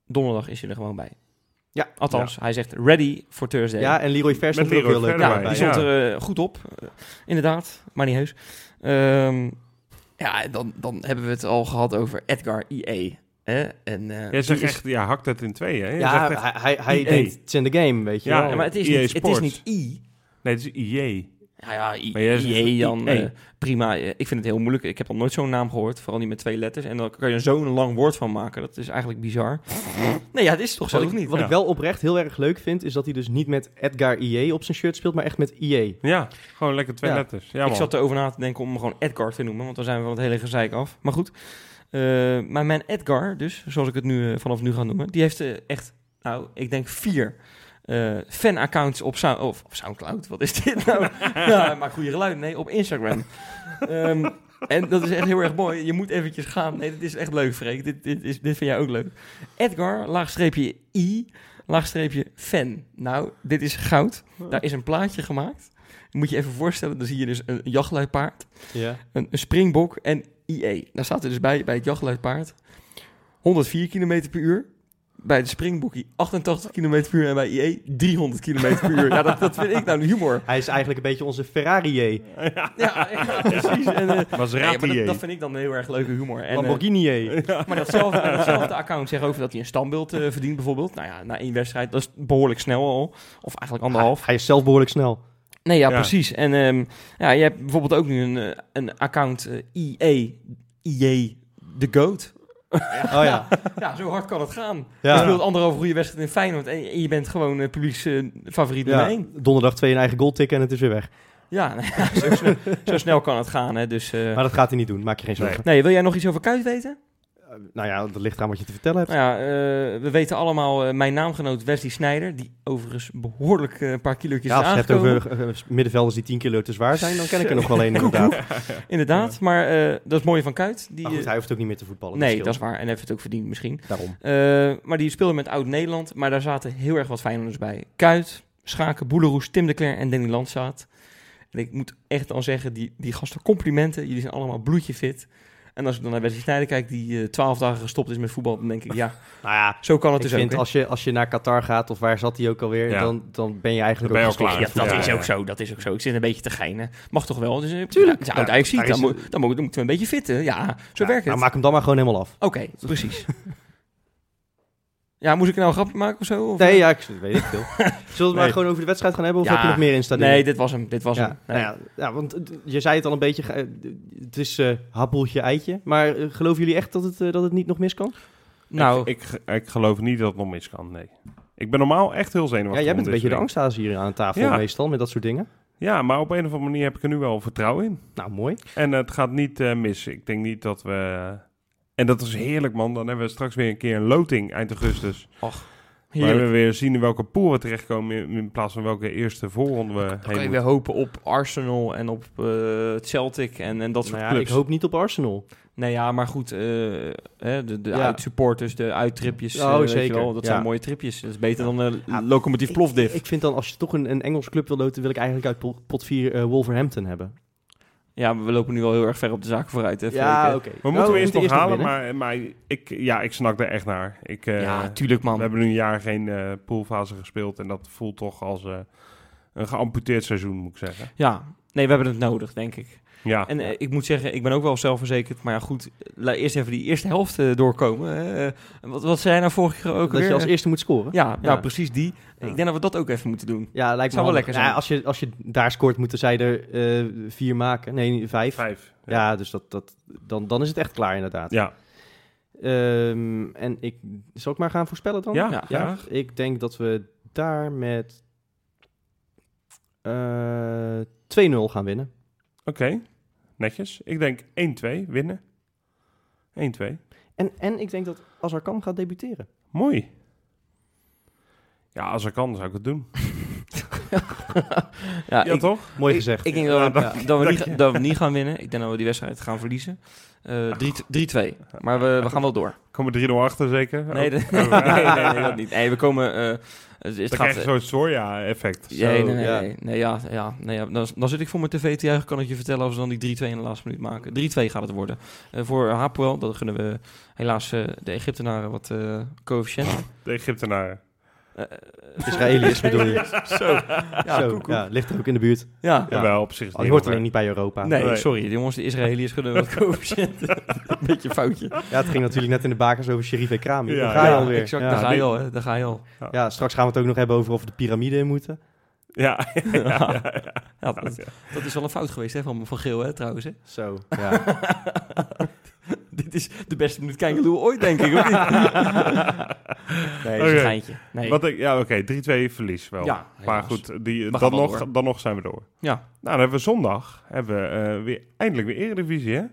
[SPEAKER 3] donderdag is hij er gewoon bij.
[SPEAKER 2] Ja.
[SPEAKER 3] Althans, hij zegt ready for Thursday.
[SPEAKER 2] Ja, en Leroy Vers
[SPEAKER 1] Met
[SPEAKER 2] stond er ook
[SPEAKER 1] Leroy
[SPEAKER 2] heel leuk
[SPEAKER 1] Fer
[SPEAKER 3] Ja,
[SPEAKER 1] erbij,
[SPEAKER 2] bij.
[SPEAKER 3] die
[SPEAKER 1] ja.
[SPEAKER 3] stond er eh, goed op. Eh, inderdaad, maar niet heus. Ehm, ja, dan, dan hebben we het al gehad over Edgar IE. Hè? En, eh,
[SPEAKER 1] Jij zegt
[SPEAKER 3] die is-
[SPEAKER 1] echt, ja, hakt het in twee, hè? Jij
[SPEAKER 2] Ja,
[SPEAKER 1] zegt echt-
[SPEAKER 2] hij, hij, hij
[SPEAKER 1] EA.
[SPEAKER 2] denkt, it's in the game, weet je
[SPEAKER 1] Ja,
[SPEAKER 2] wel.
[SPEAKER 3] ja, maar het is,
[SPEAKER 1] EA
[SPEAKER 3] niet, het
[SPEAKER 1] oh,
[SPEAKER 3] is
[SPEAKER 1] E Sports.
[SPEAKER 3] niet I.
[SPEAKER 1] Nee, het is IJ.
[SPEAKER 3] Ja, ja, I,
[SPEAKER 1] Maar jij zegt
[SPEAKER 3] IE dan
[SPEAKER 1] IE.
[SPEAKER 3] eh, prima. Eh, Ik vind het heel moeilijk. Ik heb nog nooit zo'n naam gehoord, vooral niet met twee letters. En dan kan je er zo'n lang woord van maken. Dat is eigenlijk bizar. nee, ja, het is toch zo,
[SPEAKER 2] Wat,
[SPEAKER 3] of
[SPEAKER 2] ik,
[SPEAKER 3] niet?
[SPEAKER 2] wat
[SPEAKER 1] Ja.
[SPEAKER 2] ik wel oprecht heel erg leuk vind, is dat hij dus niet met Edgar IE op zijn shirt speelt, maar echt met E. IE.
[SPEAKER 1] Ja, gewoon lekker twee
[SPEAKER 2] Ja.
[SPEAKER 1] letters. Ja, man.
[SPEAKER 3] ik zat erover na te denken om hem gewoon Edgar te noemen, want dan zijn we van het hele gezeik af. Maar goed, Eh, maar mijn Edgar, dus zoals ik het nu eh, vanaf nu ga noemen, die heeft eh, echt, nou, ik denk vier eh, fanaccounts op Sou- of op Soundcloud. Wat is dit nou? ja, maar goede geluid, nee, op Instagram. Ehm, en dat is echt heel erg mooi. Je moet eventjes gaan. Nee, dit is echt leuk, Freek. Dit, dit, is, dit vind jij ook leuk. Edgar, laagstreepje I, laagstreepje fan. Nou, dit is goud. Daar is een plaatje gemaakt. Moet je even voorstellen, dan zie je dus een jachtluipaard,
[SPEAKER 2] Ja.
[SPEAKER 3] een, een springbok en IE. Daar staat er dus bij, bij het jachtluipaard, 104 km per uur. Bij de springbokkie 88 km per uur en bij IE 300 km per uur. Ja, dat, dat vind ik nou humor.
[SPEAKER 2] Hij is eigenlijk een beetje onze Ferrari, E.
[SPEAKER 3] Ja, ja, precies. En, eh, nee,
[SPEAKER 1] Maserati
[SPEAKER 3] maar dat,
[SPEAKER 1] IJ.
[SPEAKER 3] dat vind ik dan heel erg leuke humor. En, eh,
[SPEAKER 2] Lamborghini. E.
[SPEAKER 3] Maar datzelfde, datzelfde account zegt over dat hij een standbeeld eh, verdient bijvoorbeeld. Nou ja, na één wedstrijd, dat is behoorlijk snel al. Of eigenlijk anderhalf.
[SPEAKER 2] Hij, hij is zelf behoorlijk snel.
[SPEAKER 3] Nee, ja,
[SPEAKER 1] Ja.
[SPEAKER 3] precies. En ehm, ja, je hebt bijvoorbeeld ook nu een, eh, een account eh, IE, IE The Goat.
[SPEAKER 2] Oh ja.
[SPEAKER 3] Ja, zo hard kan het gaan.
[SPEAKER 2] Ja.
[SPEAKER 3] Je speelt anderhalf goede wedstrijd in Feyenoord en je, en je bent gewoon eh publieks eh, favoriet
[SPEAKER 2] Ja,
[SPEAKER 3] nummer één.
[SPEAKER 2] donderdag twee een eigen goal tikken en het is weer weg.
[SPEAKER 3] Ja, nou ja, zo, snel, zo snel kan het gaan. Hè. Dus, eh,
[SPEAKER 2] Maar dat gaat hij niet doen, maak je geen zorgen.
[SPEAKER 3] nee, wil jij nog iets over Kuit weten?
[SPEAKER 2] Eh, Nou ja, dat ligt eraan wat je te vertellen hebt.
[SPEAKER 3] Nou ja, eh, we weten allemaal eh, mijn naamgenoot Wesley Snijder, die overigens behoorlijk eh, een paar kilootjes
[SPEAKER 2] Ja, als
[SPEAKER 3] is
[SPEAKER 2] je het
[SPEAKER 3] aangekomen.
[SPEAKER 2] hebt over eh, middenvelders die 10 kilo te zwaar zijn, dan ken ik er nog wel één inderdaad. Maar
[SPEAKER 3] Inderdaad, maar eh, dat is het mooie van Kuit. Die,
[SPEAKER 2] goed,
[SPEAKER 3] eh,
[SPEAKER 2] hij hoeft ook niet meer te voetballen.
[SPEAKER 3] nee, dat is waar. En hij heeft het ook verdiend misschien.
[SPEAKER 2] scheelt. Daarom.
[SPEAKER 3] Eh, maar die speelde met Oud-Nederland, maar daar zaten heel erg wat Feyenoorders bij. Kuit, Schaken, Boeleroes, Tim de Cler en Danny Landzaat. En ik moet echt al zeggen, die, die gasten complimenten. Jullie zijn allemaal bloedje fit. En als ik dan naar Wesley Snijder kijk, die eh, twaalf dagen gestopt is met voetbal, dan denk ik, ja,
[SPEAKER 2] Nou ja,
[SPEAKER 3] zo kan het
[SPEAKER 2] ik
[SPEAKER 3] dus
[SPEAKER 2] vind
[SPEAKER 3] ook. hè.
[SPEAKER 2] als je, als je naar Qatar gaat, of waar zat hij ook alweer,
[SPEAKER 1] Ja.
[SPEAKER 2] dan, dan ben je eigenlijk
[SPEAKER 1] Dan ben
[SPEAKER 2] ook
[SPEAKER 1] je al
[SPEAKER 2] gestopt.
[SPEAKER 1] klaar.
[SPEAKER 3] Ja, dat
[SPEAKER 1] Ja,
[SPEAKER 3] is
[SPEAKER 1] ja,
[SPEAKER 3] ook
[SPEAKER 1] ja.
[SPEAKER 3] zo. Dat is ook zo. Ik zit een beetje te geinen. Mag toch wel? Dus, eh,
[SPEAKER 2] Tuurlijk.
[SPEAKER 3] Ja, het is oud
[SPEAKER 2] Ja,
[SPEAKER 3] Ajaxiet,
[SPEAKER 2] daar is
[SPEAKER 3] dan,
[SPEAKER 2] het.
[SPEAKER 3] moet- dan moet, dan moeten we een beetje fitten. Ja, zo
[SPEAKER 2] Ja,
[SPEAKER 3] werkt het.
[SPEAKER 2] Nou, maak hem dan maar gewoon helemaal af.
[SPEAKER 3] Oké, precies. ja, moest ik nou een grapje maken of zo? Of? eh?
[SPEAKER 2] Nee, ja, ik weet het veel. Zullen we het maar
[SPEAKER 1] Nee.
[SPEAKER 2] gewoon over de wedstrijd gaan hebben, of
[SPEAKER 3] Ja.
[SPEAKER 2] heb je nog meer installeren?
[SPEAKER 3] Nee, dit was hem. Dit was
[SPEAKER 2] ja,
[SPEAKER 3] hem. Nee.
[SPEAKER 2] nou ja, ja, want eh, je zei het al een beetje, ge- eh, het is eh happeltje, eitje. Maar eh, geloven jullie echt dat het, eh, dat het niet nog mis kan?
[SPEAKER 3] Nou,
[SPEAKER 1] Ik, ik, ik geloof niet dat het nog mis kan, nee. Ik ben normaal echt heel
[SPEAKER 2] Ja,
[SPEAKER 1] zenuwachtig.
[SPEAKER 2] jij bent
[SPEAKER 1] om
[SPEAKER 2] een
[SPEAKER 1] dit
[SPEAKER 2] beetje de
[SPEAKER 1] soort
[SPEAKER 2] angsthaas hier aan tafel
[SPEAKER 1] Ja.
[SPEAKER 2] meestal, met dat soort dingen.
[SPEAKER 1] dingen. Ja, maar op een of andere manier heb ik er nu wel vertrouwen in.
[SPEAKER 2] Nou, mooi.
[SPEAKER 1] En het gaat niet eh, mis. Ik denk niet dat we... En dat is heerlijk, man. Dan hebben we straks weer een keer een loting eind augustus. Waar
[SPEAKER 3] heerlijk.
[SPEAKER 1] we weer zien in welke pool we terechtkomen in, in plaats van welke eerste voorronde we
[SPEAKER 3] Dan kan je
[SPEAKER 1] heen
[SPEAKER 3] weer
[SPEAKER 1] moeten.
[SPEAKER 3] hopen op Arsenal en op eh, Celtic en, en dat soort
[SPEAKER 2] Nou ja, ik
[SPEAKER 3] clubs.
[SPEAKER 2] hoop niet op Arsenal.
[SPEAKER 3] Nee, ja, maar goed. eh, hè, de de
[SPEAKER 2] Ja.
[SPEAKER 3] uitsupporters, de uittripjes.
[SPEAKER 2] Oh,
[SPEAKER 3] eh, weet je
[SPEAKER 2] zeker.
[SPEAKER 3] wel, dat
[SPEAKER 2] Ja.
[SPEAKER 3] zijn mooie tripjes. Dat is beter dan eh
[SPEAKER 2] Ja,
[SPEAKER 3] locomotief Plovdiv.
[SPEAKER 2] Ik, ik vind dan, als je toch een, een Engels club wil loten, wil ik eigenlijk uit po- pot 4 eh, Wolverhampton hebben.
[SPEAKER 3] Ja, maar we lopen nu wel heel erg ver op de zaken vooruit. Hè, Freek, hè?
[SPEAKER 2] Ja, oké.
[SPEAKER 1] We
[SPEAKER 2] Nou,
[SPEAKER 3] Oh,
[SPEAKER 1] moeten hem eerst
[SPEAKER 2] moeten
[SPEAKER 1] nog halen,
[SPEAKER 2] winnen.
[SPEAKER 1] maar, maar ik, ja, ik snak er echt naar. Ik, eh,
[SPEAKER 3] ja, tuurlijk man.
[SPEAKER 1] We hebben nu een jaar geen eh, poolfase gespeeld en dat voelt toch als eh, een geamputeerd seizoen, moet ik zeggen.
[SPEAKER 3] Ja, nee, we hebben het nodig, denk ik.
[SPEAKER 1] Ja,
[SPEAKER 3] En eh, ik moet zeggen, ik ben ook wel zelfverzekerd. Maar ja, goed, laat eerst even die eerste helft eh, doorkomen. hè. Eh, wat, wat zei jij nou vorige keer ook
[SPEAKER 2] Dat je
[SPEAKER 3] weer?
[SPEAKER 2] als eerste moet scoren.
[SPEAKER 3] ja, nou,
[SPEAKER 1] Ja.
[SPEAKER 3] precies die.
[SPEAKER 2] Ja.
[SPEAKER 3] Ik denk dat we dat ook even moeten doen.
[SPEAKER 2] Ja, lijkt me
[SPEAKER 3] Zou
[SPEAKER 2] handig. Nou
[SPEAKER 3] wel lekker zijn.
[SPEAKER 2] Ja, als, je, als je daar scoort, moeten zij er eh, vier maken. Nee, vijf.
[SPEAKER 1] vijf.
[SPEAKER 2] Ja, dus dat, dat, dan, dan is het echt klaar inderdaad.
[SPEAKER 1] Ja,
[SPEAKER 2] Ehm, en ik... Zal ik maar gaan voorspellen dan?
[SPEAKER 1] ja,
[SPEAKER 3] Oh, Ja.
[SPEAKER 1] ja.
[SPEAKER 2] Ik denk dat we daar met eh 2-0 gaan winnen.
[SPEAKER 1] Oké, netjes. Ik denk 1-2 winnen. 1-2.
[SPEAKER 2] En, en ik denk dat Azarkan gaat debuteren.
[SPEAKER 1] Mooi. Ja, als ik kan, zou ik het doen.
[SPEAKER 3] ja,
[SPEAKER 1] Ja,
[SPEAKER 3] ik,
[SPEAKER 1] toch?
[SPEAKER 2] Mooi
[SPEAKER 3] ik-
[SPEAKER 2] gezegd.
[SPEAKER 3] Ik denk dat, we-
[SPEAKER 1] Ja,
[SPEAKER 3] ja, dat, we, niet, dat we niet gaan winnen. Ik denk dat we die wedstrijd gaan verliezen. Eh, drie- 3-2. maar we, we gaan wel door.
[SPEAKER 1] Komen we 3-0 achter zeker?
[SPEAKER 3] Nee,
[SPEAKER 1] Oh.
[SPEAKER 3] de- nee, nee, nee, dat niet. Nee, we komen... eh, het, het
[SPEAKER 1] Dan
[SPEAKER 3] gaat, eh,
[SPEAKER 1] krijg je zo'n Soja-effect.
[SPEAKER 3] Ja, nee,
[SPEAKER 2] Zo,
[SPEAKER 3] nee, nee,
[SPEAKER 2] ja.
[SPEAKER 3] nee, nee, ja, ja, nee, ja. Dan, dan zit ik voor mijn tv te juichen, kan ik je vertellen of ze dan die 3-2 in de laatste minuut maken. 3-2 gaat het worden. Eh, voor Hapoel, dat gunnen we helaas eh, de Egyptenaren wat eh coëfficiënt. Eh,
[SPEAKER 1] De Egyptenaren.
[SPEAKER 2] Israëliërs bedoel je.
[SPEAKER 3] Zo, ja,
[SPEAKER 2] Zo,
[SPEAKER 3] koekoek. Oh,
[SPEAKER 2] ja, ligt er ook in de buurt.
[SPEAKER 3] Ja.
[SPEAKER 1] Ja. Wel, op zich
[SPEAKER 3] Oh,
[SPEAKER 1] is het
[SPEAKER 2] Al die
[SPEAKER 1] niet
[SPEAKER 2] hoort alleen
[SPEAKER 1] heel
[SPEAKER 2] niet bij Europa.
[SPEAKER 3] Nee,
[SPEAKER 1] Nee.
[SPEAKER 3] sorry, de jongens, de Israëliërs gunnen wat coëfficiënt. Beetje een foutje.
[SPEAKER 2] Ja, het ging natuurlijk net in de bakers over Sherif Ekrami.
[SPEAKER 1] Ja,
[SPEAKER 2] Daar ga je
[SPEAKER 1] ja,
[SPEAKER 2] alweer.
[SPEAKER 3] Exact, daar
[SPEAKER 2] ja.
[SPEAKER 3] ga je al, hè, daar ga je al.
[SPEAKER 2] Ja, straks gaan we het ook nog hebben over of we de piramide in moeten.
[SPEAKER 1] Ja, ja, ja, ja.
[SPEAKER 3] Ja, dat, dat is wel een fout geweest hè, van, van Geel, hè, trouwens. Hè.
[SPEAKER 2] Zo, ja.
[SPEAKER 3] Dit is de beste minuut kijken hoe ooit, denk ik. Of niet? nee, dat is
[SPEAKER 1] Oké.
[SPEAKER 3] een geintje. Nee.
[SPEAKER 1] Wat ik, ja oké, 3-2 verlies wel.
[SPEAKER 3] Ja,
[SPEAKER 1] maar
[SPEAKER 3] helaas.
[SPEAKER 1] goed, die,
[SPEAKER 3] We gaan
[SPEAKER 1] dan,
[SPEAKER 3] wel
[SPEAKER 1] nog,
[SPEAKER 3] door.
[SPEAKER 1] dan nog zijn we door.
[SPEAKER 3] Ja.
[SPEAKER 1] Nou, dan hebben we zondag hebben we, eh, weer, eindelijk weer Eredivisie, hè?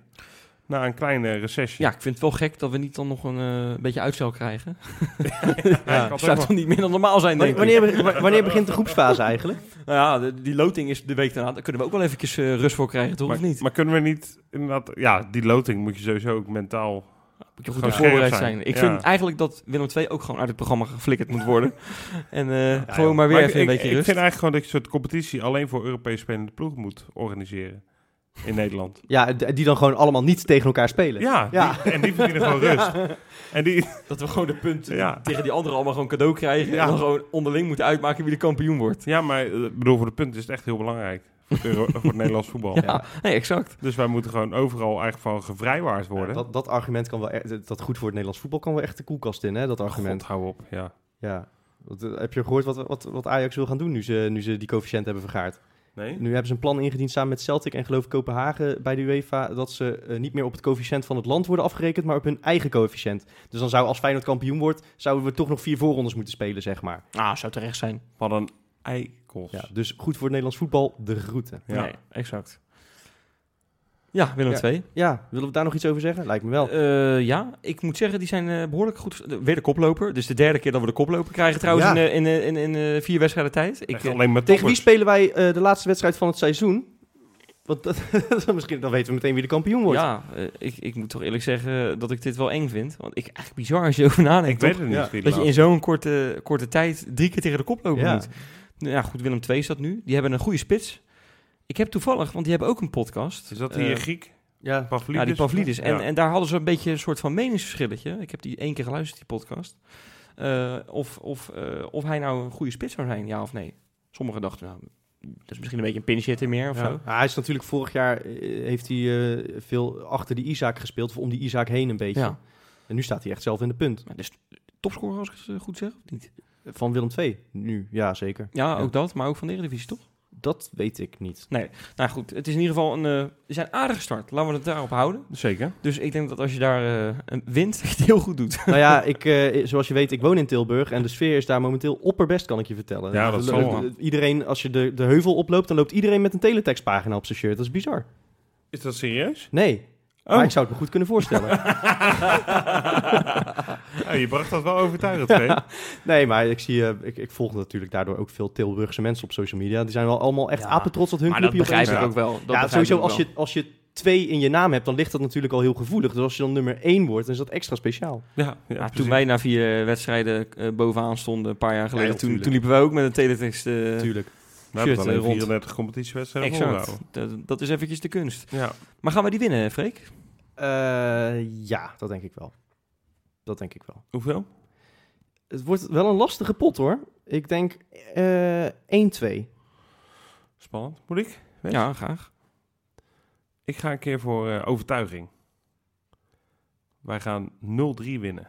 [SPEAKER 1] Na een kleine recessie.
[SPEAKER 3] Ja, ik vind het wel gek dat we niet dan nog een eh, beetje uitstel krijgen.
[SPEAKER 1] Ja, ik
[SPEAKER 3] Het
[SPEAKER 1] had
[SPEAKER 3] zou
[SPEAKER 1] ook
[SPEAKER 3] toch niet meer dan normaal zijn, denk ik.
[SPEAKER 2] wanneer, be- wa- wanneer begint de groepsfase eigenlijk?
[SPEAKER 3] Nou ja, de- die loting is de week daarna. Daar kunnen we ook wel eventjes eh, rust voor krijgen, toch?
[SPEAKER 1] maar,
[SPEAKER 3] of niet?
[SPEAKER 1] maar kunnen we niet inderdaad... Ja, die loting moet je sowieso ook mentaal...
[SPEAKER 3] Moet je goed
[SPEAKER 1] gewoon
[SPEAKER 3] op voorbereid
[SPEAKER 1] scherp
[SPEAKER 3] zijn.
[SPEAKER 1] zijn. Ja.
[SPEAKER 3] Ik vind eigenlijk dat Willem II ook gewoon uit het programma geflikkerd moet worden. en eh,
[SPEAKER 1] joh.
[SPEAKER 3] gewoon maar weer
[SPEAKER 1] Maar ik-
[SPEAKER 3] even een
[SPEAKER 1] ik-
[SPEAKER 3] beetje
[SPEAKER 1] Ik
[SPEAKER 3] rust.
[SPEAKER 1] vind eigenlijk gewoon dat je een soort competitie alleen voor Europees spelende ploeg moet organiseren. In Nederland.
[SPEAKER 2] Ja, d- die dan gewoon allemaal niet tegen elkaar spelen.
[SPEAKER 1] Ja,
[SPEAKER 2] Ja.
[SPEAKER 1] die- en die verdienen gewoon rust. En die,
[SPEAKER 3] Dat we gewoon de punten
[SPEAKER 1] Ja.
[SPEAKER 3] tegen die anderen allemaal gewoon cadeau krijgen.
[SPEAKER 1] Ja.
[SPEAKER 3] En dan gewoon onderling moeten uitmaken wie de kampioen wordt.
[SPEAKER 1] ja, maar eh, ik bedoel, voor de punten is het echt heel belangrijk. Voor het, Euro- voor het Nederlands voetbal.
[SPEAKER 3] Ja, nee, exact.
[SPEAKER 1] Dus wij moeten gewoon overal eigenlijk van gevrijwaard worden.
[SPEAKER 2] Dat, dat argument kan wel echt, dat goed voor het Nederlands voetbal kan wel echt de koelkast in, hè, dat argument.
[SPEAKER 1] God, hou op, ja.
[SPEAKER 2] Ja. Wat, eh, heb je gehoord wat, wat, wat Ajax wil gaan doen nu ze, nu ze die coëfficiënt hebben vergaard?
[SPEAKER 1] Nee?
[SPEAKER 2] Nu hebben ze een plan ingediend samen met Celtic en geloof ik Kopenhagen bij de UEFA... dat ze eh, niet meer op het coëfficiënt van het land worden afgerekend, maar op hun eigen coëfficiënt. Dus dan zou als Feyenoord kampioen wordt, zouden we toch nog vier voorrondes moeten spelen, zeg maar.
[SPEAKER 3] Ah, zou terecht zijn.
[SPEAKER 1] Wat een eikels.
[SPEAKER 2] Ja, dus goed voor het Nederlands voetbal, de groeten.
[SPEAKER 1] Ja.
[SPEAKER 3] Nee, exact. Ja, Willem
[SPEAKER 2] Ja.
[SPEAKER 3] II.
[SPEAKER 2] Ja, willen we daar nog iets over zeggen? Lijkt me wel.
[SPEAKER 3] Eh, ja, ik moet zeggen, die zijn eh, behoorlijk goed. de- Weer de koploper. Dus de derde keer dat we de koploper krijgen trouwens
[SPEAKER 2] Ja.
[SPEAKER 3] in, eh, in, eh, in, in, eh, vier wedstrijden tijd. Ik,
[SPEAKER 1] Echt
[SPEAKER 3] eh,
[SPEAKER 1] alleen maar
[SPEAKER 2] Tegen wie
[SPEAKER 1] toppers.
[SPEAKER 2] spelen wij eh, de laatste wedstrijd van het seizoen? Want dat, misschien dan weten we meteen wie de kampioen wordt.
[SPEAKER 3] ja, eh, ik, ik moet toch eerlijk zeggen dat ik dit wel eng vind. Want ik eigenlijk bizar als je over
[SPEAKER 1] Ik
[SPEAKER 3] nadenkt.
[SPEAKER 1] weet
[SPEAKER 3] toch?
[SPEAKER 1] het niet.
[SPEAKER 2] Ja.
[SPEAKER 1] die
[SPEAKER 3] dat je in
[SPEAKER 1] laatste.
[SPEAKER 3] zo'n korte, korte tijd drie keer tegen de koploper
[SPEAKER 2] Ja.
[SPEAKER 3] moet. Nou ja, goed, Willem II is dat nu. Die hebben een goede spits. Ik heb toevallig, want die hebben ook een podcast.
[SPEAKER 1] Is dat die
[SPEAKER 3] Eh,
[SPEAKER 1] eh, Griek?
[SPEAKER 2] ja.
[SPEAKER 1] Pavlidis?
[SPEAKER 3] Ja, die Pavlidis. En,
[SPEAKER 1] Ja.
[SPEAKER 3] en daar hadden ze een beetje een soort van meningsverschilletje. Ik heb die één keer geluisterd, die podcast. Eh, of, of, eh, of hij nou een goede spits zou zijn, ja of nee. Sommigen dachten, nou, dat is misschien een beetje een pinch hitter meer of
[SPEAKER 1] Ja.
[SPEAKER 3] zo.
[SPEAKER 2] Nou, hij is natuurlijk vorig jaar eh, heeft hij eh, veel achter die Isaac gespeeld, of om die Isaac heen een beetje.
[SPEAKER 3] Ja.
[SPEAKER 2] En nu staat hij echt zelf in de punt
[SPEAKER 3] Maar dus topscorer, als ik het eh, goed zeg, of niet?
[SPEAKER 2] van Willem II. Nu, ja zeker.
[SPEAKER 3] Ja,
[SPEAKER 2] Ja.
[SPEAKER 3] ook dat, maar ook van de Eredivisie, toch?
[SPEAKER 2] Dat weet ik niet.
[SPEAKER 3] Nou goed, het is in ieder geval een, eh, we zijn aardig start. Laten we het daarop houden.
[SPEAKER 1] Zeker.
[SPEAKER 3] Dus ik denk dat als je daar eh, een wint, dat je het heel goed doet.
[SPEAKER 2] nou ja, ik, eh, zoals je weet, ik woon in Tilburg en de sfeer is daar momenteel opperbest, kan ik je vertellen.
[SPEAKER 1] Ja, dat
[SPEAKER 2] De-
[SPEAKER 1] zal
[SPEAKER 2] de-
[SPEAKER 1] wel.
[SPEAKER 2] Iedereen, als je de, de heuvel oploopt, dan loopt iedereen met een teletextpagina op zijn shirt. Dat is bizar.
[SPEAKER 1] Is dat serieus?
[SPEAKER 2] Nee,
[SPEAKER 3] Oh.
[SPEAKER 1] Oh.
[SPEAKER 2] maar ik zou het me goed kunnen voorstellen.
[SPEAKER 1] Ja, je bracht dat wel overtuigend, Vee.
[SPEAKER 2] Nee, maar ik, zie, eh, ik, ik volg natuurlijk daardoor ook veel Tilburgse mensen op social media. Die zijn wel allemaal echt
[SPEAKER 3] Ja,
[SPEAKER 2] apetrots dat hun
[SPEAKER 3] maar dat
[SPEAKER 2] clubje
[SPEAKER 3] begrijp
[SPEAKER 2] opeens...
[SPEAKER 3] ik
[SPEAKER 1] Ja.
[SPEAKER 3] ook wel. Dat
[SPEAKER 2] ja,
[SPEAKER 3] begrijp
[SPEAKER 2] sowieso
[SPEAKER 3] ik ook
[SPEAKER 2] als je, als je twee in je naam hebt, dan ligt dat natuurlijk al heel gevoelig. Dus als je dan nummer één wordt, dan is dat extra speciaal.
[SPEAKER 1] Ja, ja,
[SPEAKER 3] Ja,
[SPEAKER 1] precies.
[SPEAKER 3] toen wij na vier wedstrijden eh, bovenaan stonden, een paar jaar geleden,
[SPEAKER 2] Ja,
[SPEAKER 3] toen,
[SPEAKER 2] tuurlijk.
[SPEAKER 3] toen liepen wij ook met een teletext. eh,
[SPEAKER 2] Natuurlijk.
[SPEAKER 1] We hebben
[SPEAKER 3] Shit,
[SPEAKER 1] alleen
[SPEAKER 3] eh, rond.
[SPEAKER 1] 34 competitiewedstrijden
[SPEAKER 3] exact.
[SPEAKER 1] volgehouden.
[SPEAKER 3] Dat, dat is eventjes de kunst.
[SPEAKER 1] Ja.
[SPEAKER 3] Maar gaan we die winnen, Freek?
[SPEAKER 2] Eh, ja, dat denk ik wel. Dat denk ik wel.
[SPEAKER 1] Hoeveel?
[SPEAKER 2] Het wordt wel een lastige pot, hoor. Ik denk eh 1-2.
[SPEAKER 1] Spannend. Moet ik? Weet
[SPEAKER 3] Ja, graag.
[SPEAKER 1] Ik ga een keer voor eh, overtuiging. Wij gaan 0-3 winnen.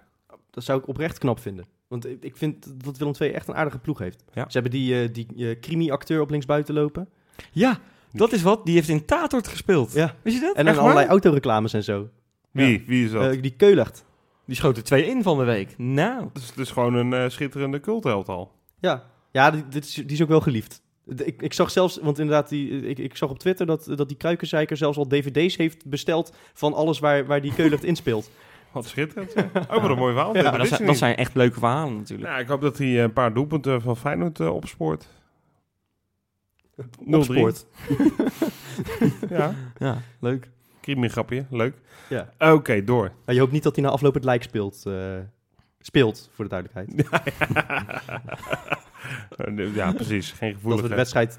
[SPEAKER 2] Dat zou ik oprecht knap vinden. Want ik ik vind dat Willem II echt een aardige ploeg heeft.
[SPEAKER 1] Ja.
[SPEAKER 2] Ze hebben die, eh, die eh, crimi-acteur op linksbuiten lopen.
[SPEAKER 3] Ja, dat is wat. Die heeft in Tatort gespeeld.
[SPEAKER 2] Ja.
[SPEAKER 3] Weet je dat?
[SPEAKER 2] En
[SPEAKER 3] Echt
[SPEAKER 2] dan
[SPEAKER 3] waar?
[SPEAKER 2] allerlei autoreclames en zo.
[SPEAKER 1] Wie? Wie is dat?
[SPEAKER 2] Eh, die Keulacht.
[SPEAKER 3] Die schoten twee in van de week. Nou,
[SPEAKER 1] het, is, het is gewoon een eh, schitterende cultheld al.
[SPEAKER 2] Ja, ja die, dit is, die is ook wel geliefd. De- Ik, ik zag zelfs, want inderdaad, die, ik, ik zag op Twitter dat, dat die Kruikenzeiker zelfs al dvd's heeft besteld van alles waar, waar die Keulacht in speelt.
[SPEAKER 1] Wat schitterend. zeg. Oh, wat een mooi verhaal.
[SPEAKER 3] maar dat,
[SPEAKER 1] wist
[SPEAKER 3] zijn,
[SPEAKER 1] ik
[SPEAKER 3] dat
[SPEAKER 1] niet.
[SPEAKER 3] zijn echt leuke verhalen natuurlijk.
[SPEAKER 1] Nou, ik hoop dat hij een paar doelpunten van Feyenoord eh, opspoort.
[SPEAKER 2] Opspoort.
[SPEAKER 1] Ja,
[SPEAKER 3] Ja, leuk.
[SPEAKER 1] een grapje. Leuk.
[SPEAKER 2] Ja.
[SPEAKER 1] Oké, door.
[SPEAKER 2] Nou, je hoopt niet dat hij na afloop het lijk speelt. eh, speelt, voor de duidelijkheid.
[SPEAKER 1] ja, precies. Geen
[SPEAKER 2] dat we de
[SPEAKER 1] gevoeligheid.
[SPEAKER 2] wedstrijd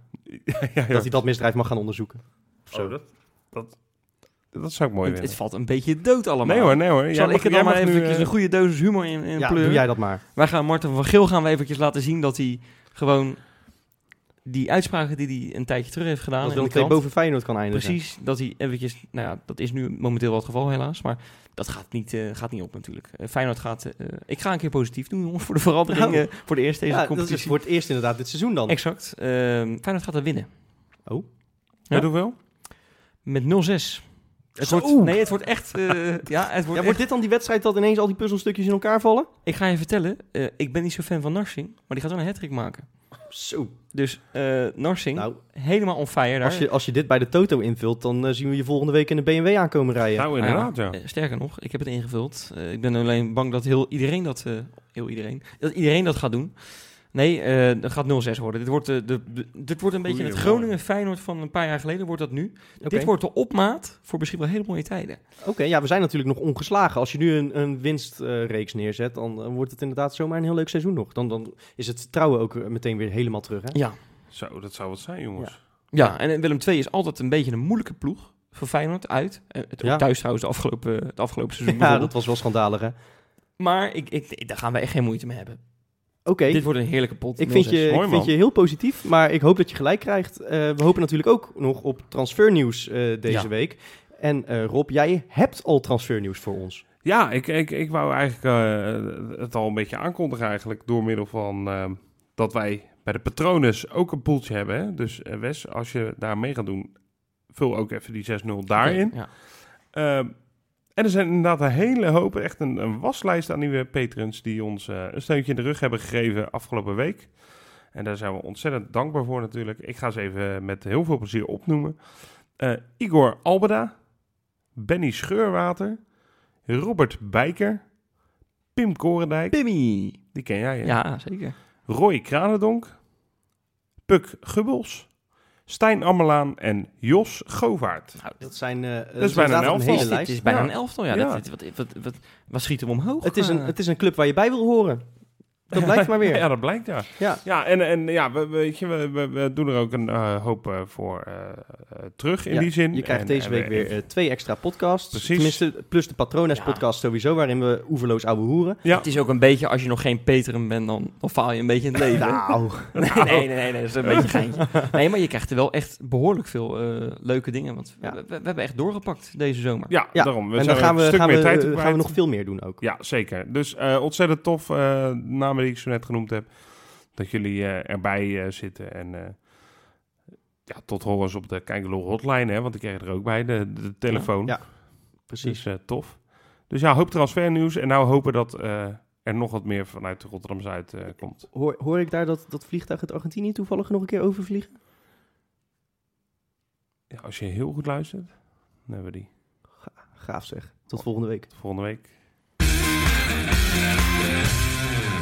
[SPEAKER 1] ja, ja.
[SPEAKER 2] Dat hij dat misdrijf mag gaan onderzoeken. Of zo.
[SPEAKER 1] Oh, dat, dat, dat zou ik mooi
[SPEAKER 3] Het, het
[SPEAKER 1] willen.
[SPEAKER 3] valt een beetje dood allemaal.
[SPEAKER 1] Nee hoor, nee hoor.
[SPEAKER 3] Zal ik er dan maar
[SPEAKER 1] even
[SPEAKER 3] eventjes een goede dosis humor in, in
[SPEAKER 2] ja,
[SPEAKER 3] pleuren?
[SPEAKER 2] doe jij dat maar.
[SPEAKER 3] Wij gaan Marten van Geel gaan we eventjes laten zien dat hij gewoon die uitspraken die hij een tijdje terug heeft
[SPEAKER 2] dat
[SPEAKER 3] gedaan in de
[SPEAKER 2] Willem II
[SPEAKER 3] krant,
[SPEAKER 2] boven Feyenoord kan eindigen.
[SPEAKER 3] precies dat hij eventjes, nou ja, dat is nu momenteel wel het geval helaas, maar dat gaat niet, eh, gaat niet op natuurlijk. Eh, Feyenoord gaat, eh, ik ga een keer positief doen jongens, voor de verandering,
[SPEAKER 2] Nou.
[SPEAKER 3] eh, voor de eerst deze
[SPEAKER 2] Ja, dat
[SPEAKER 3] competitie.
[SPEAKER 2] is voor het eerst inderdaad dit seizoen dan.
[SPEAKER 3] Exact. Ehm, Feyenoord gaat er winnen Ja.
[SPEAKER 1] Met hoeveel?
[SPEAKER 3] met 0-6. Het
[SPEAKER 2] Zo.
[SPEAKER 3] wordt, nee, het wordt echt, eh, ja, het wordt
[SPEAKER 2] Ja,
[SPEAKER 3] echt-
[SPEAKER 2] wordt dit dan die wedstrijd dat ineens al die puzzelstukjes in elkaar vallen?
[SPEAKER 3] Ik ga je vertellen, eh, ik ben niet zo fan van Narsing, maar die gaat wel een hat maken.
[SPEAKER 2] Zo.
[SPEAKER 3] Dus eh, Narsing,
[SPEAKER 2] Nou,
[SPEAKER 3] helemaal on fire daar.
[SPEAKER 2] als je, als je dit bij de Toto invult, dan eh, zien we je volgende week in de BMW aankomen rijden.
[SPEAKER 1] Nou,
[SPEAKER 3] Ah,
[SPEAKER 1] inderdaad, ja.
[SPEAKER 3] Eh, sterker nog, ik heb het ingevuld. Eh, ik ben alleen bang dat heel iedereen dat, eh, heel iedereen, dat iedereen dat gaat doen. Nee, eh, dat gaat 0-6 worden. Dit wordt, eh, de, de- dit wordt een beetje het
[SPEAKER 1] Goeie man.
[SPEAKER 3] Groningen-Feyenoord van een paar jaar geleden, wordt dat nu.
[SPEAKER 2] Oké.
[SPEAKER 3] Dit wordt de opmaat voor misschien wel hele mooie tijden.
[SPEAKER 2] Oké, ja, we zijn natuurlijk nog ongeslagen. Als je nu een, een winstreeks neerzet, dan eh, wordt het inderdaad zomaar een heel leuk seizoen nog. Dan, dan is het trouwen ook eh, meteen weer helemaal terug, hè?
[SPEAKER 3] Ja,
[SPEAKER 1] Zo, dat zou wat zijn, jongens.
[SPEAKER 3] ja en eh, Willem II is altijd een beetje een moeilijke ploeg voor Feyenoord uit. Eh, het, ook
[SPEAKER 2] Ja.
[SPEAKER 3] Thuis trouwens, de afgelopen, het afgelopen seizoen
[SPEAKER 2] Ja, dat
[SPEAKER 3] bijvoorbeeld.
[SPEAKER 2] was wel schandalig, hè?
[SPEAKER 3] Maar ik, ik, daar gaan we echt geen moeite mee hebben.
[SPEAKER 2] Oké,
[SPEAKER 3] Dit wordt een heerlijke pot.
[SPEAKER 2] ik vind,
[SPEAKER 3] 0-6.
[SPEAKER 2] je,
[SPEAKER 1] Mooi,
[SPEAKER 2] ik vind
[SPEAKER 1] man.
[SPEAKER 2] je heel positief, maar ik hoop dat je gelijk krijgt. Eh, we hopen natuurlijk ook nog op transfernieuws eh, deze
[SPEAKER 3] Ja.
[SPEAKER 2] week. En eh, Rob, jij hebt al transfernieuws voor ons.
[SPEAKER 1] Ja, ik, ik, ik wou eigenlijk eh, het al een beetje aankondigen eigenlijk door middel van eh, dat wij bij de Patronus ook een poeltje hebben. Hè? Dus eh, Wes, als je daar mee gaat doen, vul ook even die 6-0 daarin.
[SPEAKER 3] Ja.
[SPEAKER 1] Ehm, en er zijn inderdaad een hele hoop, echt een, een waslijst aan nieuwe patrons die ons eh, een steuntje in de rug hebben gegeven afgelopen week. En daar zijn we ontzettend dankbaar voor natuurlijk. Ik ga ze even met heel veel plezier opnoemen. Eh, Igor Albeda, Benny Scheurwater, Robert Bijker, Pim Korendijk,
[SPEAKER 3] Pimmy.
[SPEAKER 1] die ken jij hè?
[SPEAKER 3] Ja, zeker.
[SPEAKER 1] Roy Kranendonk, Puk Gubbels, Stijn Ammerlaan en Jos Govaert.
[SPEAKER 3] Nou,
[SPEAKER 2] Dat zijn eh,
[SPEAKER 1] is
[SPEAKER 2] eh,
[SPEAKER 1] bijna
[SPEAKER 2] inderdaad
[SPEAKER 1] een
[SPEAKER 2] een
[SPEAKER 1] elftal.
[SPEAKER 2] hele
[SPEAKER 3] Het
[SPEAKER 2] lijst.
[SPEAKER 3] is bijna
[SPEAKER 1] Ja.
[SPEAKER 3] een elftal, ja.
[SPEAKER 1] Ja.
[SPEAKER 3] Dat, dit- wat, wat, wat, wat schiet hem omhoog?
[SPEAKER 2] Het is, een,
[SPEAKER 3] Eh,
[SPEAKER 2] het is een club waar je bij wil horen. Dat blijkt maar weer.
[SPEAKER 1] Ja, dat blijkt ja.
[SPEAKER 2] Ja.
[SPEAKER 1] Ja, en, en ja, we, we- weet je, we, we, we doen er ook een eh, hoop eh, voor eh, eh, terug in
[SPEAKER 2] Ja,
[SPEAKER 1] die zin.
[SPEAKER 2] Je krijgt
[SPEAKER 1] En-
[SPEAKER 2] deze
[SPEAKER 1] en
[SPEAKER 2] week
[SPEAKER 1] we-
[SPEAKER 2] weer eh, twee extra podcasts.
[SPEAKER 1] Precies.
[SPEAKER 2] Tenminste, plus de
[SPEAKER 3] Ja.
[SPEAKER 2] Patronas-podcast sowieso, waarin we oeverloos ouwe hoeren.
[SPEAKER 1] ja.
[SPEAKER 3] het is ook een beetje, als je nog geen Peterum bent, dan, dan faal je een beetje in het leven.
[SPEAKER 2] Nou,
[SPEAKER 3] Nee, nee, nee, nee, dat is een beetje geintje. Nee, maar je krijgt er wel echt behoorlijk veel eh, leuke dingen. Want we,
[SPEAKER 2] Ja.
[SPEAKER 3] we- we hebben echt doorgepakt deze zomer.
[SPEAKER 1] ja,
[SPEAKER 2] Ja,
[SPEAKER 1] daarom. We
[SPEAKER 2] en dan
[SPEAKER 1] zijn
[SPEAKER 2] gaan
[SPEAKER 1] een
[SPEAKER 2] we,
[SPEAKER 1] stuk
[SPEAKER 2] gaan,
[SPEAKER 1] meer
[SPEAKER 2] we,
[SPEAKER 1] tijd
[SPEAKER 2] eh,
[SPEAKER 1] op
[SPEAKER 2] gaan we
[SPEAKER 1] kwijt.
[SPEAKER 2] nog veel meer doen ook.
[SPEAKER 1] Ja, zeker. Dus eh, ontzettend tof, eh, de namen die ik zo net genoemd heb, dat jullie eh, erbij eh, zitten. En eh, ja, tot horens op de Kijkeloor hotline, hè, want ik kreeg er ook bij, de, de telefoon.
[SPEAKER 2] Ja, Precies.
[SPEAKER 1] Dus eh, tof. Dus ja, hoop transfernieuws. En nou hopen dat eh, er nog wat meer vanuit Rotterdam-Zuid eh, komt.
[SPEAKER 2] Hoor, hoor ik daar dat, dat vliegtuig uit Argentinië toevallig nog een keer overvliegen?
[SPEAKER 1] Ja, als je heel goed luistert, dan hebben we die.
[SPEAKER 2] Gaaf zeg. Tot volgende week.
[SPEAKER 1] Tot volgende week.